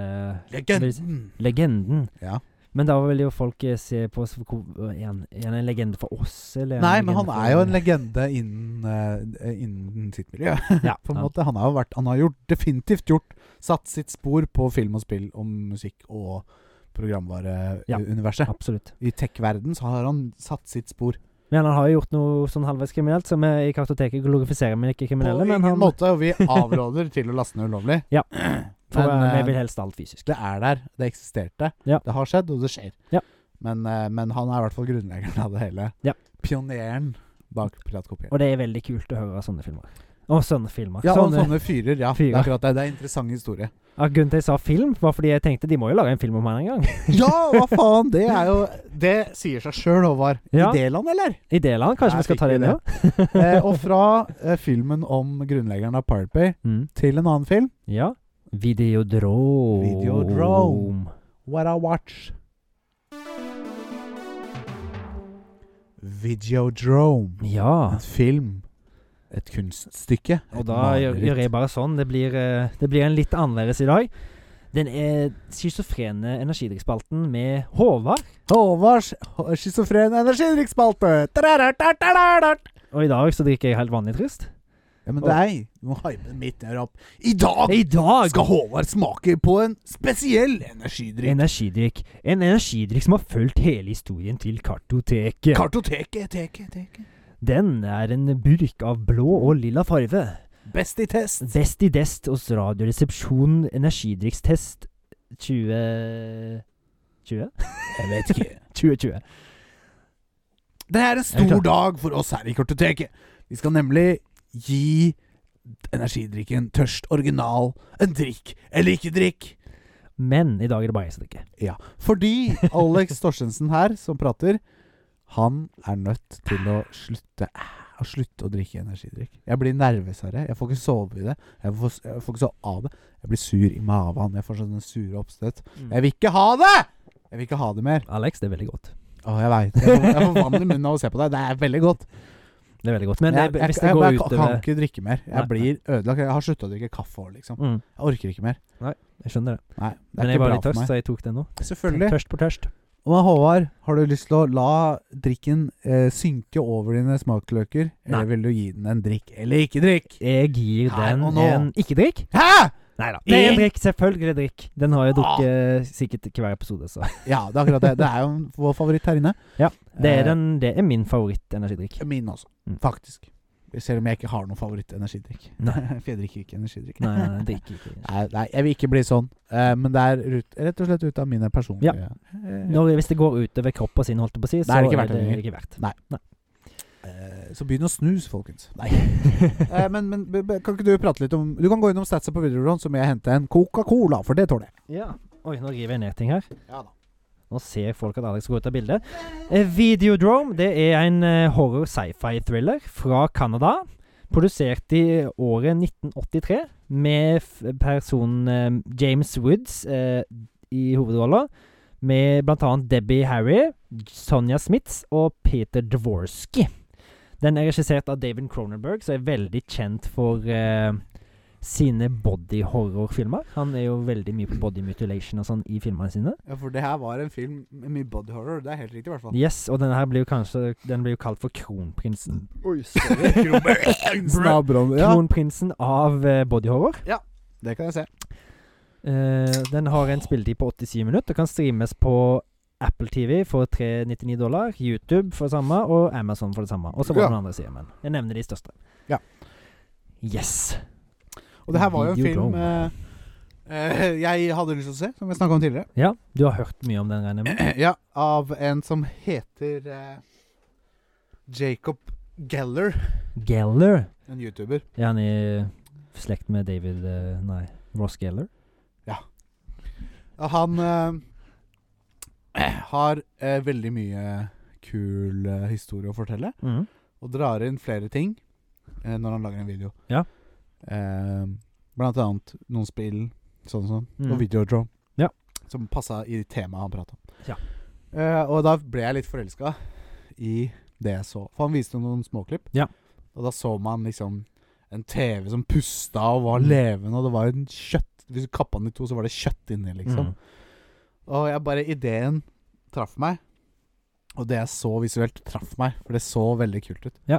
[SPEAKER 1] Legenden!
[SPEAKER 2] Legenden.
[SPEAKER 1] Ja.
[SPEAKER 2] Men da vil jo folk eh, se på oss for hvor- Er han er han en legende for oss, eller? er
[SPEAKER 1] Nei,
[SPEAKER 2] han en
[SPEAKER 1] men han
[SPEAKER 2] legende
[SPEAKER 1] er jo
[SPEAKER 2] for-
[SPEAKER 1] en legende innen, eh, innen sitt miljø, (laughs)
[SPEAKER 2] Ja,
[SPEAKER 1] på en
[SPEAKER 2] han-
[SPEAKER 1] måte. Han har, jo vært, han har gjort, definitivt gjort Satt sitt spor på film og spill om musikk og
[SPEAKER 2] Ja.
[SPEAKER 1] programvareuniverset.
[SPEAKER 2] Absolutt.
[SPEAKER 1] I tech-verden så har han satt sitt spor.
[SPEAKER 2] Men han har jo gjort noe sånn halvveis kriminelt, så vi i kartoteket glorifiserer vi ikke kriminelle,
[SPEAKER 1] På
[SPEAKER 2] men
[SPEAKER 1] ingen
[SPEAKER 2] han
[SPEAKER 1] måte, og vi avråder til å laste ned ulovlig.
[SPEAKER 2] Ja. for,
[SPEAKER 1] Men,
[SPEAKER 2] eh,
[SPEAKER 1] eh,
[SPEAKER 2] vi vil helst alt fysisk.
[SPEAKER 1] det er der, det eksisterte,
[SPEAKER 2] Ja.
[SPEAKER 1] det har skjedd, og det skjer.
[SPEAKER 2] Ja.
[SPEAKER 1] Men, eh, men han er i hvert fall grunnleggeren av det hele.
[SPEAKER 2] Ja.
[SPEAKER 1] Pioneren bak piratkopiering.
[SPEAKER 2] Og det er veldig kult å høre sånne filmer. Og sånne filmer.
[SPEAKER 1] Ja, og
[SPEAKER 2] sånne,
[SPEAKER 1] sånne fyrer. Ja, det
[SPEAKER 2] fyrer.
[SPEAKER 1] er akkurat det. Det er en interessant historie.
[SPEAKER 2] Ja, Grunnen til jeg sa film, var fordi jeg tenkte de må jo lage en film om han en gang. (laughs)
[SPEAKER 1] Ja, hva faen! Det er jo Det sier seg sjøl, Håvard.
[SPEAKER 2] Ja.
[SPEAKER 1] Idéland, eller?
[SPEAKER 2] Idéland, kanskje
[SPEAKER 1] Der
[SPEAKER 2] vi skal
[SPEAKER 1] fikk
[SPEAKER 2] ta
[SPEAKER 1] vi
[SPEAKER 2] det nå?
[SPEAKER 1] Eh, og fra eh, filmen om grunnleggeren av Pirate Bay
[SPEAKER 2] Mm.
[SPEAKER 1] til en annen film,
[SPEAKER 2] Ja. Videodrome.
[SPEAKER 1] Videodrome. What I Watch. Videodrome.
[SPEAKER 2] Ja.
[SPEAKER 1] En film. Et kunststykke.
[SPEAKER 2] Og
[SPEAKER 1] et
[SPEAKER 2] da gjør, gjør jeg bare sånn. Det blir, eh, det blir en litt annerledes i dag. Den er schizofrene energidrikkspalten med Håvard.
[SPEAKER 1] Håvards schizofren energidrikkspalte! Ja,
[SPEAKER 2] Og i dag så drikker jeg helt vanlig trist.
[SPEAKER 1] men
[SPEAKER 2] Og-
[SPEAKER 1] nei, du må hype den midt ned opp. I dag
[SPEAKER 2] I dag
[SPEAKER 1] skal Håvard smake på en spesiell energidrikk.
[SPEAKER 2] Energidrikk. En energidrikk som har fulgt hele historien til kartoteket.
[SPEAKER 1] Kartoteket, teket, teket.
[SPEAKER 2] Den er en burk av blå og lilla farve.
[SPEAKER 1] Best i
[SPEAKER 2] (laughs)
[SPEAKER 1] test.
[SPEAKER 2] Best i dest hos Radioresepsjon energidrikkstest 20... (laughs) 20?
[SPEAKER 1] Jeg vet ikke.
[SPEAKER 2] 2020.
[SPEAKER 1] Det er en
[SPEAKER 2] Er
[SPEAKER 1] stor
[SPEAKER 2] du
[SPEAKER 1] dag for oss her i Kartoteket. Vi skal nemlig gi energidrikken Tørst original en drikk eller ikke drikk.
[SPEAKER 2] Men i dag er det bare jeg som drikker.
[SPEAKER 1] Ja, fordi Alex Torstensen her, som prater, han er nødt til å slutte å slutte å drikke energidrikk. Jeg blir nervøs av det. Jeg får ikke sove i det. Jeg får, jeg får ikke sove av det. Jeg blir sur i magen. Jeg får sånne sure oppstøt.
[SPEAKER 2] Mm.
[SPEAKER 1] Jeg vil ikke ha det! Jeg vil ikke ha det mer.
[SPEAKER 2] Alex, det er veldig godt.
[SPEAKER 1] Å, jeg veit. Jeg får- jeg får vann i munnen av å se på deg. Det er veldig godt.
[SPEAKER 2] Det er veldig godt. Men
[SPEAKER 1] jeg,
[SPEAKER 2] det,
[SPEAKER 1] jeg, jeg-
[SPEAKER 2] hvis det
[SPEAKER 1] jeg,
[SPEAKER 2] går
[SPEAKER 1] jeg kan
[SPEAKER 2] utover
[SPEAKER 1] ikke drikke mer. Jeg
[SPEAKER 2] Nei, nei.
[SPEAKER 1] blir ødelagt. Jeg har slutta å drikke kaffe òg, liksom.
[SPEAKER 2] mm,
[SPEAKER 1] Jeg orker ikke mer.
[SPEAKER 2] Jeg skjønner det.
[SPEAKER 1] Nei, det er
[SPEAKER 2] Men
[SPEAKER 1] ikke
[SPEAKER 2] jeg var
[SPEAKER 1] bra
[SPEAKER 2] litt
[SPEAKER 1] for
[SPEAKER 2] tørst,
[SPEAKER 1] meg.
[SPEAKER 2] så jeg tok den nå.
[SPEAKER 1] Selvfølgelig.
[SPEAKER 2] Tørst på tørst.
[SPEAKER 1] Men Håvard, har du lyst til å la drikken eh, synke over dine smaksløker?
[SPEAKER 2] Nei.
[SPEAKER 1] Eller vil du gi den en drikk eller ikke drikk?
[SPEAKER 2] Jeg gir
[SPEAKER 1] Her
[SPEAKER 2] den
[SPEAKER 1] og nå.
[SPEAKER 2] en ikke-drikk.
[SPEAKER 1] Hæ?!
[SPEAKER 2] Nei da. Det er
[SPEAKER 1] I-
[SPEAKER 2] en drikk. Selvfølgelig drikk. Den har jeg drukket eh, sikkert til hver episode, så
[SPEAKER 1] Ja, det er akkurat det. Det er jo vår favoritt her inne.
[SPEAKER 2] Ja, Det
[SPEAKER 1] Eh,
[SPEAKER 2] er, den, det er min favoritt-energidrikk.
[SPEAKER 1] Min også,
[SPEAKER 2] Mm.
[SPEAKER 1] faktisk. Selv om jeg ikke har noen favoritt-energidrikk.
[SPEAKER 2] Nei.
[SPEAKER 1] (laughs) For jeg drikker ikke energidrikk.
[SPEAKER 2] Nei, nei, nei, drikk ikke.
[SPEAKER 1] (laughs) Nei, nei, jeg vil ikke bli sånn. Eh, men det er ut, rett og slett ut av mine personlige Eh,
[SPEAKER 2] Når, hvis det går utover kroppen sin, holdt jeg på å si,
[SPEAKER 1] Da
[SPEAKER 2] så
[SPEAKER 1] er det ikke verdt det lenger.
[SPEAKER 2] ikke verdt.
[SPEAKER 1] Nei. eh, Så begynn å snus, folkens. Nei. (laughs) Eh, men men be- be- kan ikke du prate litt om Du kan gå innom statsa på videregående, så må jeg hente en Coca-Cola, for det tåler jeg.
[SPEAKER 2] Ja. Oi, nå river jeg ned ting her.
[SPEAKER 1] Ja da.
[SPEAKER 2] Nå ser folk at Alex går ut av bildet. Eh, Videodrome det er en eh, horror sci-fi thriller fra Canada. Produsert i året 1983 med f personen eh, James Woods eh, i hovedrollen. Med bl.a. Debbie Harry, Sonja Smiths og Peter Dvorsky. Den er regissert av David Cronenberg, som er veldig kjent for eh, sine bodyhorrorfilmer. Han er jo veldig mye på body mutilation og sånn i filmene sine.
[SPEAKER 1] Ja, for det her var en film med mye body horror. Det er helt riktig, i hvert
[SPEAKER 2] (laughs)
[SPEAKER 1] fall.
[SPEAKER 2] Yes, og denne her blir jo kanskje Den blir jo kalt for Kronprinsen.
[SPEAKER 1] Oi, sorry.
[SPEAKER 2] (laughs)
[SPEAKER 1] Snabron. Ja,
[SPEAKER 2] Kronprinsen av eh, bodyhorror.
[SPEAKER 1] det kan jeg se.
[SPEAKER 2] Eh, den har en spilletid på 87 minutter og kan streames på Apple TV for 399 dollar, YouTube for det samme og Amazon for det samme. Og så var
[SPEAKER 1] Ja.
[SPEAKER 2] det den andre siden, men jeg nevner de største.
[SPEAKER 1] Ja.
[SPEAKER 2] Yes.
[SPEAKER 1] Og det her var jo en film
[SPEAKER 2] Videodrome.
[SPEAKER 1] eh, eh, jeg hadde lyst til å se, som jeg snakka om tidligere. (clears throat)
[SPEAKER 2] Ja, du har hørt mye om den, regner jeg med?
[SPEAKER 1] Ja, av en som heter eh, Jacob Geller.
[SPEAKER 2] Geller.
[SPEAKER 1] En YouTuber.
[SPEAKER 2] Er han i slekt med David eh, Nei, Ross Geller?
[SPEAKER 1] Og Han eh, har eh, veldig mye kul eh, historie å fortelle,
[SPEAKER 2] Mhm.
[SPEAKER 1] og drar inn flere ting eh, når han lager en video.
[SPEAKER 2] Ja.
[SPEAKER 1] Eh, blant annet noen spill, sånn og sånn, og
[SPEAKER 2] Mm.
[SPEAKER 1] videodrome.
[SPEAKER 2] Ja.
[SPEAKER 1] Som passa i temaet han prata om.
[SPEAKER 2] Ja.
[SPEAKER 1] Eh, og da ble jeg litt forelska i det jeg så. For han viste noen småklipp,
[SPEAKER 2] Ja.
[SPEAKER 1] og da så man liksom en TV som pusta og var
[SPEAKER 2] Mm.
[SPEAKER 1] levende, og det var jo en kjøtt Hvis du kappa den i to, så var det kjøtt inni, liksom.
[SPEAKER 2] Mhm.
[SPEAKER 1] Og jeg bare Ideen traff meg. Og det jeg så visuelt, traff meg, for det så veldig kult ut.
[SPEAKER 2] Ja.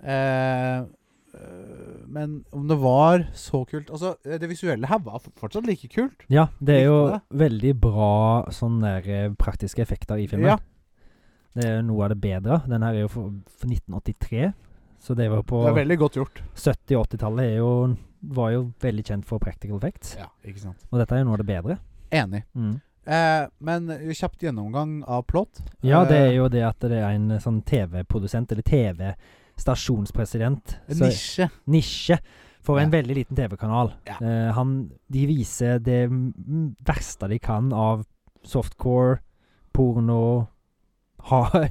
[SPEAKER 1] Eh, øh, men om det var så kult Altså, eh, det visuelle her var f- fortsatt like kult.
[SPEAKER 2] Ja, det er jo
[SPEAKER 1] Likte
[SPEAKER 2] veldig bra sånn der eh, praktiske effekter i filmen.
[SPEAKER 1] Ja.
[SPEAKER 2] Det er jo noe av det bedre. Den her er jo for, for 1983, så det var på
[SPEAKER 1] Det er veldig godt gjort.
[SPEAKER 2] 70- og 80-tallet er jo- var jo veldig kjent for practical effects.
[SPEAKER 1] Ja, ikke sant
[SPEAKER 2] Og dette er jo noe av det bedre.
[SPEAKER 1] Enig.
[SPEAKER 2] Mm.
[SPEAKER 1] Eh, men jo kjapt gjennomgang av plott.
[SPEAKER 2] Ja, det er
[SPEAKER 1] Eh,
[SPEAKER 2] jo det at det er en eh, sånn TV-produsent, eller TV-stasjonspresident
[SPEAKER 1] en
[SPEAKER 2] så-
[SPEAKER 1] Eh, Nisje.
[SPEAKER 2] nisje for en
[SPEAKER 1] Ja.
[SPEAKER 2] veldig liten TV-kanal.
[SPEAKER 1] Ja.
[SPEAKER 2] Eh, han- de viser det m- verste de kan av softcore, porno, (laughs) ha,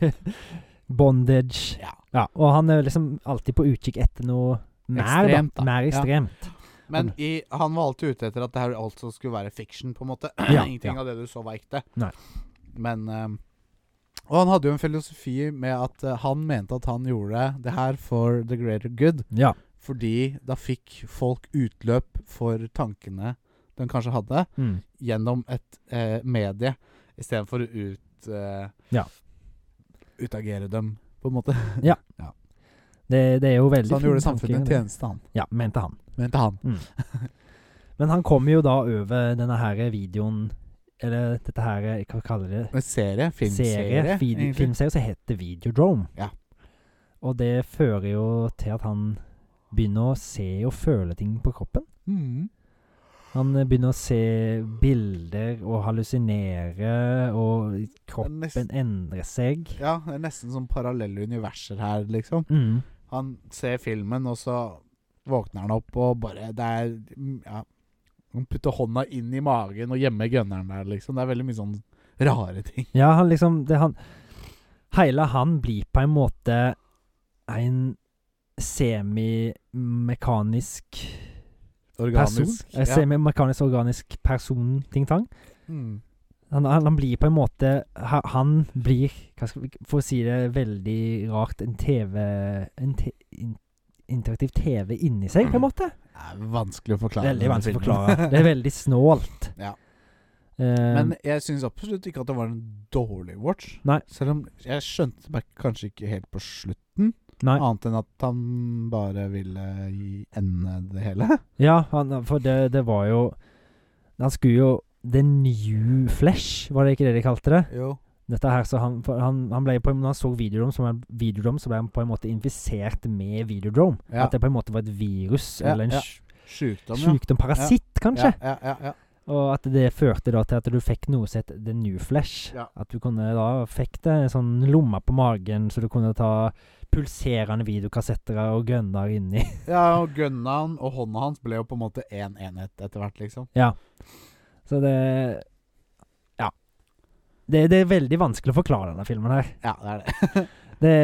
[SPEAKER 2] bondage
[SPEAKER 1] Ja.
[SPEAKER 2] ja, Og han er liksom alltid på utkikk etter noe mer
[SPEAKER 1] Ekstremt,
[SPEAKER 2] ekstremt.
[SPEAKER 1] da.
[SPEAKER 2] Da. Mer
[SPEAKER 1] Ja.
[SPEAKER 2] ekstremt.
[SPEAKER 1] Men i, han var alltid ute etter at det her altså skulle være fiction, på en måte. (clears throat)
[SPEAKER 2] Ja,
[SPEAKER 1] Ingenting
[SPEAKER 2] ja.
[SPEAKER 1] av det du så var ekte.
[SPEAKER 2] Nei.
[SPEAKER 1] Men eh, Og han hadde jo en filosofi med at eh, han mente at han gjorde det her for the greater good,
[SPEAKER 2] Ja.
[SPEAKER 1] fordi da fikk folk utløp for tankene de kanskje hadde,
[SPEAKER 2] Mm.
[SPEAKER 1] gjennom et eh, medie, istedenfor å ut eh,
[SPEAKER 2] Ja.
[SPEAKER 1] utagere dem, på en måte.
[SPEAKER 2] Det, det er jo veldig
[SPEAKER 1] Så han
[SPEAKER 2] fin
[SPEAKER 1] gjorde
[SPEAKER 2] tanke,
[SPEAKER 1] samfunnet en
[SPEAKER 2] det.
[SPEAKER 1] tjeneste, han.
[SPEAKER 2] Ja, mente han.
[SPEAKER 1] Mente han.
[SPEAKER 2] Men han kommer jo da over denne her videoen Eller dette her, hva kaller de det?
[SPEAKER 1] En serie. Filmserie.
[SPEAKER 2] serie, vid-
[SPEAKER 1] egentlig.
[SPEAKER 2] filmserie som heter Videodrome.
[SPEAKER 1] Ja.
[SPEAKER 2] Og det fører jo til at han begynner å se og føle ting på kroppen.
[SPEAKER 1] Mhm.
[SPEAKER 2] Han eh, begynner å se bilder og hallusinere, og kroppen
[SPEAKER 1] Det er nesten-
[SPEAKER 2] endrer seg.
[SPEAKER 1] Ja, det er nesten som parallelle universer her, liksom.
[SPEAKER 2] Mm.
[SPEAKER 1] Han ser filmen, og så våkner han opp og bare Det er mm, Ja. Han putter hånda inn i magen og gjemmer gunneren der, liksom. Det er veldig mye sånn rare ting.
[SPEAKER 2] Ja, han liksom det han, Hele han blir på en måte en semimekanisk person.
[SPEAKER 1] Ja.
[SPEAKER 2] Eh, Semimekanisk organisk person, ting-tang.
[SPEAKER 1] Mm.
[SPEAKER 2] Han, han, han blir på en måte ha- Han blir, hva skal vi, for å si det veldig rart, en TV En te, in, interaktiv TV inni seg, på en måte.
[SPEAKER 1] Mhm. Det er vanskelig å forklare.
[SPEAKER 2] veldig
[SPEAKER 1] denne (laughs)
[SPEAKER 2] vanskelig å
[SPEAKER 1] filmen.
[SPEAKER 2] forklare. Det er veldig snålt.
[SPEAKER 1] (laughs) Ja.
[SPEAKER 2] Eh,
[SPEAKER 1] Men jeg syns absolutt ikke at det var en dårlig watch.
[SPEAKER 2] Nei.
[SPEAKER 1] Selv om jeg skjønte meg kanskje ikke helt på slutten,
[SPEAKER 2] nei.
[SPEAKER 1] annet enn at han bare ville gi ende det hele.
[SPEAKER 2] Ja, han, for det, det var jo Han skulle jo The New Flesh, var det ikke det de kalte det?
[SPEAKER 1] Jo.
[SPEAKER 2] Dette her, så han, for han, han ble på, Når han så Videodrome, så ble, han- Videodrome, så ble han på en måte infisert med Videodrome.
[SPEAKER 1] Ja.
[SPEAKER 2] At det på en måte var et virus,
[SPEAKER 1] Ja,
[SPEAKER 2] eller en
[SPEAKER 1] ja.
[SPEAKER 2] sj-
[SPEAKER 1] Sjukdom, ja.
[SPEAKER 2] sykdom, parasitt, kanskje.
[SPEAKER 1] Ja, ja, ja,
[SPEAKER 2] Og at det førte da til at du fikk noe som het The New Flesh.
[SPEAKER 1] Ja.
[SPEAKER 2] At du kunne da fikk det en sånn lomme på magen, så du kunne ta pulserende videokassetter og gønner inni.
[SPEAKER 1] ja. ja, og gunnaen og hånda hans ble jo på en måte én enhet etter hvert, liksom.
[SPEAKER 2] (laughs) Så det Ja. Det, det er veldig vanskelig å forklare denne filmen her.
[SPEAKER 1] Ja, det er det.
[SPEAKER 2] Det,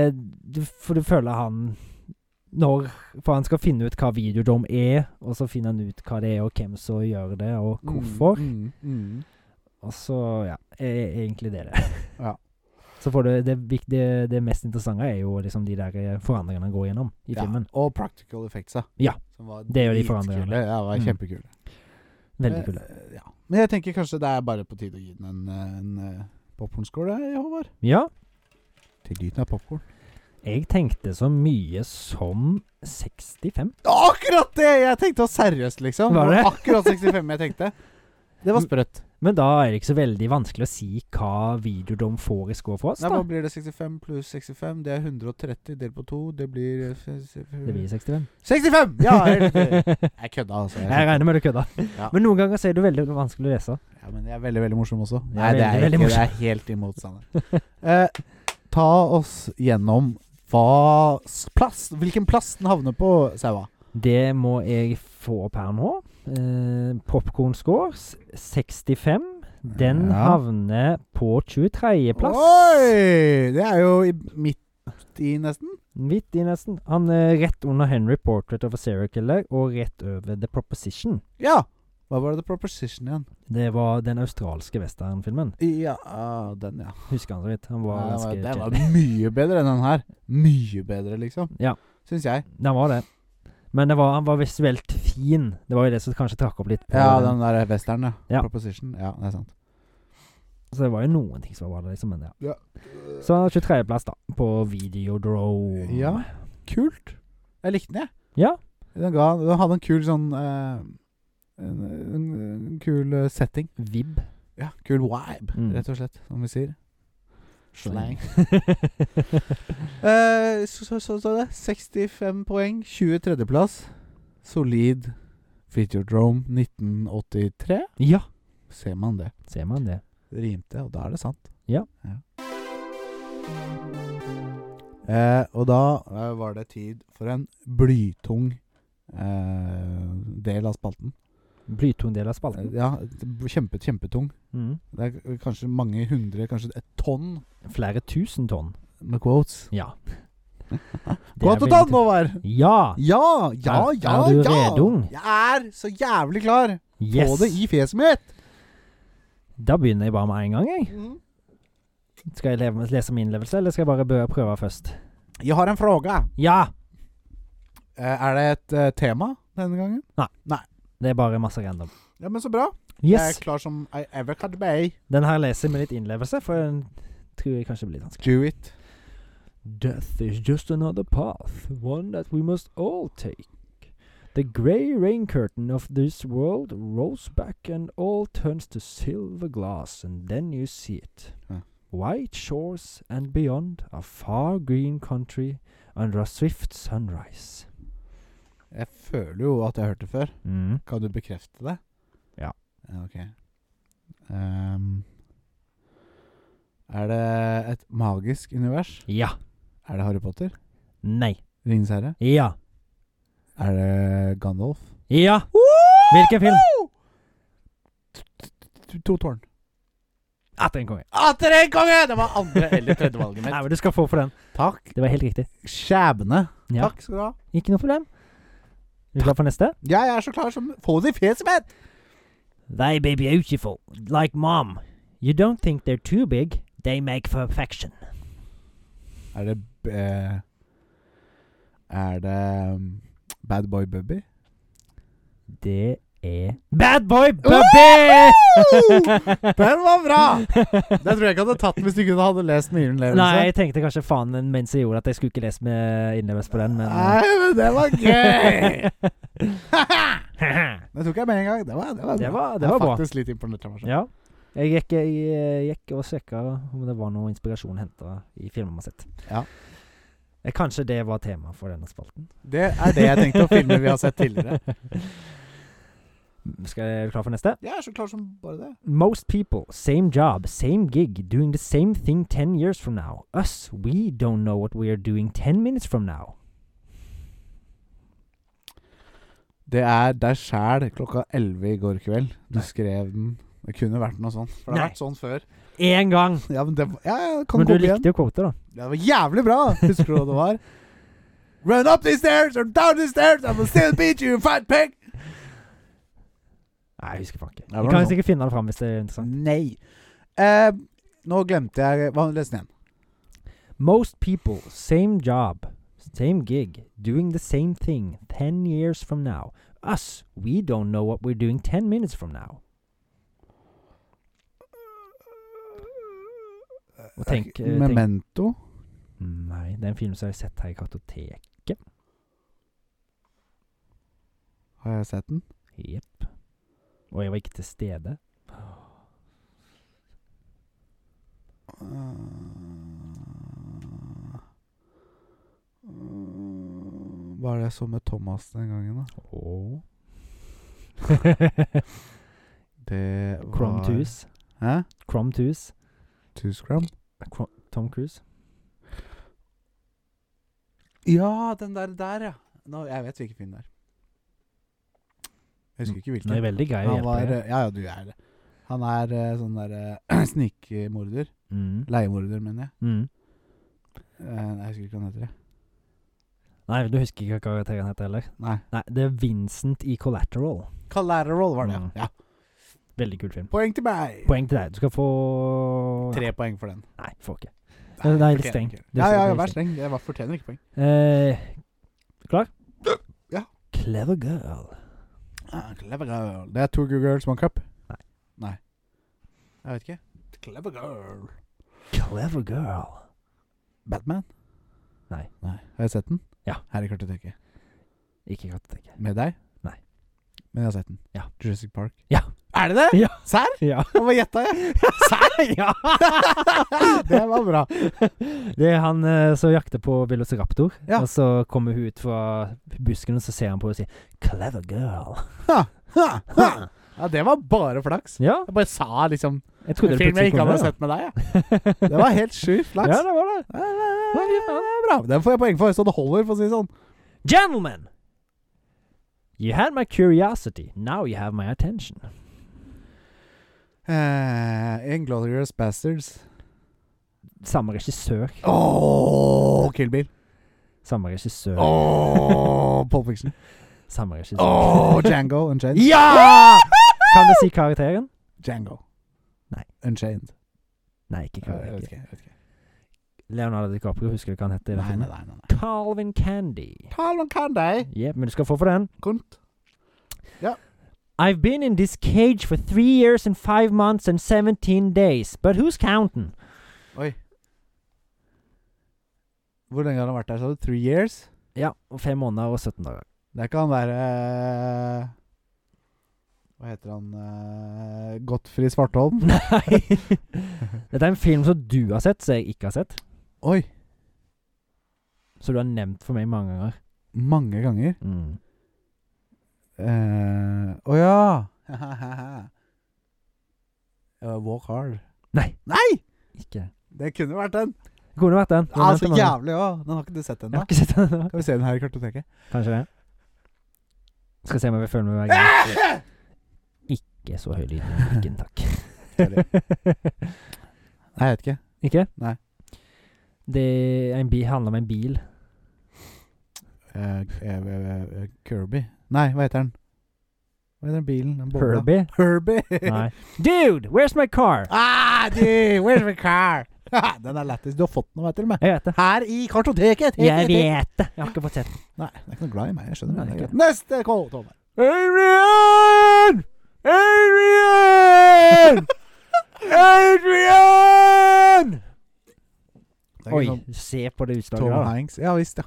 [SPEAKER 2] du, for du føler han når For han skal finne ut hva videodom er, og så finner han ut hva det er, og hvem som gjør det, og (laughs) hvorfor.
[SPEAKER 1] Mm, mm,
[SPEAKER 2] Og så, ja, er er egentlig det det.
[SPEAKER 1] (laughs) Ja.
[SPEAKER 2] Så får du det, vik- det, det mest interessante er jo liksom de der eh, forandringene han går gjennom i
[SPEAKER 1] ja.
[SPEAKER 2] filmen.
[SPEAKER 1] Og practical effects, ja.
[SPEAKER 2] Ja,
[SPEAKER 1] Som var
[SPEAKER 2] det er jo de
[SPEAKER 1] dritkule.
[SPEAKER 2] forandringene.
[SPEAKER 1] Ja, det var
[SPEAKER 2] Mm.
[SPEAKER 1] kjempekule.
[SPEAKER 2] Veldig kul.
[SPEAKER 1] Eh, ja. Men jeg tenker kanskje det er bare på tide å gi den en, eh, en, eh, popcornskål, eh, Håvard.
[SPEAKER 2] Ja.
[SPEAKER 1] Til lyden av popkorn.
[SPEAKER 2] Jeg tenkte så mye som 65.
[SPEAKER 1] Akkurat det! Jeg tenkte også seriøst, liksom.
[SPEAKER 2] Var
[SPEAKER 1] var
[SPEAKER 2] det?
[SPEAKER 1] akkurat 65 jeg tenkte. Det var sprøtt.
[SPEAKER 2] Men da er det ikke så veldig vanskelig å si hva videodom får i score for oss,
[SPEAKER 1] Nei,
[SPEAKER 2] da.
[SPEAKER 1] Hva blir det? 65 pluss 65? Det er 130 delt på to. Det blir eh,
[SPEAKER 2] Det blir 65.
[SPEAKER 1] 65! Ja, helt riktig. (laughs) Jeg kødda, altså. Jeg,
[SPEAKER 2] (laughs) Jeg regner med du kødda.
[SPEAKER 1] Ja.
[SPEAKER 2] Men noen ganger så er det veldig vanskelig å lese.
[SPEAKER 1] ja, men jeg er veldig, veldig morsom også.
[SPEAKER 2] Jeg er
[SPEAKER 1] Nei, det er
[SPEAKER 2] veldig, veldig
[SPEAKER 1] ikke det. er helt imot standard. Eh, ta oss gjennom hva s- plass Hvilken plass den havner på, Saua.
[SPEAKER 2] Det må jeg få opp her nå. Eh, Popcorn scores 65. Den
[SPEAKER 1] Ja.
[SPEAKER 2] havner på 23.-plass.
[SPEAKER 1] Oi! Det er jo i, midt i, nesten.
[SPEAKER 2] Midt i, nesten. Han er rett under Henry Portrait of a Serial Killer og rett over The Proposition.
[SPEAKER 1] Ja! Hva var det The Proposition igjen?
[SPEAKER 2] Det var den australske westernfilmen.
[SPEAKER 1] Ja, den, ja.
[SPEAKER 2] Husker han så vidt. Han var
[SPEAKER 1] Nei,
[SPEAKER 2] ganske
[SPEAKER 1] det, var,
[SPEAKER 2] kjedelig.
[SPEAKER 1] det var mye bedre enn den her. Mye bedre, liksom.
[SPEAKER 2] Ja.
[SPEAKER 1] Syns jeg.
[SPEAKER 2] Den var det. Men det var, han var visuelt fin. Det var jo det som kanskje trakk opp litt. på
[SPEAKER 1] Ja, den
[SPEAKER 2] den.
[SPEAKER 1] der western, ja.
[SPEAKER 2] Ja.
[SPEAKER 1] Proposition. Ja, det er sant.
[SPEAKER 2] Så det var jo noen ting som var bra, liksom. Men ja.
[SPEAKER 1] Ja.
[SPEAKER 2] Så 23.-plass, da, på Videodrome.
[SPEAKER 1] Ja. Kult. Jeg likte den, jeg.
[SPEAKER 2] Ja.
[SPEAKER 1] Den, ga, den hadde en kul sånn eh, en, en, en kul eh, setting.
[SPEAKER 2] Vib.
[SPEAKER 1] Ja, kul vibe,
[SPEAKER 2] Mm.
[SPEAKER 1] rett og slett, som vi sier. Slang.
[SPEAKER 2] Slang.
[SPEAKER 1] Eh, så så- så står det 65 poeng, 23.-plass. Solid Videodrome 1983.
[SPEAKER 2] (laughs) ja,
[SPEAKER 1] Ser man det.
[SPEAKER 2] ser man det.
[SPEAKER 1] Det rimte, og da er det sant.
[SPEAKER 2] Ja.
[SPEAKER 1] Eh, og da eh, var det tid for en blytung eh, del av spalten.
[SPEAKER 2] Blytung del av
[SPEAKER 1] Eh,
[SPEAKER 2] spalten.
[SPEAKER 1] Ja, b- kjempe, kjempetung.
[SPEAKER 2] Mm.
[SPEAKER 1] Det er k- kanskje mange hundre, kanskje et tonn
[SPEAKER 2] Flere tusen tonn.
[SPEAKER 1] med quotes.
[SPEAKER 2] Ja.
[SPEAKER 1] (laughs)
[SPEAKER 2] Det er
[SPEAKER 1] Quote og tonn,
[SPEAKER 2] veldig-
[SPEAKER 1] Håvard!
[SPEAKER 2] Ja!
[SPEAKER 1] Ja, ja,
[SPEAKER 2] Er-
[SPEAKER 1] ja!
[SPEAKER 2] er du
[SPEAKER 1] ja.
[SPEAKER 2] redung?
[SPEAKER 1] Jeg er så jævlig klar!
[SPEAKER 2] Yes.
[SPEAKER 1] Få det i fjeset mitt!
[SPEAKER 2] Da begynner jeg bare med en gang, jeg.
[SPEAKER 1] Mm.
[SPEAKER 2] Skal jeg leve, lese min innlevelse, eller skal jeg bare bø- prøve først?
[SPEAKER 1] Jeg har en fråga.
[SPEAKER 2] Ja!
[SPEAKER 1] Eh, er det et eh, tema denne gangen?
[SPEAKER 2] Det er bare masse random.
[SPEAKER 1] Ja, men så bra. Jeg
[SPEAKER 2] Yes!
[SPEAKER 1] er klar som I ever could be.
[SPEAKER 2] Den her leser jeg med litt innlevelse, for den tror jeg kanskje blir litt vanskelig.
[SPEAKER 1] Do it.
[SPEAKER 2] Death is just another path, one that we must all take. The grey rain curtain of this world rolls back and all turns to silver glass, and then you see it.
[SPEAKER 1] Huh.
[SPEAKER 2] White shores and beyond a far green country under a swift sunrise.
[SPEAKER 1] Jeg føler jo at jeg har hørt det før.
[SPEAKER 2] Mm.
[SPEAKER 1] Kan du bekrefte det?
[SPEAKER 2] Ja.
[SPEAKER 1] Ja, Ok. Ehm, er det et magisk univers?
[SPEAKER 2] Ja.
[SPEAKER 1] Er det Harry Potter?
[SPEAKER 2] Nei.
[SPEAKER 1] Ringenes herre?
[SPEAKER 2] Ja.
[SPEAKER 1] Er det Gandalf?
[SPEAKER 2] Ja. Hvilken film?
[SPEAKER 1] To, to tårn.
[SPEAKER 2] Atter en konge.
[SPEAKER 1] Atter en konge! Det var andre eller tredje valget
[SPEAKER 2] Nei,
[SPEAKER 1] mitt.
[SPEAKER 2] men du skal få for den.
[SPEAKER 1] Takk.
[SPEAKER 2] Det var helt riktig.
[SPEAKER 1] Skjebne.
[SPEAKER 2] Ja.
[SPEAKER 1] Takk skal du ha.
[SPEAKER 2] Ikke noe problem. Er du klar for neste?
[SPEAKER 1] Jeg er så klar som Få det i fjeset mitt!
[SPEAKER 2] They be beautiful, like mom. You don't think they're too big, they make perfection.
[SPEAKER 1] Er det b- eh, Er det um, Bad Boy Bubby?
[SPEAKER 2] Det er Bad Boy Bubby! (laughs)
[SPEAKER 1] Den var bra! Det tror jeg ikke hadde tatt den hvis du ikke hadde lest med innlevelse.
[SPEAKER 2] Nei, jeg tenkte kanskje faen mens jeg gjorde det, at jeg skulle ikke lese med innlevelse på den, men
[SPEAKER 1] Nei, men det var gøy! det tok jeg med en gang. Det var, det var,
[SPEAKER 2] Det
[SPEAKER 1] bra.
[SPEAKER 2] var- det
[SPEAKER 1] Jeg er
[SPEAKER 2] var bra.
[SPEAKER 1] faktisk litt imponert. av meg selv.
[SPEAKER 2] (laughs) Ja. Jeg gikk, jeg, eh, gikk og sjekka om det var noe inspirasjon henta i filmer man har sett.
[SPEAKER 1] Ja.
[SPEAKER 2] Eh, Kanskje det var tema for denne spalten.
[SPEAKER 1] Det er det jeg tenkte å filme vi har sett
[SPEAKER 2] (laughs)
[SPEAKER 1] tidligere.
[SPEAKER 2] Skal jeg er du klar for neste?
[SPEAKER 1] Jeg er så klar som bare det.
[SPEAKER 2] Most people, same job, same gig, doing the same thing 10 years from now. Us, we don't know what we are doing 10 minutes from now.
[SPEAKER 1] Det er deg sjæl klokka 11 i går kveld. Du skrev den. Det kunne vært noe sånt. For det har
[SPEAKER 2] Nei.
[SPEAKER 1] vært sånn før.
[SPEAKER 2] Én gang!
[SPEAKER 1] Ja, men det var, ja, ja, det kan
[SPEAKER 2] Men du
[SPEAKER 1] komme igjen.
[SPEAKER 2] likte jo kvoter, da.
[SPEAKER 1] Det var jævlig bra! Husker du hva det var? Run up these stairs or down these stairs, I will still beat you, fat pig!
[SPEAKER 2] Nei, jeg husker faen ikke.
[SPEAKER 1] var
[SPEAKER 2] Vi kan
[SPEAKER 1] noe.
[SPEAKER 2] sikkert finne det fram hvis det er interessant.
[SPEAKER 1] Nei. Eh, nå glemte jeg Hva Les den igjen.
[SPEAKER 2] Most people, same job, same gig, doing the same thing 10 years from now. Us, we don't know what we're doing 10 minutes from now. Og tenk, eh, tenk-
[SPEAKER 1] Memento?
[SPEAKER 2] Nei, det er en film som jeg har sett her i Kartotek.
[SPEAKER 1] Har jeg sett den?
[SPEAKER 2] Jepp. Og jeg var ikke til stede.
[SPEAKER 1] Eh, Hva er det jeg så med Thomas den gangen, da?
[SPEAKER 2] (laughs) Oh.
[SPEAKER 1] Det var
[SPEAKER 2] Crom Tus.
[SPEAKER 1] Hæ?
[SPEAKER 2] Crom Tus.
[SPEAKER 1] Tuscram?
[SPEAKER 2] Crom- Tom Cruise.
[SPEAKER 1] Ja, den der der, ja. Nå, jeg vet hvilken film det er. Jeg husker ikke hvilken.
[SPEAKER 2] Nå er jeg veldig grei å
[SPEAKER 1] Han
[SPEAKER 2] hjelpe
[SPEAKER 1] var
[SPEAKER 2] deg.
[SPEAKER 1] eh, Ja, ja, du er det. Han er eh, (clears throat) sånn derre snikmorder.
[SPEAKER 2] Mm.
[SPEAKER 1] Leiemorder, mener jeg.
[SPEAKER 2] Mm.
[SPEAKER 1] Eh, nei, jeg husker ikke hva han heter. jeg.
[SPEAKER 2] Nei, du husker ikke hva karakteren heter heller?
[SPEAKER 1] Nei.
[SPEAKER 2] Nei, det er Vincent i Collateral.
[SPEAKER 1] Collateral var det,
[SPEAKER 2] Mm.
[SPEAKER 1] ja. ja.
[SPEAKER 2] Veldig kul film.
[SPEAKER 1] Poeng til meg!
[SPEAKER 2] Poeng til deg. Du skal få
[SPEAKER 1] Tre poeng for den.
[SPEAKER 2] Nei, får ikke. Nei, det er litt
[SPEAKER 1] fortjener
[SPEAKER 2] streng.
[SPEAKER 1] ikke.
[SPEAKER 2] Det er
[SPEAKER 1] Ja, ja, ja,
[SPEAKER 2] streng, det er
[SPEAKER 1] vær streng. Jeg var- fortjener ikke poeng.
[SPEAKER 2] Eh, klar?
[SPEAKER 1] Ja.
[SPEAKER 2] Clever girl.
[SPEAKER 1] Ah, Clever girl. Det er to good girls, one cup?
[SPEAKER 2] Nei.
[SPEAKER 1] Nei. Jeg vet ikke. Clever girl.
[SPEAKER 2] Clever girl.
[SPEAKER 1] Batman?
[SPEAKER 2] Nei.
[SPEAKER 1] Nei. Har jeg sett den?
[SPEAKER 2] Ja.
[SPEAKER 1] Her i kartoteket. (laughs)
[SPEAKER 2] Ikke (laughs) kartoteket.
[SPEAKER 1] Med deg?
[SPEAKER 2] Nei.
[SPEAKER 1] Men jeg har sett den.
[SPEAKER 2] Ja.
[SPEAKER 1] Jurassic Park.
[SPEAKER 2] Ja.
[SPEAKER 1] Er det det?
[SPEAKER 2] Ja.
[SPEAKER 1] Serr?
[SPEAKER 2] Ja.
[SPEAKER 1] Hva gjetta
[SPEAKER 2] (laughs)
[SPEAKER 1] jeg?
[SPEAKER 2] ja.
[SPEAKER 1] det var
[SPEAKER 2] (laughs)
[SPEAKER 1] bra.
[SPEAKER 2] Det er han eh, som jakter på velociraptor.
[SPEAKER 1] Ja.
[SPEAKER 2] Og så kommer hun ut fra busken, og så ser han på henne og sier 'Clever girl'.
[SPEAKER 1] Ha, ha. Ja, det var bare flaks.
[SPEAKER 2] Ja,
[SPEAKER 1] Jeg bare sa liksom
[SPEAKER 2] jeg
[SPEAKER 1] en
[SPEAKER 2] trodde
[SPEAKER 1] film jeg ikke hadde
[SPEAKER 2] plutselig
[SPEAKER 1] sett med deg. Ja.
[SPEAKER 2] kom der, da.
[SPEAKER 1] Det var helt sjukt flaks.
[SPEAKER 2] (laughs) Ja, det var det.
[SPEAKER 1] Ja, det er- det er Bra. Den får jeg poeng for, så det holder, for å si det sånn.
[SPEAKER 2] Gentlemen! You had my curiosity, now you have my attention.
[SPEAKER 1] Eh, Inglorious Bastards.
[SPEAKER 2] Samme regissør.
[SPEAKER 1] Åh, Kill Bill.
[SPEAKER 2] Samme regissør.
[SPEAKER 1] Åh, Pole Fiction.
[SPEAKER 2] Samme regissør.
[SPEAKER 1] Åh, Django Unchained.
[SPEAKER 2] Ja! (laughs) Kan du si karakteren?
[SPEAKER 1] Django.
[SPEAKER 2] Nei.
[SPEAKER 1] Unchained.
[SPEAKER 2] Nei, ikke
[SPEAKER 1] Ja, Jeg vet
[SPEAKER 2] karakteren.
[SPEAKER 1] ikke. Jeg vet ikke.
[SPEAKER 2] Leonardo DiCaprio, husker du hva han heter? i den
[SPEAKER 1] Nei, nei,
[SPEAKER 2] filmen?
[SPEAKER 1] nei. nei.
[SPEAKER 2] Calvin Candy.
[SPEAKER 1] Carl og Candy.
[SPEAKER 2] Jepp, men du skal få for den.
[SPEAKER 1] Kunt.
[SPEAKER 2] I've been in this cage for three years and five months and 17 days, but who's counting?
[SPEAKER 1] Oi. Hvor lenge har han vært der, sa du? Three years?
[SPEAKER 2] Ja, og fem måneder og 17 dager.
[SPEAKER 1] Det er ikke han derre Hva heter han eh, Gottfrid Svartholm?
[SPEAKER 2] Nei. (laughs) Dette er en film som du har sett, som jeg ikke har sett.
[SPEAKER 1] Oi.
[SPEAKER 2] Som du har nevnt for meg mange ganger.
[SPEAKER 1] Mange ganger.
[SPEAKER 2] Mm.
[SPEAKER 1] Eh, Å (laughs) ja! Eh, walk hard.
[SPEAKER 2] Nei,
[SPEAKER 1] Nei!
[SPEAKER 2] ikke.
[SPEAKER 1] Det kunne vært den.
[SPEAKER 2] Det kunne vært den. Du har
[SPEAKER 1] Ah,
[SPEAKER 2] nevnt
[SPEAKER 1] så
[SPEAKER 2] den mange ganger.
[SPEAKER 1] jævlig òg. Den har ikke du sett
[SPEAKER 2] Jeg
[SPEAKER 1] ennå.
[SPEAKER 2] har ikke sett den. ennå.
[SPEAKER 1] Skal vi se den her i (laughs) kartoteket?
[SPEAKER 2] Kanskje det. Skal se om jeg vil følge med hver gang.
[SPEAKER 1] Ah!
[SPEAKER 2] Ikke så høy lyd i mikken,
[SPEAKER 1] Sorry.
[SPEAKER 2] takk.
[SPEAKER 1] Nei, jeg vet ikke.
[SPEAKER 2] (laughs) ikke?
[SPEAKER 1] Nei.
[SPEAKER 2] Det er en bil, handler om en bil.
[SPEAKER 1] Eh, eh, eh, eh, Kirby Nei, hva heter den? Hva heter den bilen? Den bobla?
[SPEAKER 2] Herbie.
[SPEAKER 1] (laughs) Herbie.
[SPEAKER 2] Nei. Dude, where's my car?
[SPEAKER 1] Ah, dude, where's my car? (laughs) den er lættis. Du har fått den, vet du. Med.
[SPEAKER 2] Jeg vet det.
[SPEAKER 1] Her i kartoteket.
[SPEAKER 2] Jeg vet det. Jeg har ikke fått sett den.
[SPEAKER 1] Nei, jeg er ikke noe glad i meg. Jeg skjønner
[SPEAKER 2] Nei,
[SPEAKER 1] det.
[SPEAKER 2] ikke.
[SPEAKER 1] Neste kål, Tommer.
[SPEAKER 2] Adrian! Adrian! Adrian!
[SPEAKER 1] Det er ikke
[SPEAKER 2] Oi,
[SPEAKER 1] sånn
[SPEAKER 2] se på det utslaget.
[SPEAKER 1] Tom
[SPEAKER 2] da.
[SPEAKER 1] Hanks. Ja visst, ja.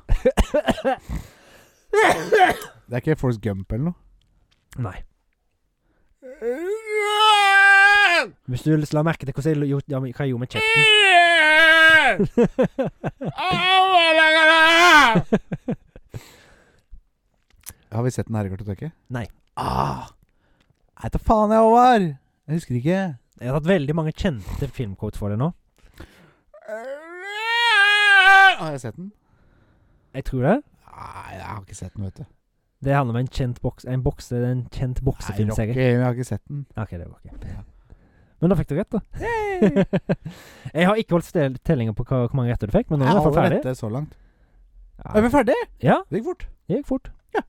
[SPEAKER 1] Det er ikke Force Gump eller noe.
[SPEAKER 2] Nei. Hvis du la merke til hvordan jeg gjorde, ja, men hva jeg gjorde (laughs) med kjeften
[SPEAKER 1] Har vi sett den her i kartoteket?
[SPEAKER 2] Nei.
[SPEAKER 1] Ah, jeg tar faen jeg, Håvard! Jeg husker ikke.
[SPEAKER 2] Jeg har tatt veldig mange kjente filmkort for deg nå.
[SPEAKER 1] Har jeg sett den?
[SPEAKER 2] Jeg tror det.
[SPEAKER 1] Nei, jeg har ikke sett den, vet du.
[SPEAKER 2] Det handler om en kjent boks... En bokse, en kjent
[SPEAKER 1] Nei, Rocky,
[SPEAKER 2] boksefilmserie.
[SPEAKER 1] jeg har ikke sett den.
[SPEAKER 2] Ok, det var ok.
[SPEAKER 1] Ja.
[SPEAKER 2] Men da fikk du rett, da. (laughs) jeg har ikke holdt stel- tellinga på hva, hvor mange retter du fikk, men nå er du i hvert fall ferdig.
[SPEAKER 1] dette så langt. Er
[SPEAKER 2] Ja,
[SPEAKER 1] vi ferdig?
[SPEAKER 2] ja,
[SPEAKER 1] Det gikk fort.
[SPEAKER 2] det gikk fort.
[SPEAKER 1] Ja.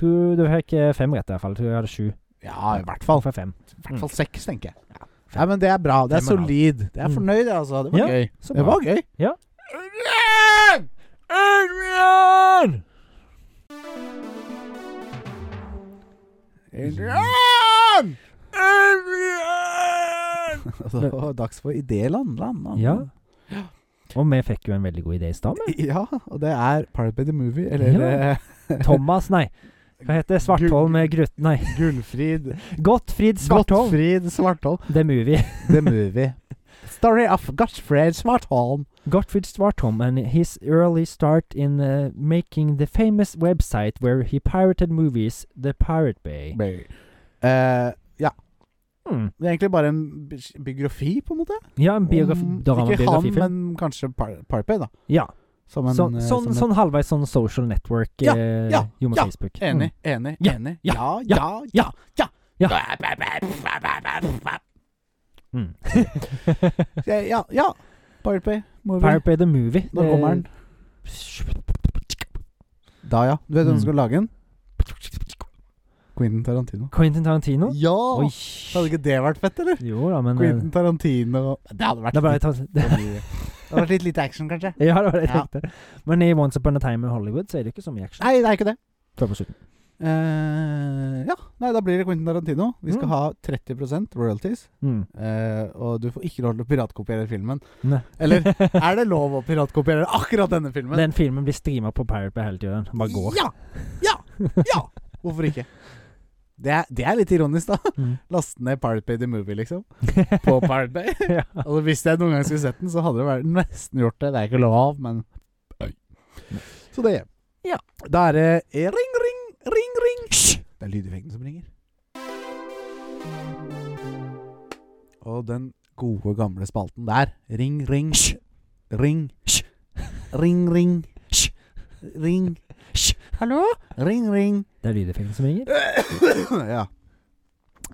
[SPEAKER 2] Tror du fikk eh, fem retter, i hvert fall. Tror jeg hadde sju.
[SPEAKER 1] Ja, i hvert fall.
[SPEAKER 2] Får jeg fem.
[SPEAKER 1] I hvert fall seks, tenker jeg. Nei, men det er bra. Det er
[SPEAKER 2] Mm. Fem og en halv.
[SPEAKER 1] solid. Det er
[SPEAKER 2] Mm.
[SPEAKER 1] fornøyd, jeg, altså. Det var
[SPEAKER 2] Ja,
[SPEAKER 1] gøy.
[SPEAKER 2] Så
[SPEAKER 1] Det var gøy.
[SPEAKER 2] Ja.
[SPEAKER 1] Adrian!
[SPEAKER 2] Adrian!
[SPEAKER 1] Adrian!
[SPEAKER 2] (laughs) Adrian!
[SPEAKER 1] Altså, det var dags for idéland. Land, land.
[SPEAKER 2] Ja. Og vi fikk jo en veldig god idé i stad. men.
[SPEAKER 1] Ja, og det er Pirate Bay the Movie, eller
[SPEAKER 2] Ja.
[SPEAKER 1] eh,
[SPEAKER 2] Thomas, nei. Hva heter det? Svartholm med Grut... Nei.
[SPEAKER 1] Gullfrid
[SPEAKER 2] Gottfried Svartholm.
[SPEAKER 1] Gottfried Svartholm
[SPEAKER 2] The Movie.
[SPEAKER 1] The Movie. Story of Gottfried Svartholm.
[SPEAKER 2] Gottfried Svartholm and his early start in uh, making the famous website where he pirated movies, The Pirate Bay.
[SPEAKER 1] Eh,
[SPEAKER 2] Hmm.
[SPEAKER 1] det er egentlig bare en bi- biografi, på en måte.
[SPEAKER 2] Ja, en biografi.
[SPEAKER 1] Om- Mm. Ikke han,
[SPEAKER 2] Drammabiografi.
[SPEAKER 1] men kanskje Par- Pirate Bay, da.
[SPEAKER 2] Ja.
[SPEAKER 1] Som en
[SPEAKER 2] sånn,
[SPEAKER 1] eh,
[SPEAKER 2] sånn,
[SPEAKER 1] som en-
[SPEAKER 2] sånn halvveis sånn social network.
[SPEAKER 1] Ja,
[SPEAKER 2] eh,
[SPEAKER 1] ja,
[SPEAKER 2] jo, med
[SPEAKER 1] ja,
[SPEAKER 2] Facebook.
[SPEAKER 1] Enig, enig,
[SPEAKER 2] Mm. Ja,
[SPEAKER 1] enig.
[SPEAKER 2] ja,
[SPEAKER 1] Ja,
[SPEAKER 2] ja,
[SPEAKER 1] ja,
[SPEAKER 2] ja,
[SPEAKER 1] ja.
[SPEAKER 2] ja. Mm. Mm.
[SPEAKER 1] (laughs) Ja, ja. ja. Pirate Bay Movie.
[SPEAKER 2] Pirate Bay the Movie. Eh,
[SPEAKER 1] Når kommer den? Da, ja. Du vet hvem som
[SPEAKER 2] Mm.
[SPEAKER 1] skal lage den? Quentin Tarantino.
[SPEAKER 2] Quentin Tarantino?
[SPEAKER 1] Ja!
[SPEAKER 2] Oi.
[SPEAKER 1] Hadde ikke det vært fett, eller?
[SPEAKER 2] Jo da, men
[SPEAKER 1] Quentin
[SPEAKER 2] eh,
[SPEAKER 1] Tarantino Det hadde vært
[SPEAKER 2] Det er bare
[SPEAKER 1] litt,
[SPEAKER 2] ta
[SPEAKER 1] for mye. Det hadde vært litt lite action, kanskje?
[SPEAKER 2] Ja, det var det jeg
[SPEAKER 1] Ja.
[SPEAKER 2] tenkte. Men i Once Upon a Time in Hollywood så er det jo ikke så mye action.
[SPEAKER 1] Nei, det er ikke det.
[SPEAKER 2] Før på slutten.
[SPEAKER 1] Eh, ja, nei, da blir det Quentin Tarantino. Vi skal
[SPEAKER 2] Mm.
[SPEAKER 1] ha 30 royalties. (laughs)
[SPEAKER 2] Mm.
[SPEAKER 1] eh, og du får ikke lov til å piratkopiere filmen.
[SPEAKER 2] Nei. (laughs)
[SPEAKER 1] Eller er det lov å piratkopiere akkurat denne filmen?
[SPEAKER 2] Den filmen blir streama på Pirate Bay hele tiden. Den bare går.
[SPEAKER 1] Ja! Ja! Ja! Hvorfor ikke? Det er, det er litt ironisk, da. (laughs)
[SPEAKER 2] Mm.
[SPEAKER 1] Laste ned Pirate Bay The Movie, liksom. På Pirate Bay.
[SPEAKER 2] Ja.
[SPEAKER 1] Altså, hvis jeg noen gang skulle sett den, så hadde det vært nesten gjort det. Det er ikke lov, men Oi. Så det
[SPEAKER 2] Ja.
[SPEAKER 1] Da er det ring, ring, ring, ring. Det er lydeffekten som ringer. Og den gode, gamle spalten der. Ring, ring. Ring. Ring, ring. Ring. Hallo? Ring, ring.
[SPEAKER 2] Det er lydeffekten som ringer.
[SPEAKER 1] (coughs) ja.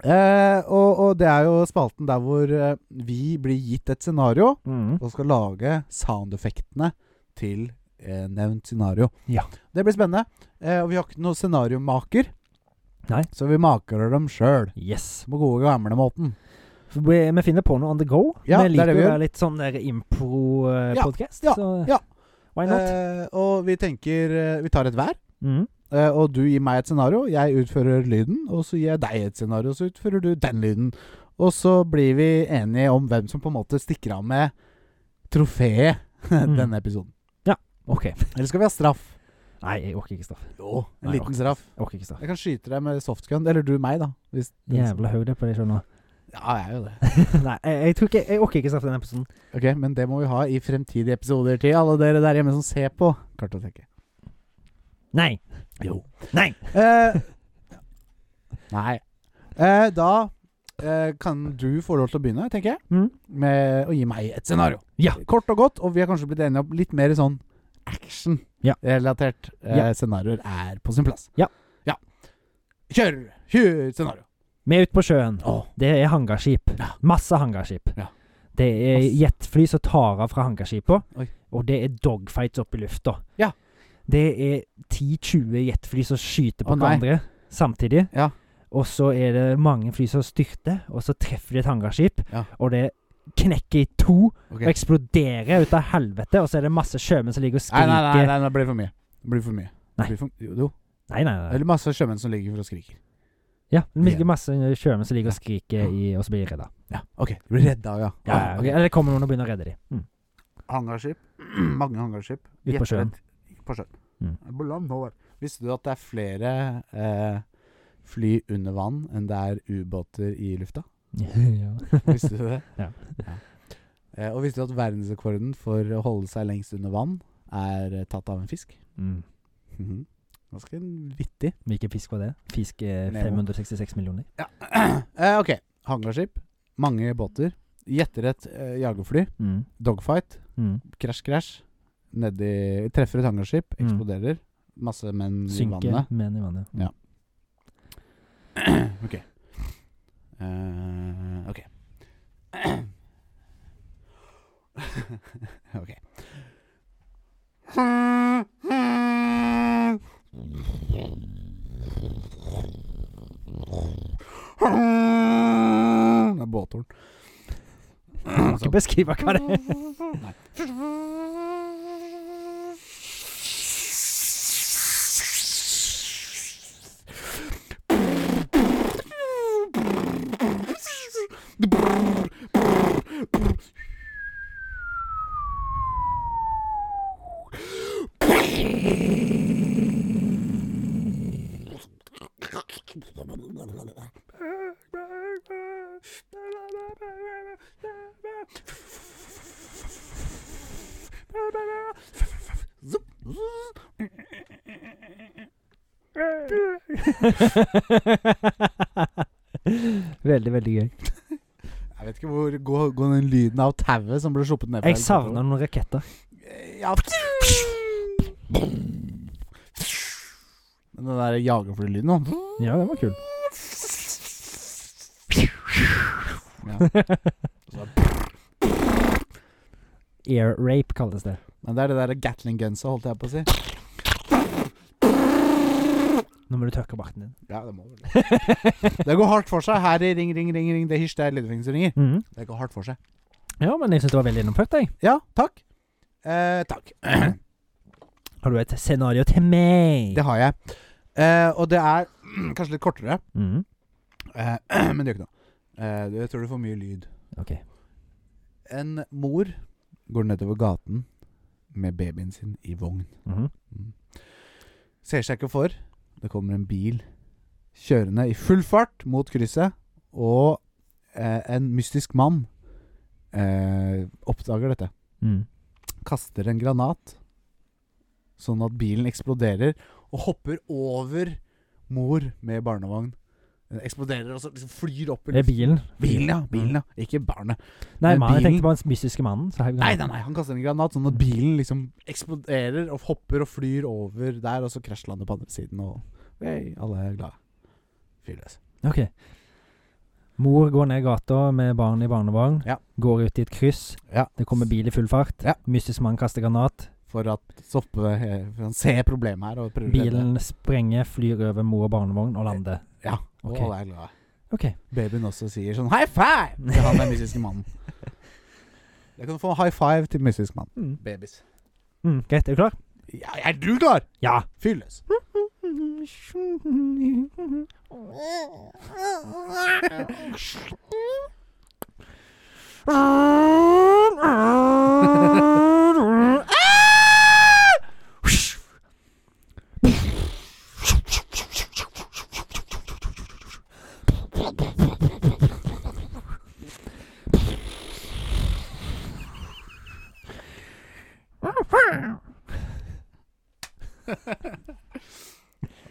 [SPEAKER 1] Eh, og, og det er jo spalten der hvor eh, vi blir gitt et scenario
[SPEAKER 2] Mm.
[SPEAKER 1] og skal lage soundeffektene til eh, nevnt scenario.
[SPEAKER 2] Ja.
[SPEAKER 1] Det blir spennende. Eh, og vi har ikke noen scenariomaker,
[SPEAKER 2] Nei.
[SPEAKER 1] så vi maker dem sjøl.
[SPEAKER 2] Yes.
[SPEAKER 1] På gode, gamle måten.
[SPEAKER 2] For Vi vi finner på noe on the go.
[SPEAKER 1] Ja,
[SPEAKER 2] vi
[SPEAKER 1] det er
[SPEAKER 2] liker
[SPEAKER 1] det vi
[SPEAKER 2] å
[SPEAKER 1] gjør.
[SPEAKER 2] være litt sånn der
[SPEAKER 1] Ja,
[SPEAKER 2] impro-podkast.
[SPEAKER 1] ja,
[SPEAKER 2] så
[SPEAKER 1] ja.
[SPEAKER 2] why not?
[SPEAKER 1] Eh, og vi tenker eh, Vi tar et hver.
[SPEAKER 2] mm.
[SPEAKER 1] Eh, og du gir meg et scenario, jeg utfører lyden. Og så gir jeg deg et scenario, så utfører du den lyden. Og så blir vi enige om hvem som på en måte stikker av med trofeet (laughs) denne episoden.
[SPEAKER 2] OK.
[SPEAKER 1] Eller skal vi ha straff?
[SPEAKER 2] Nei, jeg orker ikke straff.
[SPEAKER 1] Jo, en
[SPEAKER 2] Nei,
[SPEAKER 1] liten straff.
[SPEAKER 2] Jeg orker ikke straff.
[SPEAKER 1] Jeg kan skyte deg med softgun. Eller du meg, da. Hvis
[SPEAKER 2] Jævla høyde på det skjønner du.
[SPEAKER 1] Ja, jeg er jo det.
[SPEAKER 2] (laughs) Nei, jeg, jeg tror ikke Jeg orker ikke straff i denne episoden.
[SPEAKER 1] Ok, Men det må vi ha i fremtidige episoder til alle dere der hjemme som ser på Kartoteket.
[SPEAKER 2] Nei.
[SPEAKER 1] Jo.
[SPEAKER 2] Nei.
[SPEAKER 1] Eh, nei. Eh, da eh, kan du få lov til å begynne, tenker jeg,
[SPEAKER 2] Mm.
[SPEAKER 1] med å gi meg et scenario.
[SPEAKER 2] Ja.
[SPEAKER 1] Kort og godt, og vi har kanskje blitt enige om litt mer sånn
[SPEAKER 2] Ja.
[SPEAKER 1] action-relatert eh,
[SPEAKER 2] Ja.
[SPEAKER 1] scenarioer er på sin plass.
[SPEAKER 2] Ja.
[SPEAKER 1] ja. Kjør! Kjør scenario!
[SPEAKER 2] Vi er ute på sjøen.
[SPEAKER 1] Åh.
[SPEAKER 2] Det er hangarskip.
[SPEAKER 1] Ja.
[SPEAKER 2] Masse hangarskip.
[SPEAKER 1] Ja.
[SPEAKER 2] Det er
[SPEAKER 1] Masse.
[SPEAKER 2] jetfly som tar av fra hangarskipa,
[SPEAKER 1] Oi.
[SPEAKER 2] og det er dogfights oppe i lufta.
[SPEAKER 1] Ja.
[SPEAKER 2] Det er 10-20 jetfly som skyter på
[SPEAKER 1] Å, nei.
[SPEAKER 2] hverandre samtidig.
[SPEAKER 1] Ja.
[SPEAKER 2] Og så er det mange fly som styrter, og så treffer de et hangarskip,
[SPEAKER 1] Ja.
[SPEAKER 2] og det knekker i to
[SPEAKER 1] Ok.
[SPEAKER 2] og eksploderer ut av helvete, og så er det masse sjømenn som ligger og
[SPEAKER 1] Nei,
[SPEAKER 2] skriker.
[SPEAKER 1] nei, nei, nei, det blir for mye. Det blir for mye.
[SPEAKER 2] Nei.
[SPEAKER 1] Det blir for, jo, jo.
[SPEAKER 2] Nei, nei, nei.
[SPEAKER 1] Eller masse sjømenn som ligger for og skriker.
[SPEAKER 2] Ja, det
[SPEAKER 1] Ja.
[SPEAKER 2] ligger masse sjømenn som ligger og skriker, i, og så blir de redda.
[SPEAKER 1] Ja, OK. De blir redda, ja.
[SPEAKER 2] Ja, ja, ok. Eller det kommer noen og begynner å redde dem. Mm. (laughs)
[SPEAKER 1] Hangarskip. Mange hangarskip.
[SPEAKER 2] Ut på sjøen.
[SPEAKER 1] Jetbrett På sjøen.
[SPEAKER 2] Mm.
[SPEAKER 1] På land over. Visste du at det er flere eh, fly under vann enn det er ubåter i lufta? (laughs)
[SPEAKER 2] ja.
[SPEAKER 1] Visste du det?
[SPEAKER 2] (laughs) Ja.
[SPEAKER 1] Eh, og visste du at verdensrekorden for å holde seg lengst under vann er eh, tatt av en fisk?
[SPEAKER 2] Mm.
[SPEAKER 1] Mhm. Ganske vittig.
[SPEAKER 2] Hvilken fisk var det? Fisk eh,
[SPEAKER 1] Nemo.
[SPEAKER 2] 566 millioner.
[SPEAKER 1] Ja. eh, ok. Hangarskip. Mange båter. Gjetterett eh, jagerfly.
[SPEAKER 2] Mm.
[SPEAKER 1] Dogfight.
[SPEAKER 2] Mm.
[SPEAKER 1] Krasj, krasj. Nedi Treffer et hangarskip.
[SPEAKER 2] Mm.
[SPEAKER 1] Eksploderer. Masse menn i
[SPEAKER 2] Synke
[SPEAKER 1] vannet.
[SPEAKER 2] menn i vannet.
[SPEAKER 1] Ja. ok. Eh, ok. (coughs) ok. Det er båthorn.
[SPEAKER 2] Må ikke beskrive hva det er. veldig, veldig gøy.
[SPEAKER 1] (coughs) Jeg vet ikke hvor går går den lyden av tauet som ble sluppet ned fra
[SPEAKER 2] Jeg savner noen raketter.
[SPEAKER 1] helikopteret? Ja. Men Den der jagerflylyden nå.
[SPEAKER 2] Ja, den var kul.
[SPEAKER 1] Ja.
[SPEAKER 2] Air rape kalles det.
[SPEAKER 1] Men det er det der Gatling Gunsa, holdt jeg på å si.
[SPEAKER 2] Nå må du tørke barten din.
[SPEAKER 1] Ja, det må vel (laughs) det. Det går hardt for seg her i Ring, ring, ring, ring. Det hysj, det er Lillefinger som ringer.
[SPEAKER 2] Mhm.
[SPEAKER 1] Det går hardt for seg.
[SPEAKER 2] Ja, men jeg syns det var veldig gjennomført, jeg.
[SPEAKER 1] Ja, takk. Eh, takk.
[SPEAKER 2] Har du et scenario til meg?
[SPEAKER 1] Det har jeg. Eh, og det er (clears throat) kanskje litt kortere,
[SPEAKER 2] Mhm.
[SPEAKER 1] eh, (clears throat) men det gjør ikke noe. Eh, du- jeg tror du får mye lyd.
[SPEAKER 2] Ok.
[SPEAKER 1] En mor går nedover gaten med babyen sin i vogn.
[SPEAKER 2] Mhm.
[SPEAKER 1] Ser seg ikke for. Det kommer en bil kjørende i full fart mot krysset, og eh, en mystisk mann eh, oppdager dette.
[SPEAKER 2] Mhm.
[SPEAKER 1] kaster en granat, sånn at bilen eksploderer, og hopper over mor med barnevogn. Den eksploderer og så liksom flyr opp i
[SPEAKER 2] Det er
[SPEAKER 1] luften.
[SPEAKER 2] bilen.
[SPEAKER 1] Bilen, ja. Bilen, ja. Ikke barnet.
[SPEAKER 2] Nei,
[SPEAKER 1] Men
[SPEAKER 2] man, jeg
[SPEAKER 1] bilen-
[SPEAKER 2] tenkte på den mystiske mannen. Så har vi
[SPEAKER 1] Nei, nei, nei. Han kaster en granat, sånn at bilen liksom eksploderer og hopper og flyr over der, og så krasjlander på andre siden, og hey, alle er glade. Fyrløs.
[SPEAKER 2] Ok. Mor går ned gata med barn i barnevogn.
[SPEAKER 1] Ja.
[SPEAKER 2] Går ut i et kryss.
[SPEAKER 1] Ja.
[SPEAKER 2] Det kommer bil i full fart.
[SPEAKER 1] Ja.
[SPEAKER 2] Mystisk mann kaster granat.
[SPEAKER 1] For at stoppe eh, For han ser problemet her og prøver å redde det.
[SPEAKER 2] Bilen sprenger, flyr over mor og barnevogn og lander.
[SPEAKER 1] Ja. Og
[SPEAKER 2] Ok.
[SPEAKER 1] alle er glade.
[SPEAKER 2] Ok.
[SPEAKER 1] Babyen også sier sånn high (laughs) five til han den mystiske mannen. Jeg kan få high five til mystisk mann.
[SPEAKER 2] Mm.
[SPEAKER 1] Babys.
[SPEAKER 2] Mm, greit, er du klar?
[SPEAKER 1] Ja, er du klar?
[SPEAKER 2] Ja.
[SPEAKER 1] Fyr løs.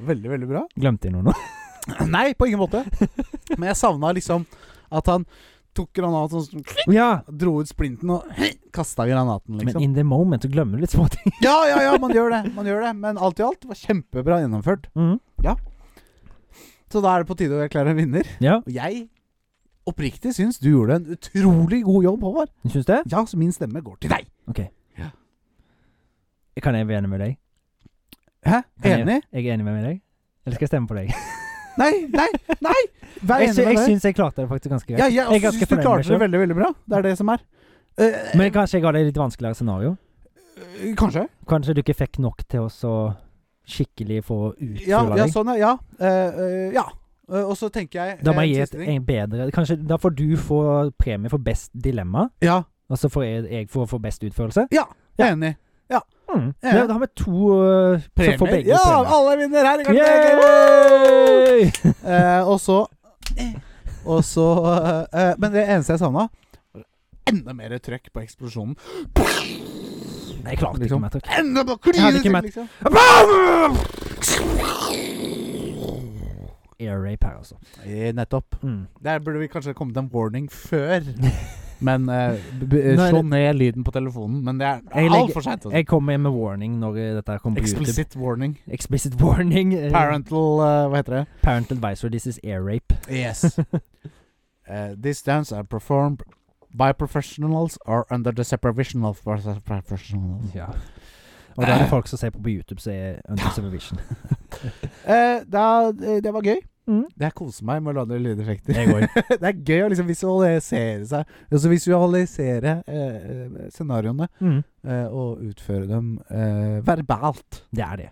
[SPEAKER 1] Veldig, veldig bra.
[SPEAKER 2] Glemte jeg
[SPEAKER 1] (laughs)
[SPEAKER 2] noe nå?
[SPEAKER 1] (clears throat) Nei, på ingen måte. Men jeg savna liksom at han tok granaten og sånn,
[SPEAKER 2] Ja.
[SPEAKER 1] dro ut splinten og (clears throat) kasta granaten,
[SPEAKER 2] Men
[SPEAKER 1] liksom.
[SPEAKER 2] in the moment så glemmer du litt små ting.
[SPEAKER 1] Ja, ja, ja, man gjør det. Man gjør det. Men alt i alt var kjempebra gjennomført.
[SPEAKER 2] Mm.
[SPEAKER 1] Så da er det på tide å erklære en vinner.
[SPEAKER 2] Ja,
[SPEAKER 1] Og jeg oppriktig syns du gjorde en utrolig god jobb, Håvard.
[SPEAKER 2] du syns det?
[SPEAKER 1] Ja, så min stemme går til deg.
[SPEAKER 2] Kan jeg være enig med deg?
[SPEAKER 1] Hæ?
[SPEAKER 2] Kan
[SPEAKER 1] Enig?
[SPEAKER 2] Jeg, jeg er enig med deg. Eller skal jeg stemme på deg?
[SPEAKER 1] Nei, nei, nei! Vær
[SPEAKER 2] Jeg, sy-
[SPEAKER 1] enig med
[SPEAKER 2] jeg
[SPEAKER 1] det.
[SPEAKER 2] syns jeg klarte det faktisk ganske greit.
[SPEAKER 1] Ja, jeg
[SPEAKER 2] jeg er
[SPEAKER 1] også
[SPEAKER 2] ganske
[SPEAKER 1] syns du
[SPEAKER 2] fornøyd med
[SPEAKER 1] klarte det
[SPEAKER 2] meg
[SPEAKER 1] veldig, veldig bra. Det er det som er. Eh,
[SPEAKER 2] Men kanskje jeg ga deg et litt vanskeligere scenario?
[SPEAKER 1] eh, kanskje.
[SPEAKER 2] Kanskje du ikke fikk nok til oss å skikkelig for å utføre
[SPEAKER 1] Ja, ja,
[SPEAKER 2] deg.
[SPEAKER 1] sånn, ja. ja. Eh, eh, ja. Eh, og så tenker jeg
[SPEAKER 2] Da må
[SPEAKER 1] eh,
[SPEAKER 2] jeg gi
[SPEAKER 1] siste
[SPEAKER 2] et
[SPEAKER 1] ting.
[SPEAKER 2] en bedre Kanskje da får du få premie for best dilemma,
[SPEAKER 1] Ja,
[SPEAKER 2] og så får jeg, jeg for å få best utførelse.
[SPEAKER 1] jeg er enig.
[SPEAKER 2] Mm.
[SPEAKER 1] Hmm, Ja.
[SPEAKER 2] Da, da har vi to uh, som får begge
[SPEAKER 1] Ja,
[SPEAKER 2] premier.
[SPEAKER 1] alle vinner her! i gang.
[SPEAKER 2] Yay!
[SPEAKER 1] Eh, og så Og så eh, eh, Men det eneste jeg savna, enda mer trøkk på eksplosjonen.
[SPEAKER 2] Nei, jeg klarte
[SPEAKER 1] Liksom.
[SPEAKER 2] ikke mer trykk.
[SPEAKER 1] Enda mer
[SPEAKER 2] Jeg hadde ikke
[SPEAKER 1] kline
[SPEAKER 2] møtt-
[SPEAKER 1] liksom.
[SPEAKER 2] Air rape her, altså.
[SPEAKER 1] Eh, Nettopp.
[SPEAKER 2] Mm.
[SPEAKER 1] Der burde vi kanskje kommet en warning (laughs) før. Men eh, b- b-
[SPEAKER 2] Nei,
[SPEAKER 1] slå
[SPEAKER 2] det-
[SPEAKER 1] ned lyden på telefonen. Men det
[SPEAKER 2] Jeg
[SPEAKER 1] er
[SPEAKER 2] legger-
[SPEAKER 1] altfor seint. Altså.
[SPEAKER 2] Jeg kommer med warning når eh, dette her kommer på YouTube.
[SPEAKER 1] Explicit warning.
[SPEAKER 2] Explicit (laughs) warning. eh,
[SPEAKER 1] Parental eh, Hva heter det?
[SPEAKER 2] Parent advisor, this is air rape.
[SPEAKER 1] (laughs) Yes. uh, these dance are performed by professionals or under the supervision of professionals.
[SPEAKER 2] Ja. Og da er det folk som ser på på YouTube, som er under supervision.
[SPEAKER 1] Eh, da, eh, det var gøy.
[SPEAKER 2] (laughs) Mm.
[SPEAKER 1] Det Jeg koser meg med å lage lydeffekter.
[SPEAKER 2] Jeg går.
[SPEAKER 1] (laughs) det er gøy å liksom visualisere seg Altså visualisere eh, eh, scenarioene
[SPEAKER 2] Mm.
[SPEAKER 1] eh, og utføre dem eh, verbalt.
[SPEAKER 2] Det er det.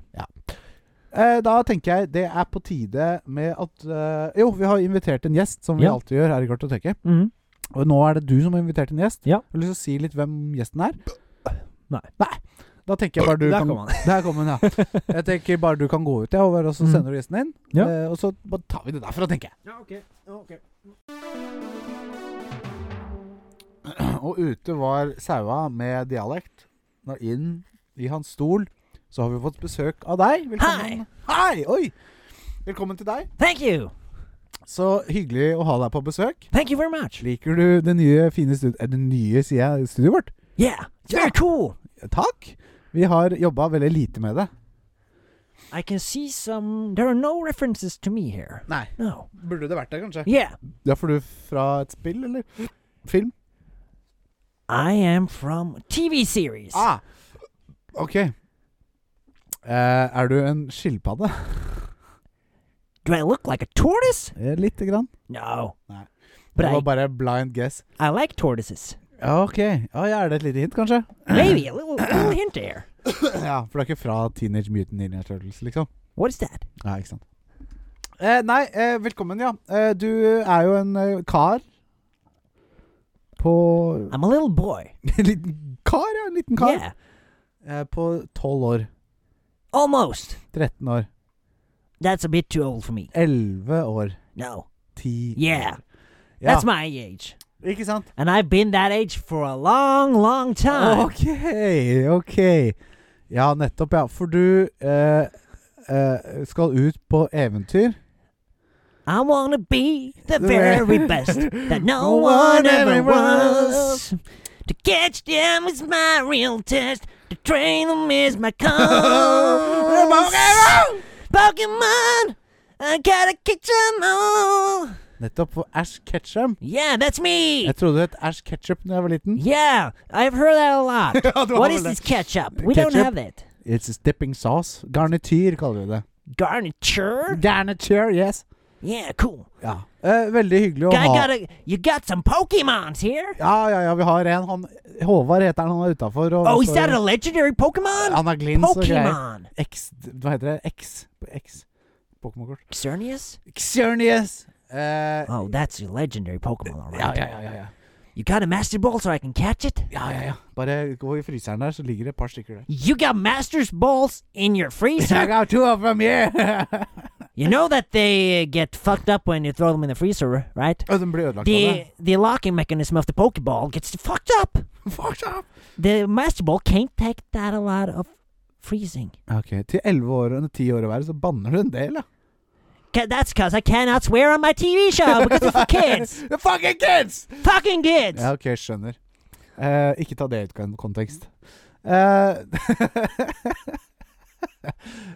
[SPEAKER 1] Eh, da tenker jeg det er på tide med at eh, Jo, vi har invitert en gjest, som vi
[SPEAKER 2] Ja.
[SPEAKER 1] alltid gjør her i Kartoteket.
[SPEAKER 2] Mm.
[SPEAKER 1] Og nå er det du som har invitert en gjest.
[SPEAKER 2] Ja.
[SPEAKER 1] Har du lyst til å si litt hvem gjesten er?
[SPEAKER 2] Nei.
[SPEAKER 1] Da tenker jeg bare du
[SPEAKER 2] Der
[SPEAKER 1] kan
[SPEAKER 2] kom han.
[SPEAKER 1] Der kom hun, ja. Jeg tenker bare du kan gå ut, ja, over, og så
[SPEAKER 2] Mm.
[SPEAKER 1] sender du gjesten inn.
[SPEAKER 2] Ja.
[SPEAKER 1] Eh, og så bare tar vi det derfra, tenker jeg.
[SPEAKER 2] Ja, okay.
[SPEAKER 1] (clears throat) Og ute var Saua med dialekt. Nå inn i hans stol så har vi fått besøk av deg. Velkommen. Hei! Oi! Velkommen til deg.
[SPEAKER 2] Thank you!
[SPEAKER 1] Så hyggelig å ha deg på besøk.
[SPEAKER 2] Thank you very much!
[SPEAKER 1] Liker du det nye, fine studioet eh, Det nye, sier jeg, studioet vårt?
[SPEAKER 2] Yeah, it's very cool!
[SPEAKER 1] Takk! Vi har jobba veldig lite med det.
[SPEAKER 2] I can see some There are no references to me here.
[SPEAKER 1] Nei.
[SPEAKER 2] No.
[SPEAKER 1] Burde det vært det, kanskje?
[SPEAKER 2] Yeah,
[SPEAKER 1] Ja, for du fra et spill, eller? Film?
[SPEAKER 2] I am from TV series.
[SPEAKER 1] Ah, ok. Eh, er du en skilpadde?
[SPEAKER 2] Do I look like a tortoise?
[SPEAKER 1] Eh, Lite grann.
[SPEAKER 2] No.
[SPEAKER 1] Nej.
[SPEAKER 2] But
[SPEAKER 1] Det
[SPEAKER 2] I,
[SPEAKER 1] var bare blind guess.
[SPEAKER 2] I like tortoises.
[SPEAKER 1] Ja, ok. Ja, ja, er det et lite hint, kanskje?
[SPEAKER 2] Maybe a little, little
[SPEAKER 1] (coughs)
[SPEAKER 2] hint there.
[SPEAKER 1] ja, For du er ikke fra Teenage Mutant Ninja Turtles, liksom?
[SPEAKER 2] What is that?
[SPEAKER 1] Ja, ikke sant. Eh, nei, eh, velkommen, ja. Eh, du er jo en eh, kar på
[SPEAKER 2] I'm a little boy.
[SPEAKER 1] En liten kar, ja. En liten kar.
[SPEAKER 2] Yeah,
[SPEAKER 1] Eh, på 12 år.
[SPEAKER 2] almost.
[SPEAKER 1] 13 år.
[SPEAKER 2] That's a bit too old for me.
[SPEAKER 1] 11 år.
[SPEAKER 2] No.
[SPEAKER 1] 10
[SPEAKER 2] Yeah,
[SPEAKER 1] Ja,
[SPEAKER 2] that's my age.
[SPEAKER 1] ikke sant?
[SPEAKER 2] And I've been that age for a long, long time.
[SPEAKER 1] Ok, ok. Ja, nettopp, ja. For du eh, eh, skal ut på eventyr.
[SPEAKER 2] I want to be the
[SPEAKER 1] The
[SPEAKER 2] very
[SPEAKER 1] ver-
[SPEAKER 2] best that
[SPEAKER 1] No
[SPEAKER 2] no one
[SPEAKER 1] one
[SPEAKER 2] ever
[SPEAKER 1] ever
[SPEAKER 2] was. To catch them is my real test. To train them is my cause. Pokemon, I gotta catch 'em all.
[SPEAKER 1] Nettopp. For Ash Ketchum.
[SPEAKER 2] Yeah, that's me.
[SPEAKER 1] Jeg trodde det het Ash Ketchup da jeg var liten.
[SPEAKER 2] Yeah, I've heard that a lot.
[SPEAKER 1] ja, du har
[SPEAKER 2] What
[SPEAKER 1] vel
[SPEAKER 2] is
[SPEAKER 1] det.
[SPEAKER 2] this ketchup? We don't
[SPEAKER 1] Ketchup?
[SPEAKER 2] have it.
[SPEAKER 1] It's a dipping sauce. Garnityr kaller vi det.
[SPEAKER 2] Garniture?
[SPEAKER 1] Garnityr, yes.
[SPEAKER 2] Yeah, cool.
[SPEAKER 1] Ja. Eh, veldig hyggelig å
[SPEAKER 2] I
[SPEAKER 1] ha.
[SPEAKER 2] gotta. You got some Pokemons here.
[SPEAKER 1] Ja, ja, ja, vi har en. Han, Håvard heter han, han er utafor.
[SPEAKER 2] Oh, is that a legendary Pokemon?
[SPEAKER 1] Han har glins og greier.
[SPEAKER 2] Pokemon!
[SPEAKER 1] X Hva heter det? X. X. Pokémon-kort.
[SPEAKER 2] Xerneas?
[SPEAKER 1] Xerneas. Eh,
[SPEAKER 2] Oh, that's a legendary Pokemon, alright.
[SPEAKER 1] ja, ja, ja, ja, ja.
[SPEAKER 2] You got a Master Ball so I can catch it?
[SPEAKER 1] Ja, ja, ja. Bare gå i fryseren der, så ligger det et par stykker der.
[SPEAKER 2] You got Master's Balls in your freezer?
[SPEAKER 1] (laughs) got two of them here!
[SPEAKER 2] you know that they uh, get fucked up when you throw them in the freezer, right?
[SPEAKER 1] (laughs) Og den blir ødelagt av
[SPEAKER 2] The
[SPEAKER 1] det.
[SPEAKER 2] the locking mechanism of the Pokeball gets fucked up.
[SPEAKER 1] Fuck up!
[SPEAKER 2] The Master Ball can't take that a lot of freezing.
[SPEAKER 1] Ok, til 11 år og 10 år å være, så banner du en del, ja.
[SPEAKER 2] 'Ca- That's because I cannot swear on my TV show because it's for kids.
[SPEAKER 1] The (laughs) fucking kids!
[SPEAKER 2] Fucking kids!
[SPEAKER 1] Ja, ok, skjønner. Eh, ikke ta det ut av kontekst. Eh, (laughs)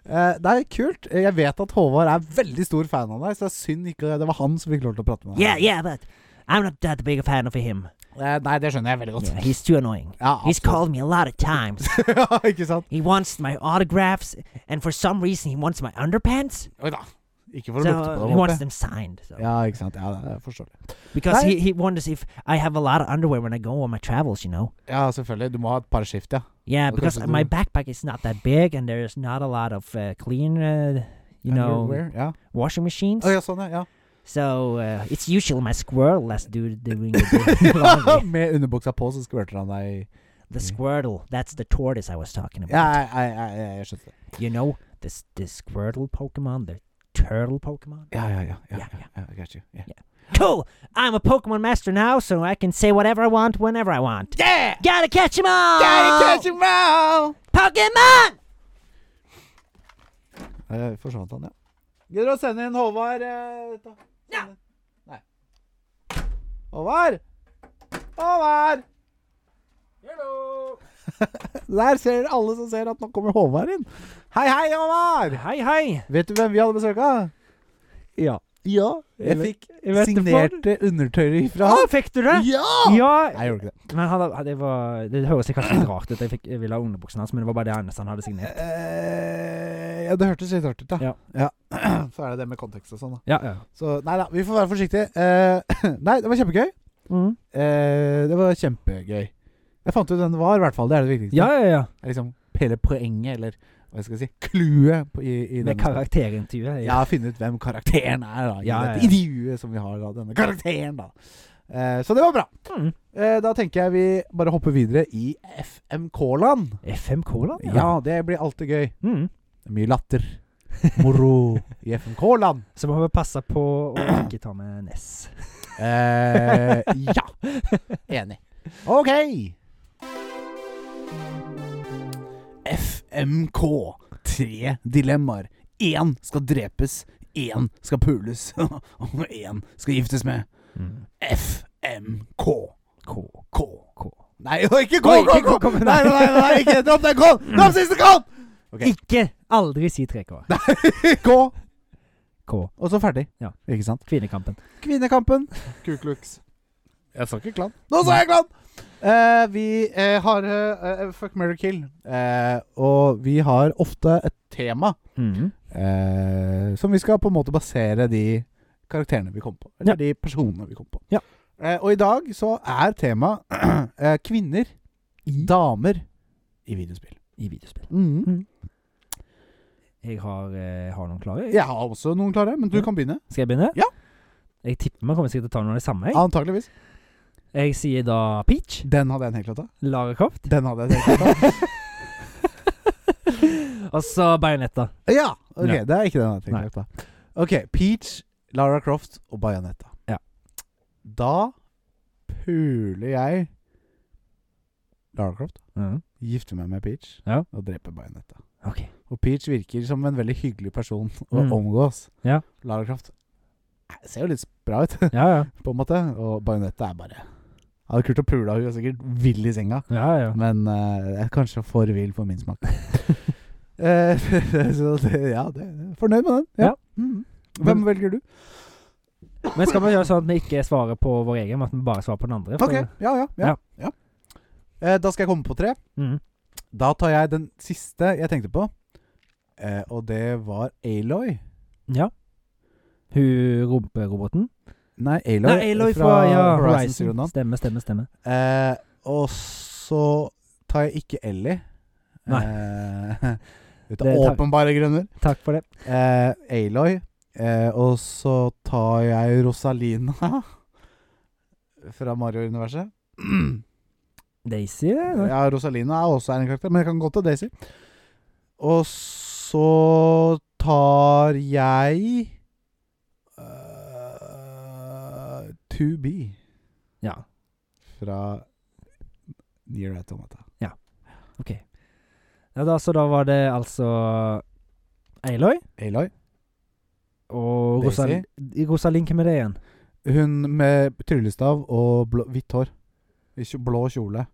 [SPEAKER 1] eh, det er kult. Jeg vet at Håvard er veldig stor fan av deg, så det er synd ikke det var han som fikk lov til å prate med deg.
[SPEAKER 2] Yeah, yeah, but I'm not that big a fan of him.
[SPEAKER 1] Eh, nei, det skjønner jeg veldig godt.
[SPEAKER 2] Yeah, he's too annoying.
[SPEAKER 1] Ja,
[SPEAKER 2] He's
[SPEAKER 1] absolutt.
[SPEAKER 2] called me a lot of times.
[SPEAKER 1] (laughs) ja, ikke sant?
[SPEAKER 2] He wants my autographs, and for some reason, he wants my underpants.
[SPEAKER 1] Oi da. Ikke for å
[SPEAKER 4] so
[SPEAKER 1] lukte på
[SPEAKER 4] he
[SPEAKER 1] dem.
[SPEAKER 4] wants
[SPEAKER 1] håper jeg.
[SPEAKER 4] them signed. So.
[SPEAKER 1] Ja, ikke sant. Ja, det er forståelig.
[SPEAKER 4] Because
[SPEAKER 1] Nei.
[SPEAKER 4] he, he wonders if I have a lot of underwear when I go on my travels, you know.
[SPEAKER 1] Ja, selvfølgelig. Du må ha et par skift, ja.
[SPEAKER 4] Yeah,
[SPEAKER 1] Okay,
[SPEAKER 4] because
[SPEAKER 1] so
[SPEAKER 4] my
[SPEAKER 1] the-
[SPEAKER 4] backpack is not that big and there's not a lot of uh, clean, uh, you know,
[SPEAKER 1] Underwear, Oh, ja.
[SPEAKER 4] washing machines.
[SPEAKER 1] Å ja, sånn, ja.
[SPEAKER 4] So uh, it's usually my squirreless dude doing the (laughs)
[SPEAKER 1] ja.
[SPEAKER 4] laundry.
[SPEAKER 1] (laughs) Med underbuksa på, så skvørter han deg i
[SPEAKER 4] The squirtle, that's the tortoise I was talking about.
[SPEAKER 1] Ja, jeg, jeg, jeg, jeg, jeg skjønte det.
[SPEAKER 4] You know, this this squirtle Pokemon, the turtle Pokemon.
[SPEAKER 1] Ja, ja, ja. ja,
[SPEAKER 4] Ja,
[SPEAKER 1] ja, ja I got you. Yeah.
[SPEAKER 4] Cool! I'm a Pokemon master now, so I can say whatever I want whenever I want. Yeah! Gotta catch 'em all!
[SPEAKER 1] him out!
[SPEAKER 4] Pokemon!
[SPEAKER 1] Eh, forsvant han, ja. Gidder du å sende inn Håvard? eh, ta- sende- Nei. Håvard! Håvard!
[SPEAKER 2] Hello!
[SPEAKER 1] (laughs) Der ser dere alle som ser at nå kommer Håvard inn. Hei, hei, Håvard!
[SPEAKER 2] Hei, hei!
[SPEAKER 1] Vet du hvem vi hadde besøk av?
[SPEAKER 2] Ja.
[SPEAKER 1] Ja, jeg
[SPEAKER 2] vet-
[SPEAKER 1] fikk
[SPEAKER 2] jeg vet det
[SPEAKER 1] signerte undertøy
[SPEAKER 2] Å,
[SPEAKER 1] fra
[SPEAKER 2] fikk du det?
[SPEAKER 1] Ah, Ja!
[SPEAKER 2] Ja,
[SPEAKER 1] Jeg gjorde ikke det.
[SPEAKER 2] men han, hadde- det, var, det høres kanskje litt rart ut. Jeg, fikk, jeg ville ha underbuksene hans, men det var bare det eneste han hadde signert.
[SPEAKER 1] Eh, ja, det hørtes litt rart ut, da.
[SPEAKER 2] Ja.
[SPEAKER 1] Ja. (clears throat) Så er det det med kontekst og sånn, da.
[SPEAKER 2] Ja, ja.
[SPEAKER 1] Så nei da, vi får være forsiktige. Eh, (clears throat) nei, det var kjempegøy.
[SPEAKER 2] Mm.
[SPEAKER 1] Eh, det var kjempegøy. Jeg fant ut hvem det var, i hvert fall. Det er det viktigste.
[SPEAKER 2] ja, ja, ja.
[SPEAKER 1] Det er liksom hele poenget, eller hva skal jeg si, clouet på- i, i
[SPEAKER 2] Med
[SPEAKER 1] denne spalten.
[SPEAKER 2] karakterintervjuet.
[SPEAKER 1] Ja, finne ut hvem karakteren er, da. I
[SPEAKER 2] Ja,
[SPEAKER 1] dette
[SPEAKER 2] ja.
[SPEAKER 1] intervjuet som vi har, da. Denne karakteren, da. Eh, så det var bra.
[SPEAKER 2] Mm.
[SPEAKER 1] Eh, da tenker jeg vi bare hopper videre i FMK-land.
[SPEAKER 2] FM Cola?
[SPEAKER 1] Ja. det blir alltid gøy.
[SPEAKER 2] Mm.
[SPEAKER 1] Mye latter. Moro i FMK-land.
[SPEAKER 2] Så må vi passe på å ikke ta med Ness.
[SPEAKER 1] Eh, ja. Enig. OK. FMK. Tre dilemmaer. Én skal drepes, én skal pules, (laughs) og én skal giftes med.
[SPEAKER 2] Mm.
[SPEAKER 1] FMK.
[SPEAKER 2] K.
[SPEAKER 1] K.
[SPEAKER 2] K.
[SPEAKER 1] Nei, jo, ikke K,
[SPEAKER 2] Oi,
[SPEAKER 1] K,
[SPEAKER 2] ikke
[SPEAKER 1] K!
[SPEAKER 2] K, K,
[SPEAKER 1] Nei, nei, nei, nei ikke dropp den K! Dropp siste K! Ok.
[SPEAKER 2] Ikke aldri si 3K.
[SPEAKER 1] K,
[SPEAKER 2] K.
[SPEAKER 1] og så ferdig.
[SPEAKER 2] Ja.
[SPEAKER 1] Ikke sant?
[SPEAKER 2] Kvinnekampen.
[SPEAKER 1] Kvinnekampen. Kuklux. Jeg sa ikke klan. Nå sa jeg klan! Eh, vi eh, har eh, eh, Fuck, marry, kill. Eh, og vi har ofte et tema
[SPEAKER 2] Mhm.
[SPEAKER 1] eh, som vi skal på en måte basere de karakterene vi kom på. Eller
[SPEAKER 2] Ja.
[SPEAKER 1] de personene vi kom på.
[SPEAKER 2] Ja.
[SPEAKER 1] Eh, og i dag så er tema (clears throat) eh, kvinner, damer, i videospill.
[SPEAKER 2] I videospill.
[SPEAKER 1] Mm.
[SPEAKER 2] Jeg har, eh, har noen klare.
[SPEAKER 1] Jeg har også noen klare, men du
[SPEAKER 2] Ja.
[SPEAKER 1] kan begynne.
[SPEAKER 2] Skal jeg begynne?
[SPEAKER 1] Ja.
[SPEAKER 2] Jeg tipper vi kommer sikkert til å ta noen av de samme. Jeg.
[SPEAKER 1] Antakeligvis.
[SPEAKER 2] jeg sier da Peach.
[SPEAKER 1] Den hadde jeg en hel klatt av.
[SPEAKER 2] Lara (laughs) Croft.
[SPEAKER 1] Den hadde jeg en hel klatt av.
[SPEAKER 2] Og så Bajonetta.
[SPEAKER 1] ja, ok,
[SPEAKER 2] Ja.
[SPEAKER 1] det er ikke den jeg
[SPEAKER 2] Nei.
[SPEAKER 1] hadde tenkt av. Ok, Peach, Lara Croft og Bayanetta.
[SPEAKER 2] Ja.
[SPEAKER 1] Da puler jeg Lara Croft,
[SPEAKER 2] Mhm.
[SPEAKER 1] gifter meg med Peach
[SPEAKER 2] Ja.
[SPEAKER 1] og dreper Bayanetta.
[SPEAKER 2] Ok.
[SPEAKER 1] Og Peach virker som en veldig hyggelig person (laughs) å
[SPEAKER 2] Mm.
[SPEAKER 1] omgås.
[SPEAKER 2] Ja.
[SPEAKER 1] Lara Croft eh, ser jo litt bra ut, (laughs)
[SPEAKER 2] Ja, ja.
[SPEAKER 1] på en måte. Og Bajonetta er bare Hadde kult å pule henne, hun er sikkert vill i senga.
[SPEAKER 2] ja, ja.
[SPEAKER 1] Men eh, jeg er kanskje for vill for min smak. (laughs) Eh, (laughs) så det, ja, det, fornøyd med den. Ja.
[SPEAKER 2] Ja.
[SPEAKER 1] Mhm. Hvem velger du?
[SPEAKER 2] Men skal vi gjøre sånn at vi ikke svarer på vår egen, men at vi bare svarer på den andre? For-
[SPEAKER 1] Ok, ja, ja. ja,
[SPEAKER 2] Ja.
[SPEAKER 1] ja. Eh, da skal jeg komme på tre.
[SPEAKER 2] Mhm.
[SPEAKER 1] Da tar jeg den siste jeg tenkte på. Eh, og det var Aloy.
[SPEAKER 2] Ja. Hun rumperoboten?
[SPEAKER 1] Nei, Aloy,
[SPEAKER 2] Nei, Aloy fra, ja,
[SPEAKER 1] Horizon,
[SPEAKER 2] Horizon.
[SPEAKER 1] Zero Dawn.
[SPEAKER 2] Stemme, stemme, stemme.
[SPEAKER 1] Eh, og så tar jeg ikke Ellie.
[SPEAKER 2] Nei.
[SPEAKER 1] Eh, (laughs) ut av
[SPEAKER 2] Det tar-
[SPEAKER 1] åpenbare grunner.
[SPEAKER 2] Takk for det.
[SPEAKER 1] eh, Aloy, eh, og så tar jeg Rosalina (laughs) fra Mario-universet.
[SPEAKER 2] Daisy? Ja.
[SPEAKER 1] Ja, Rosalina er også en karakter, men jeg kan gå til Daisy. Og så tar jeg eh, To Be
[SPEAKER 2] ja.
[SPEAKER 1] fra Near Automata.
[SPEAKER 2] Ok. Ja, da, så da var det altså Aloy
[SPEAKER 1] Aloy.
[SPEAKER 2] og
[SPEAKER 1] Daisy.
[SPEAKER 2] Rosal Rosalind, hvem er det igjen?
[SPEAKER 1] Hun med tryllestav og blå, hvitt hår. I kjo- Blå kjole.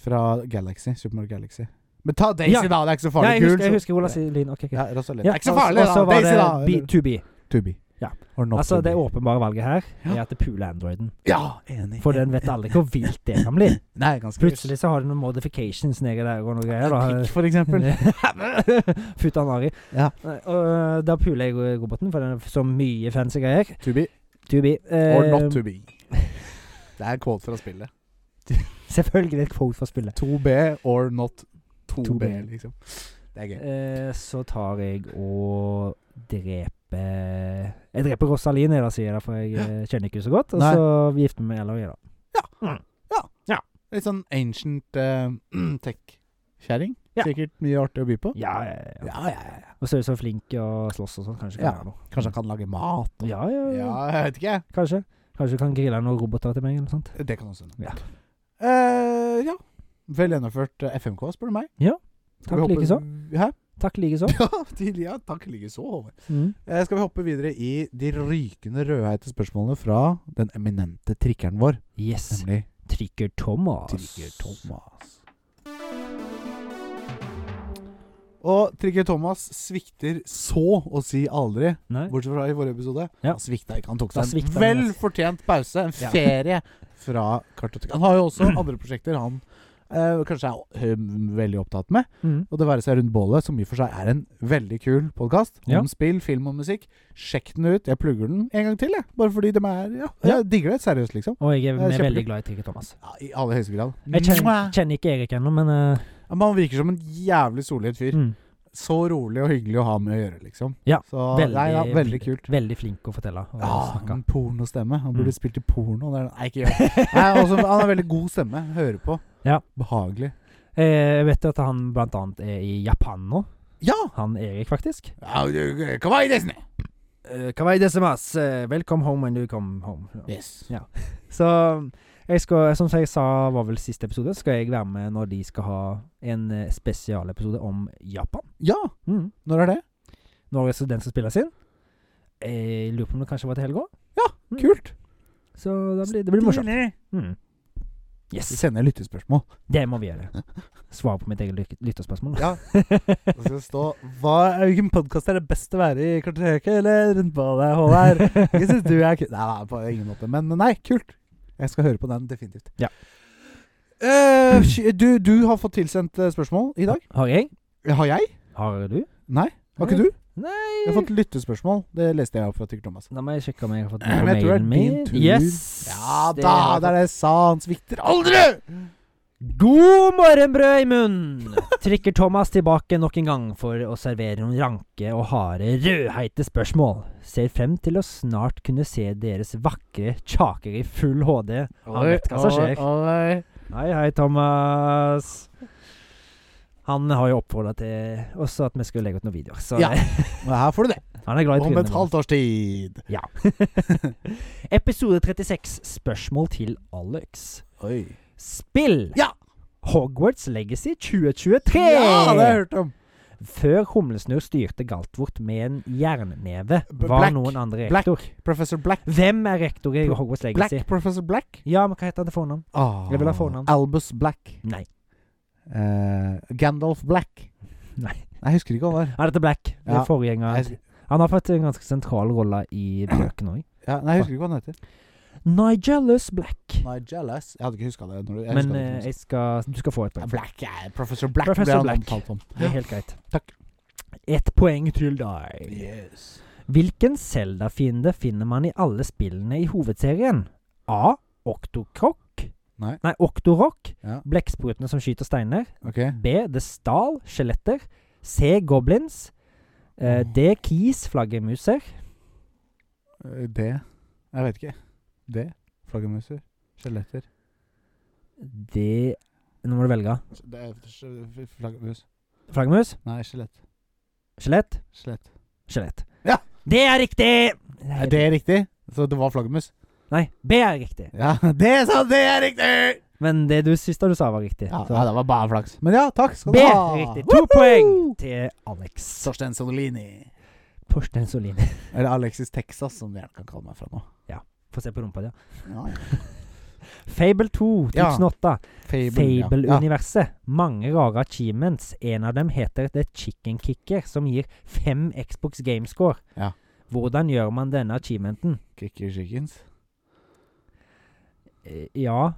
[SPEAKER 1] Fra Galaxy. Super Mario Galaxy. Men ta Daisy,
[SPEAKER 2] Ja.
[SPEAKER 1] da! Det er ikke så
[SPEAKER 2] Ja,
[SPEAKER 1] farlig.
[SPEAKER 2] jeg husker, jeg
[SPEAKER 1] Kul, så-
[SPEAKER 2] husker Rosalind. Ok, ok.
[SPEAKER 1] Ja, Rosalind.
[SPEAKER 2] Ja,
[SPEAKER 1] Det er ikke så
[SPEAKER 2] og-
[SPEAKER 1] farlig,
[SPEAKER 2] og så
[SPEAKER 1] da!
[SPEAKER 2] var
[SPEAKER 1] Daisy,
[SPEAKER 2] det
[SPEAKER 1] da!
[SPEAKER 2] Be- To be.
[SPEAKER 1] Tubi.
[SPEAKER 2] Ja.
[SPEAKER 1] Or not
[SPEAKER 2] Altså,
[SPEAKER 1] to
[SPEAKER 2] det
[SPEAKER 1] be.
[SPEAKER 2] åpenbare valget her er at det puler androiden.
[SPEAKER 1] Ja, enig.
[SPEAKER 2] For den vet aldri hvor vilt det kan bli.
[SPEAKER 1] (laughs) Nei, ganske
[SPEAKER 2] Plutselig så har du noen modifications nedi der og noe greier.
[SPEAKER 1] Pikk, for
[SPEAKER 2] (laughs)
[SPEAKER 1] eksempel.
[SPEAKER 2] da. Futanari.
[SPEAKER 1] Ja.
[SPEAKER 2] Eh, Og da puler jeg roboten, for den er så mye fancy greier.
[SPEAKER 1] To be
[SPEAKER 2] To Eh, be.
[SPEAKER 1] or not
[SPEAKER 2] (laughs)
[SPEAKER 1] to be. Det er en quote fra spillet.
[SPEAKER 2] Selvfølgelig et quote fra spillet.
[SPEAKER 1] 2B or not 2B,
[SPEAKER 2] 2B.
[SPEAKER 1] liksom. Det er gøy.
[SPEAKER 2] Eh, så tar jeg og dreper Jeg dreper Rosalien, jeg da, sier jeg, da, for jeg eh, kjenner ikke henne så godt. Og
[SPEAKER 1] Nei.
[SPEAKER 2] så gifter vi meg med Eloy, da.
[SPEAKER 1] Litt sånn ancient eh, (clears throat) tech-kjerring.
[SPEAKER 2] Ja.
[SPEAKER 1] Sikkert mye artig å by på.
[SPEAKER 2] Ja, ja, ja.
[SPEAKER 1] Ja, ja, ja, ja.
[SPEAKER 2] Og så er hun så flink og slåss og sånn. Kanskje kan
[SPEAKER 1] Ja.
[SPEAKER 2] jeg gjøre noe.
[SPEAKER 1] Kanskje han kan lage mat? og-
[SPEAKER 2] Ja, ja, ja.
[SPEAKER 1] Ja, jeg vet ikke, jeg.
[SPEAKER 2] Kanskje. Kanskje du kan grille noen roboter til meg, eller noe sånt.
[SPEAKER 1] Det kan også hende.
[SPEAKER 2] Ja.
[SPEAKER 1] Eh, ja. Vel gjennomført eh, FMK, spør du meg.
[SPEAKER 2] Ja.
[SPEAKER 1] Skal vi
[SPEAKER 2] Takk
[SPEAKER 1] hoppe-
[SPEAKER 2] likeså.
[SPEAKER 1] Hæ?
[SPEAKER 2] Takk likeså.
[SPEAKER 1] (laughs) Ja, til, ja, takk likeså, Håvard.
[SPEAKER 2] Mm.
[SPEAKER 1] Eh, skal vi hoppe videre i de rykende rødheite spørsmålene fra den eminente trikkeren vår,
[SPEAKER 2] Yes.
[SPEAKER 1] nemlig
[SPEAKER 2] Trikker Thomas.
[SPEAKER 1] Trigger Thomas. Og Trigger Thomas svikter så å si aldri,
[SPEAKER 2] Nei.
[SPEAKER 1] bortsett fra i forrige episode.
[SPEAKER 2] Ja.
[SPEAKER 1] Han svikta ikke. Han tok seg
[SPEAKER 2] Da
[SPEAKER 1] en
[SPEAKER 2] svikta han,
[SPEAKER 1] vel
[SPEAKER 2] yes.
[SPEAKER 1] fortjent pause, en
[SPEAKER 2] Ja.
[SPEAKER 1] ferie, fra kartoteket. Han har jo
[SPEAKER 2] (clears throat)
[SPEAKER 1] også andre prosjekter han eh, kanskje er eh, veldig opptatt med.
[SPEAKER 2] Mm.
[SPEAKER 1] Og Det være seg Rundt bålet, som i og for seg er en veldig kul podkast om
[SPEAKER 2] Ja.
[SPEAKER 1] spill, film og musikk. Sjekk den ut. Jeg plugger den en gang til, jeg. Bare fordi de er Ja,
[SPEAKER 2] Ja.
[SPEAKER 1] jeg digger det. Seriøst, liksom.
[SPEAKER 2] Og jeg er
[SPEAKER 1] Det er
[SPEAKER 2] veldig
[SPEAKER 1] kjempegøy.
[SPEAKER 2] glad i Trikker Thomas.
[SPEAKER 1] Ja, I aller høyeste grad.
[SPEAKER 2] Jeg kjenner,
[SPEAKER 1] Mwah!
[SPEAKER 2] kjenner ikke Erik ennå, men eh,
[SPEAKER 1] Ja, men Han virker som en jævlig solid fyr.
[SPEAKER 2] mm.
[SPEAKER 1] Så rolig og hyggelig å ha med å gjøre, liksom.
[SPEAKER 2] Ja,
[SPEAKER 1] Så, nei, ja, veldig kult.
[SPEAKER 2] Veldig flink å fortelle og
[SPEAKER 1] Ja,
[SPEAKER 2] snakke.
[SPEAKER 1] en Ah, pornostemme. Han burde
[SPEAKER 2] Mm.
[SPEAKER 1] spilt i porno. Det er, nei, ikke gjør det. Nei, også, Han har veldig god stemme. Hører på.
[SPEAKER 2] Ja.
[SPEAKER 1] Behagelig.
[SPEAKER 2] Eh, jeg vet at han blant annet er i Japan nå.
[SPEAKER 1] Ja!
[SPEAKER 2] Han Erik, faktisk.
[SPEAKER 1] ja du- du- Kawaii Disney!
[SPEAKER 2] Kawai desimas, Eh, welcome home when you come home.
[SPEAKER 1] Yes.
[SPEAKER 2] Så jeg skal, som jeg sa var vel siste episode, skal jeg være med når de skal ha en eh, spesialepisode om Japan.
[SPEAKER 1] Ja!
[SPEAKER 2] Mm.
[SPEAKER 1] Når er det?
[SPEAKER 2] Når er den som spiller sin? Jeg lurer på om det kanskje var til helga. Mm.
[SPEAKER 1] Kult!
[SPEAKER 2] Så da blir, det blir morsomt.
[SPEAKER 1] Stilig.
[SPEAKER 2] Mm. Yes.
[SPEAKER 1] Vi sender lyttespørsmål.
[SPEAKER 2] Det må vi gjøre. Svare på mitt eget lyt- lytterspørsmål. (laughs)
[SPEAKER 1] Ja. Det skal stå hva, Hvilken podkast er det best å være i kartoteket eller rundt på deg, Håvard? Ikke synes du er kult. Nei, nei, på ingen måte. Men nei, kult. Jeg skal høre på den, definitivt.
[SPEAKER 2] Ja.
[SPEAKER 1] Eh, sh- du, du har fått tilsendt eh, spørsmål i dag.
[SPEAKER 2] Har jeg?
[SPEAKER 1] Har jeg?
[SPEAKER 2] Har du?
[SPEAKER 1] Nei. Har ikke du?
[SPEAKER 2] Nei
[SPEAKER 1] Jeg har fått lyttespørsmål. Det leste jeg opp fra Tykker Thomas.
[SPEAKER 2] Da må jeg sjekke om jeg har fått
[SPEAKER 1] Men jeg tror det er
[SPEAKER 2] mailen min.
[SPEAKER 1] din tur.
[SPEAKER 2] Yes!
[SPEAKER 1] Ja
[SPEAKER 2] det
[SPEAKER 1] da,
[SPEAKER 2] har jeg
[SPEAKER 1] det er det jeg sa. Han svikter aldri!
[SPEAKER 2] God morgenbrød i munnen! Trykker Thomas tilbake nok en gang for å servere noen ranke og harde, rødheite spørsmål. Ser frem til å snart kunne se deres vakre kjaker i full HD. Han vet hva som skjer. Hei, hei, Thomas. Han har jo oppfordra til også at vi skulle legge ut noen videoer. Så
[SPEAKER 1] Ja. Men her får du det.
[SPEAKER 2] (laughs) han er glad i
[SPEAKER 1] Om
[SPEAKER 2] trynet
[SPEAKER 1] et
[SPEAKER 2] vårt.
[SPEAKER 1] halvt års tid.
[SPEAKER 2] Ja. Episode 36, spørsmål til Alex.
[SPEAKER 1] Oi.
[SPEAKER 2] Spill!
[SPEAKER 1] Ja!
[SPEAKER 2] Hogwarts Legacy 2023!
[SPEAKER 1] Ja, det har jeg hørt om.
[SPEAKER 2] Før Humlesnurr styrte Galtvort med en jernneve,
[SPEAKER 1] B-
[SPEAKER 2] var
[SPEAKER 1] Black.
[SPEAKER 2] noen andre
[SPEAKER 1] Black.
[SPEAKER 2] rektor.
[SPEAKER 1] Professor Black.
[SPEAKER 2] Hvem er rektor i Hogwarts
[SPEAKER 1] Black,
[SPEAKER 2] Legacy?
[SPEAKER 1] Professor Black?
[SPEAKER 2] Ja, men hva heter han til fornavn?
[SPEAKER 1] Ah,
[SPEAKER 2] Jeg vil ha fornavn.
[SPEAKER 1] Albus Black.
[SPEAKER 2] Nei.
[SPEAKER 1] Eh, Gandalf Black.
[SPEAKER 2] Nei.
[SPEAKER 1] Jeg husker ikke hva det var.
[SPEAKER 2] Er dette Black? Det
[SPEAKER 1] Ja.
[SPEAKER 2] er forgjengeren.
[SPEAKER 1] Jeg-
[SPEAKER 2] Han har fått en ganske sentral rolle i bøkene òg.
[SPEAKER 1] Ja, nei, jeg husker ikke hva han heter.
[SPEAKER 2] Nigelus Black.
[SPEAKER 1] Nigelus. Jeg hadde ikke huska det. Når du, jeg
[SPEAKER 2] Men
[SPEAKER 1] husket det
[SPEAKER 2] eh,
[SPEAKER 1] ikke.
[SPEAKER 2] jeg skal, du skal få et poeng.
[SPEAKER 1] Black, ja, eh, Professor Black
[SPEAKER 2] Professor
[SPEAKER 1] ble han
[SPEAKER 2] Black.
[SPEAKER 1] omtalt som.
[SPEAKER 2] Det er helt greit.
[SPEAKER 1] Takk.
[SPEAKER 2] Ett poeng til deg.
[SPEAKER 1] Yes.
[SPEAKER 2] Hvilken Zelda-fiende finner man i alle spillene i hovedserien? A. Oktokrok.
[SPEAKER 1] Nei.
[SPEAKER 2] Nei, Oktorok.
[SPEAKER 1] Ja.
[SPEAKER 2] Blekksprutene som skyter steiner.
[SPEAKER 1] Ok.
[SPEAKER 2] B. The Stal. Skjeletter. C. Goblins. Eh, D. Keys. Flaggermuser.
[SPEAKER 1] Eh, Det Jeg vet ikke. Det. Flaggermuser. Skjeletter.
[SPEAKER 2] D Nå må du velge.
[SPEAKER 1] Det er skj- Flaggermus.
[SPEAKER 2] Flaggermus.
[SPEAKER 1] Nei, skjelett.
[SPEAKER 2] Skjelett.
[SPEAKER 1] Skjelett.
[SPEAKER 2] Skjelett.
[SPEAKER 1] Ja.
[SPEAKER 2] Det er riktig!
[SPEAKER 1] Er det riktig? Så det var flaggermus?
[SPEAKER 2] Nei, B er riktig.
[SPEAKER 1] Ja, (laughs) det sa det er riktig!
[SPEAKER 2] Men det du siste du sa, var riktig.
[SPEAKER 1] Ja,
[SPEAKER 2] Så-
[SPEAKER 1] nei, det var bare flaks. Men ja, takk skal
[SPEAKER 2] B
[SPEAKER 1] du
[SPEAKER 2] er
[SPEAKER 1] ha.
[SPEAKER 2] riktig. To
[SPEAKER 1] Woohoo!
[SPEAKER 2] poeng til Alex.
[SPEAKER 1] Torstein Solini.
[SPEAKER 2] Torstein Solin.
[SPEAKER 1] Eller Alexis Texas, som de gjerne kan kalle meg fra nå.
[SPEAKER 2] Få se på rumpa di.
[SPEAKER 1] Ja, ja.
[SPEAKER 2] Fable 2,
[SPEAKER 1] Ja.
[SPEAKER 2] 2008.
[SPEAKER 1] ja.
[SPEAKER 2] Fable-universet. Mange rare achievements. En av dem heter The Chicken Kicker, som gir fem Xbox Gamescore.
[SPEAKER 1] Ja.
[SPEAKER 2] Hvordan gjør man denne achievementen?
[SPEAKER 1] Kicker chickens. (laughs)
[SPEAKER 2] Eh, Ja,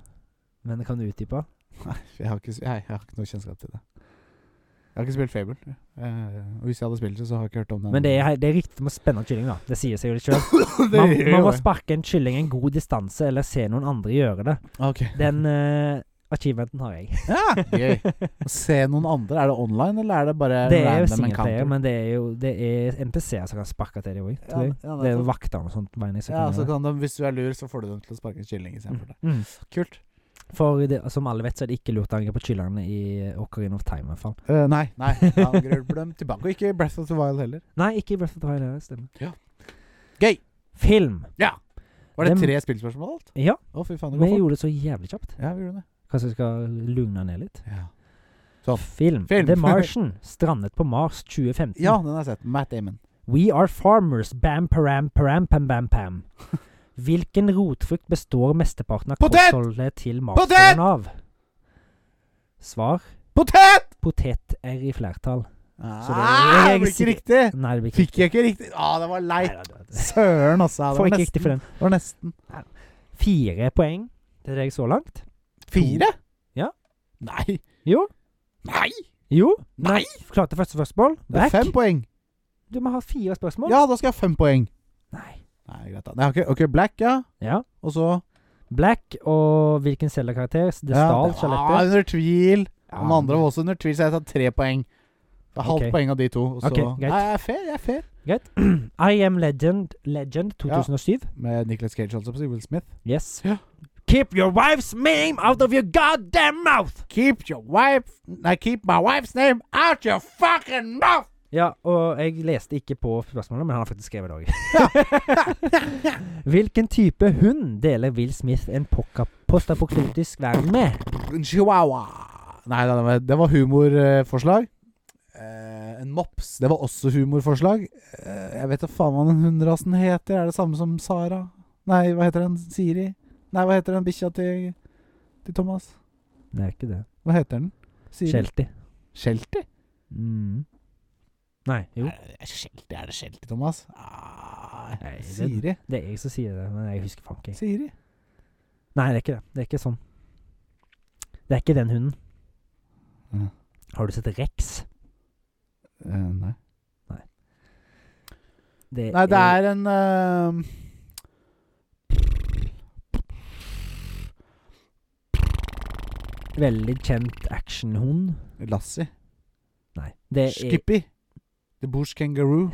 [SPEAKER 2] men kan du utdype?
[SPEAKER 1] Nei, jeg har, ikke, s- jeg, jeg har ikke noe kjennskap til det. Jeg har ikke spilt Fable. Eh, og hvis jeg hadde spilt det, så har jeg ikke hørt om den.
[SPEAKER 2] Men det er, det er riktig med spennende kylling, da. Det sier seg jo litt sjøl. Man,
[SPEAKER 1] gjør
[SPEAKER 2] man
[SPEAKER 1] (laughs)
[SPEAKER 2] må
[SPEAKER 1] det.
[SPEAKER 2] sparke en kylling en god distanse, eller se noen andre gjøre det.
[SPEAKER 1] Ok. (laughs)
[SPEAKER 2] Den eh, achievementen har jeg.
[SPEAKER 1] Ja, gøy. Å Se noen andre. Er det online, eller er det bare
[SPEAKER 2] Det er jo
[SPEAKER 1] random
[SPEAKER 2] singleplayer,
[SPEAKER 1] encounter?
[SPEAKER 2] men det er jo det er NPC-er som kan sparke til dem òg.
[SPEAKER 1] ja,
[SPEAKER 2] jeg.
[SPEAKER 1] ja,
[SPEAKER 2] Det er jo
[SPEAKER 1] nettopp.
[SPEAKER 2] vakter og sånt. mener jeg, som
[SPEAKER 1] ja,
[SPEAKER 2] kan
[SPEAKER 1] så
[SPEAKER 2] gjøre det.
[SPEAKER 1] kan de, hvis du er lur, så får du dem til å sparke en kylling istedenfor det.
[SPEAKER 2] Mm.
[SPEAKER 1] Kult.
[SPEAKER 2] For det, som alle vet, så er det ikke lurt å angripe kyllingene i Ocarina of Time. i hvert fall
[SPEAKER 1] Eh, nei, nei. Angrer på dem tilbake. Og ikke Breath of the Wild heller.
[SPEAKER 2] Nei, ikke i Breath of the Wild. det Stemmer.
[SPEAKER 1] Ja. Gøy.
[SPEAKER 2] Film.
[SPEAKER 1] Var det
[SPEAKER 2] Dem-
[SPEAKER 1] tre spillspørsmål alt?
[SPEAKER 2] Ja,
[SPEAKER 1] Å, fy faen, det
[SPEAKER 2] vi
[SPEAKER 1] går fort.
[SPEAKER 2] gjorde det så jævlig kjapt.
[SPEAKER 1] Ja, vi gjorde det.
[SPEAKER 2] Kanskje vi skal lugne ned litt.
[SPEAKER 1] Ja.
[SPEAKER 2] Film.
[SPEAKER 1] Film.
[SPEAKER 2] The Martian. Strandet på Mars 2015.
[SPEAKER 1] ja, den har jeg sett. Matt Damon.
[SPEAKER 2] We are farmers. Bam, param, param, pam, bam, pam. Hvilken rotfrukt består mesteparten av
[SPEAKER 1] Potet!
[SPEAKER 2] kostholdet til
[SPEAKER 1] Potet!
[SPEAKER 2] marsfrøen av? Svar
[SPEAKER 1] Potet!
[SPEAKER 2] potet er i flertall.
[SPEAKER 1] Ah,
[SPEAKER 2] Så det- jeg-
[SPEAKER 1] det
[SPEAKER 2] jeg-
[SPEAKER 1] blir ikke riktig!
[SPEAKER 2] Nei, det blir ikke
[SPEAKER 1] Fikk jeg ikke riktig? Å, det var
[SPEAKER 2] Nei,
[SPEAKER 1] leit.
[SPEAKER 2] da, da, da.
[SPEAKER 1] Søren, altså. Det
[SPEAKER 2] Får
[SPEAKER 1] var
[SPEAKER 2] ikke
[SPEAKER 1] nesten.
[SPEAKER 2] riktig for den.
[SPEAKER 1] Det var nesten.
[SPEAKER 2] Fire poeng til deg så langt.
[SPEAKER 1] Fire?
[SPEAKER 2] Ja.
[SPEAKER 1] Nei.
[SPEAKER 2] Jo.
[SPEAKER 1] Nei!
[SPEAKER 2] Jo.
[SPEAKER 1] Nei!
[SPEAKER 2] Klarte første spørsmål.
[SPEAKER 1] Det er
[SPEAKER 2] Back.
[SPEAKER 1] fem poeng.
[SPEAKER 2] Du må ha fire spørsmål.
[SPEAKER 1] Ja, da skal jeg ha fem poeng.
[SPEAKER 2] Nei.
[SPEAKER 1] Nei, greit da. Nei, ok, ok, Black, ja.
[SPEAKER 2] Ja.
[SPEAKER 1] Og så
[SPEAKER 2] Black og hvilken Zelda-karakter? Det
[SPEAKER 1] ja,
[SPEAKER 2] stal
[SPEAKER 1] det var
[SPEAKER 2] skjelettet.
[SPEAKER 1] Under tvil.
[SPEAKER 2] Ja,
[SPEAKER 1] Den andre var også under tvil, så jeg tar tre poeng. Det er halvt
[SPEAKER 2] Ok.
[SPEAKER 1] poeng av de to. Og så
[SPEAKER 2] Ok, greit.
[SPEAKER 1] Nei, jeg er fair. Jeg er fair.
[SPEAKER 2] Greit. (clears throat) I Am Legend, Legend 2007.
[SPEAKER 1] Med Nicholas Cage, altså, på Will Smith.
[SPEAKER 2] Yes.
[SPEAKER 1] Ja.
[SPEAKER 2] Keep your wife's name out of your goddamn mouth!
[SPEAKER 1] Keep your wife Nei, keep my wife's name out your fucking mouth!
[SPEAKER 2] Ja, og jeg leste ikke på spørsmålet, men han har faktisk skrevet det òg. (laughs) Hvilken type hund deler Will Smith en poka- postapokalyptisk verden med?
[SPEAKER 1] Chihuahua. Nei, det var, det var humorforslag. Eh, en mops. Det var også humorforslag. Eh, jeg vet da faen hva den hundrasen heter. Er det samme som Sara? Nei, hva heter den? Siri? Nei, hva heter den bikkja til, til Thomas?
[SPEAKER 2] Det er ikke det.
[SPEAKER 1] Hva heter den? Siri?
[SPEAKER 2] Shelty.
[SPEAKER 1] Shelty?
[SPEAKER 2] Mm. Nei, jo.
[SPEAKER 1] Er det Shelty? Eh, Er det Shelty, Thomas? Ah,
[SPEAKER 2] Nei, det-
[SPEAKER 1] Siri?
[SPEAKER 2] Det er jeg som sier det, men jeg husker faen ikke.
[SPEAKER 1] Siri?
[SPEAKER 2] Nei, det er ikke det. Det er ikke sånn. Det er ikke den hunden.
[SPEAKER 1] Mhm.
[SPEAKER 2] Har du sett Rex?
[SPEAKER 1] Eh, nei.
[SPEAKER 2] Det
[SPEAKER 1] Nei, det er en eh,
[SPEAKER 2] veldig kjent Eh, actionhund.
[SPEAKER 1] Lassie.
[SPEAKER 2] Nei. Det er
[SPEAKER 1] Skippy. The Bush Kangaroo.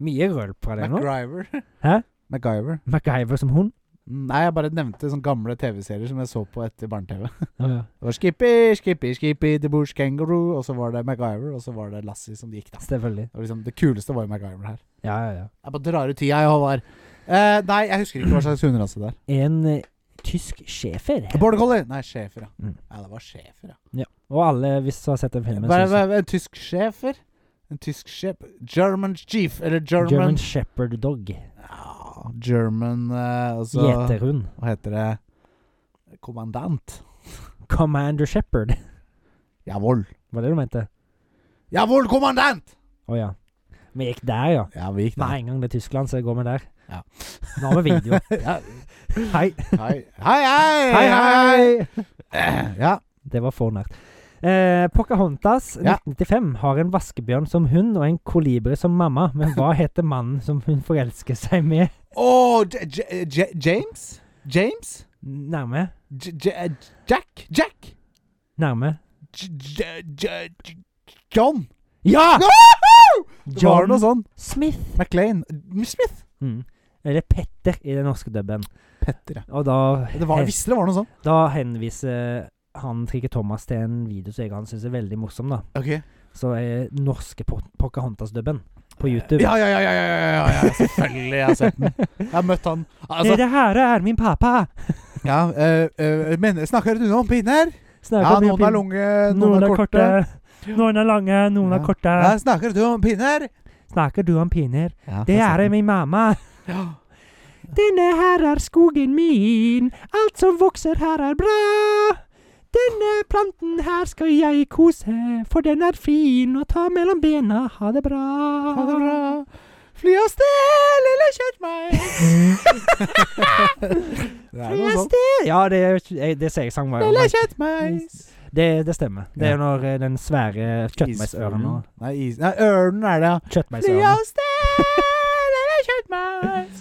[SPEAKER 2] mye rølp fra det nå.
[SPEAKER 1] MacGyver.
[SPEAKER 2] Hæ?
[SPEAKER 1] MacGyver.
[SPEAKER 2] MacGyver som hund.
[SPEAKER 1] Nei, jeg bare nevnte sånne gamle TV-serier som jeg så på etter barne-TV.
[SPEAKER 2] ja.
[SPEAKER 1] Det var Skippy, Skippy, Skippy, The Bush Kangaroo, og så var det MacGyver, og så var det Lassie som gikk, da.
[SPEAKER 2] Selvfølgelig.
[SPEAKER 1] Det, var liksom, det kuleste var jo MacGyver her.
[SPEAKER 2] Ja, ja, ja.
[SPEAKER 1] Jeg bare drar ut tida, jeg, Håvard. Eh, nei, jeg husker ikke hva slags hunderase det er.
[SPEAKER 2] En eh, tysk schæfer.
[SPEAKER 1] Border collie! Nei, schæfer, ja.
[SPEAKER 2] Mm.
[SPEAKER 1] Ja, det var schæfer, ja.
[SPEAKER 2] Og alle, hvis du har sett den filmen
[SPEAKER 1] Hva-
[SPEAKER 2] synes-
[SPEAKER 1] hva- hva- en tysk schæfer? En tysk schæfer German chief, eller German
[SPEAKER 2] German
[SPEAKER 1] German,
[SPEAKER 2] Shepherd Dog.
[SPEAKER 1] ja, German eh, altså,
[SPEAKER 2] Gjeterhund.
[SPEAKER 1] Hva heter det? Kommandant.
[SPEAKER 2] Commander Shepherd. (laughs)
[SPEAKER 1] Jawohl.
[SPEAKER 2] Var det du mente?
[SPEAKER 1] Jawohl, kommandant!
[SPEAKER 2] Å ja. Vi gikk der, ja.
[SPEAKER 1] Ja, vi gikk
[SPEAKER 2] Med en gang det er Tyskland, så går vi der.
[SPEAKER 1] Ja.
[SPEAKER 2] Nå har
[SPEAKER 1] (laughs)
[SPEAKER 2] vi video.
[SPEAKER 1] Ja,
[SPEAKER 2] Hei.
[SPEAKER 1] Hei, hei! Hei,
[SPEAKER 2] Hei, hei!
[SPEAKER 1] Eh, Ja.
[SPEAKER 2] Det var for nært. Eh, Pocahontas
[SPEAKER 1] Ja.
[SPEAKER 2] 1995 har en vaskebjørn som hund og en kolibri som mamma. Men
[SPEAKER 1] (laughs)
[SPEAKER 2] hva heter mannen som hun forelsker seg med?
[SPEAKER 1] Åh, J- J- J- James? James?
[SPEAKER 2] Nærme.
[SPEAKER 1] J- J- eh, Jack? Jack?
[SPEAKER 2] Nærme.
[SPEAKER 1] J- J- J- J- John?
[SPEAKER 2] Ja!
[SPEAKER 1] Woohoo! Det var
[SPEAKER 2] John
[SPEAKER 1] noe sånn.
[SPEAKER 2] Smith.
[SPEAKER 1] MacLaine. M- Smith?
[SPEAKER 2] Mm. Eller Petter i den norske dubben.
[SPEAKER 1] Petter, ja.
[SPEAKER 2] Og da,
[SPEAKER 1] Det var, jeg visste det var noe sånn.
[SPEAKER 2] da henviser han Trikke Thomas til en video som jeg han syns er veldig morsom, da.
[SPEAKER 1] Ok.
[SPEAKER 2] Så er norske Po- Pocahontas-dubben på
[SPEAKER 1] Eh,
[SPEAKER 2] YouTube.
[SPEAKER 1] Ja, ja, ja, ja, ja, ja, ja, ja. selvfølgelig. Jeg har sett den. Jeg har møtt han. (laughs) Altså,
[SPEAKER 2] det her er min pappa!
[SPEAKER 1] ja, eh, eh, men snakker du nå om pinner? Ja,
[SPEAKER 2] Snakker om
[SPEAKER 1] noen er
[SPEAKER 2] pin-
[SPEAKER 1] lange, noen er korte.
[SPEAKER 2] Noen er lange, noen
[SPEAKER 1] Ja.
[SPEAKER 2] er korte.
[SPEAKER 1] Ja, snakker du om pinner?
[SPEAKER 2] Snakker du om piner?
[SPEAKER 1] Ja, Altså.
[SPEAKER 2] Det
[SPEAKER 1] jeg har
[SPEAKER 2] er
[SPEAKER 1] sett den.
[SPEAKER 2] min mamma.
[SPEAKER 1] Ja.
[SPEAKER 2] Denne her er skogen min. Alt som vokser her er bra. Denne planten her skal jeg kose, for den er fin å ta mellom bena. Ha det bra.
[SPEAKER 1] Ha det bra. Fly av sted, lille kjøttmeis! (laughs) det er
[SPEAKER 2] Fly
[SPEAKER 1] noe
[SPEAKER 2] av
[SPEAKER 1] sånt.
[SPEAKER 2] Ja, det, er jo- jeg- det ser jeg sang var
[SPEAKER 1] Lille
[SPEAKER 2] jo-
[SPEAKER 1] kjøttmeis.
[SPEAKER 2] det, det stemmer. Det
[SPEAKER 1] Ja.
[SPEAKER 2] er når eh, den svære kjøttmeisørnen og
[SPEAKER 1] Nei, is... Nei, ørnen er det, ja. Fly
[SPEAKER 2] Kjøttmeisørnen.
[SPEAKER 1] av sted, lille kjøttmeis.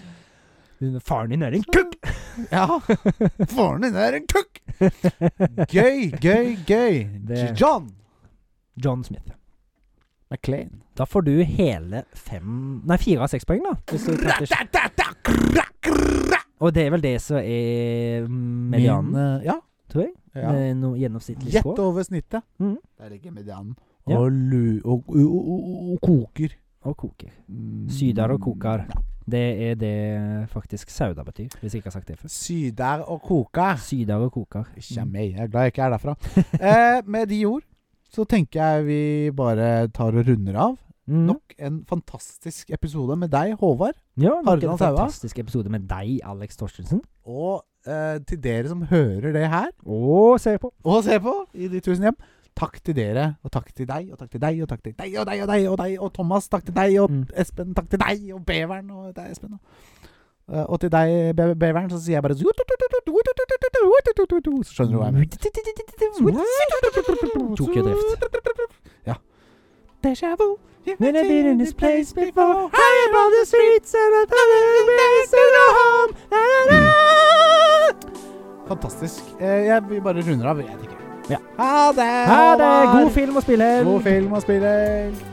[SPEAKER 2] Faren din er en
[SPEAKER 1] (laughs)
[SPEAKER 2] kukk!
[SPEAKER 1] Ja. Faren din er en (laughs) kukk! Gøy, gøy, gøy.
[SPEAKER 2] Det-
[SPEAKER 1] John
[SPEAKER 2] John Smith.
[SPEAKER 1] McLean.
[SPEAKER 2] Da får du hele fem Nei, fire av seks poeng, da. Hvis du klarte ikke- og det er vel det som er medianen,
[SPEAKER 1] Min, eh, ja. Eh,
[SPEAKER 2] tror jeg.
[SPEAKER 1] ja.
[SPEAKER 2] Med noe gjennomsnittlig
[SPEAKER 1] Gjett
[SPEAKER 2] score.
[SPEAKER 1] over snittet.
[SPEAKER 2] Mhm.
[SPEAKER 1] Der ligger medianen.
[SPEAKER 2] Ja.
[SPEAKER 1] Mm. Og, lu, og, og, og, og koker.
[SPEAKER 2] Og koker.
[SPEAKER 1] Mm.
[SPEAKER 2] Syder og koker.
[SPEAKER 1] Ja.
[SPEAKER 2] Det er det faktisk sauda betyr, hvis jeg ikke har sagt det før.
[SPEAKER 1] Syder og koker.
[SPEAKER 2] Syder og koker.
[SPEAKER 1] Ikke meg. Jeg er glad jeg ikke er derfra. (laughs) eh, med de ord så tenker jeg vi bare tar og runder av.
[SPEAKER 2] Mm.
[SPEAKER 1] Nok en fantastisk episode med deg, Håvard.
[SPEAKER 2] Ja, nok en
[SPEAKER 1] Harald Saua.
[SPEAKER 2] fantastisk episode med deg, Alex Torstensen.
[SPEAKER 1] Og eh, til dere som hører det her
[SPEAKER 2] Og ser på.
[SPEAKER 1] og ser på i de tusen hjem. Takk til dere, og takk til deg, og takk til deg, og takk til deg, og deg, og deg, og deg, og Thomas, takk til deg, og
[SPEAKER 2] Mm.
[SPEAKER 1] Espen, takk til deg, og Beveren, og deg, Espen. Eh, Og til deg, Be- Beveren, så sier jeg bare Så skjønner du hva jeg mener.
[SPEAKER 2] Tokyo Drift.
[SPEAKER 1] Ja. Deja vu. You've
[SPEAKER 2] Never been in this place before.
[SPEAKER 1] I am on the streets and I thought I'd home. Na, na, na. Fantastisk. Eh, Jeg vi bare runder av, jeg tenker.
[SPEAKER 2] Ja.
[SPEAKER 1] Ha det!
[SPEAKER 2] Ha det!
[SPEAKER 1] Håvard.
[SPEAKER 2] God film og spillhelg!
[SPEAKER 1] God film og spillehelg!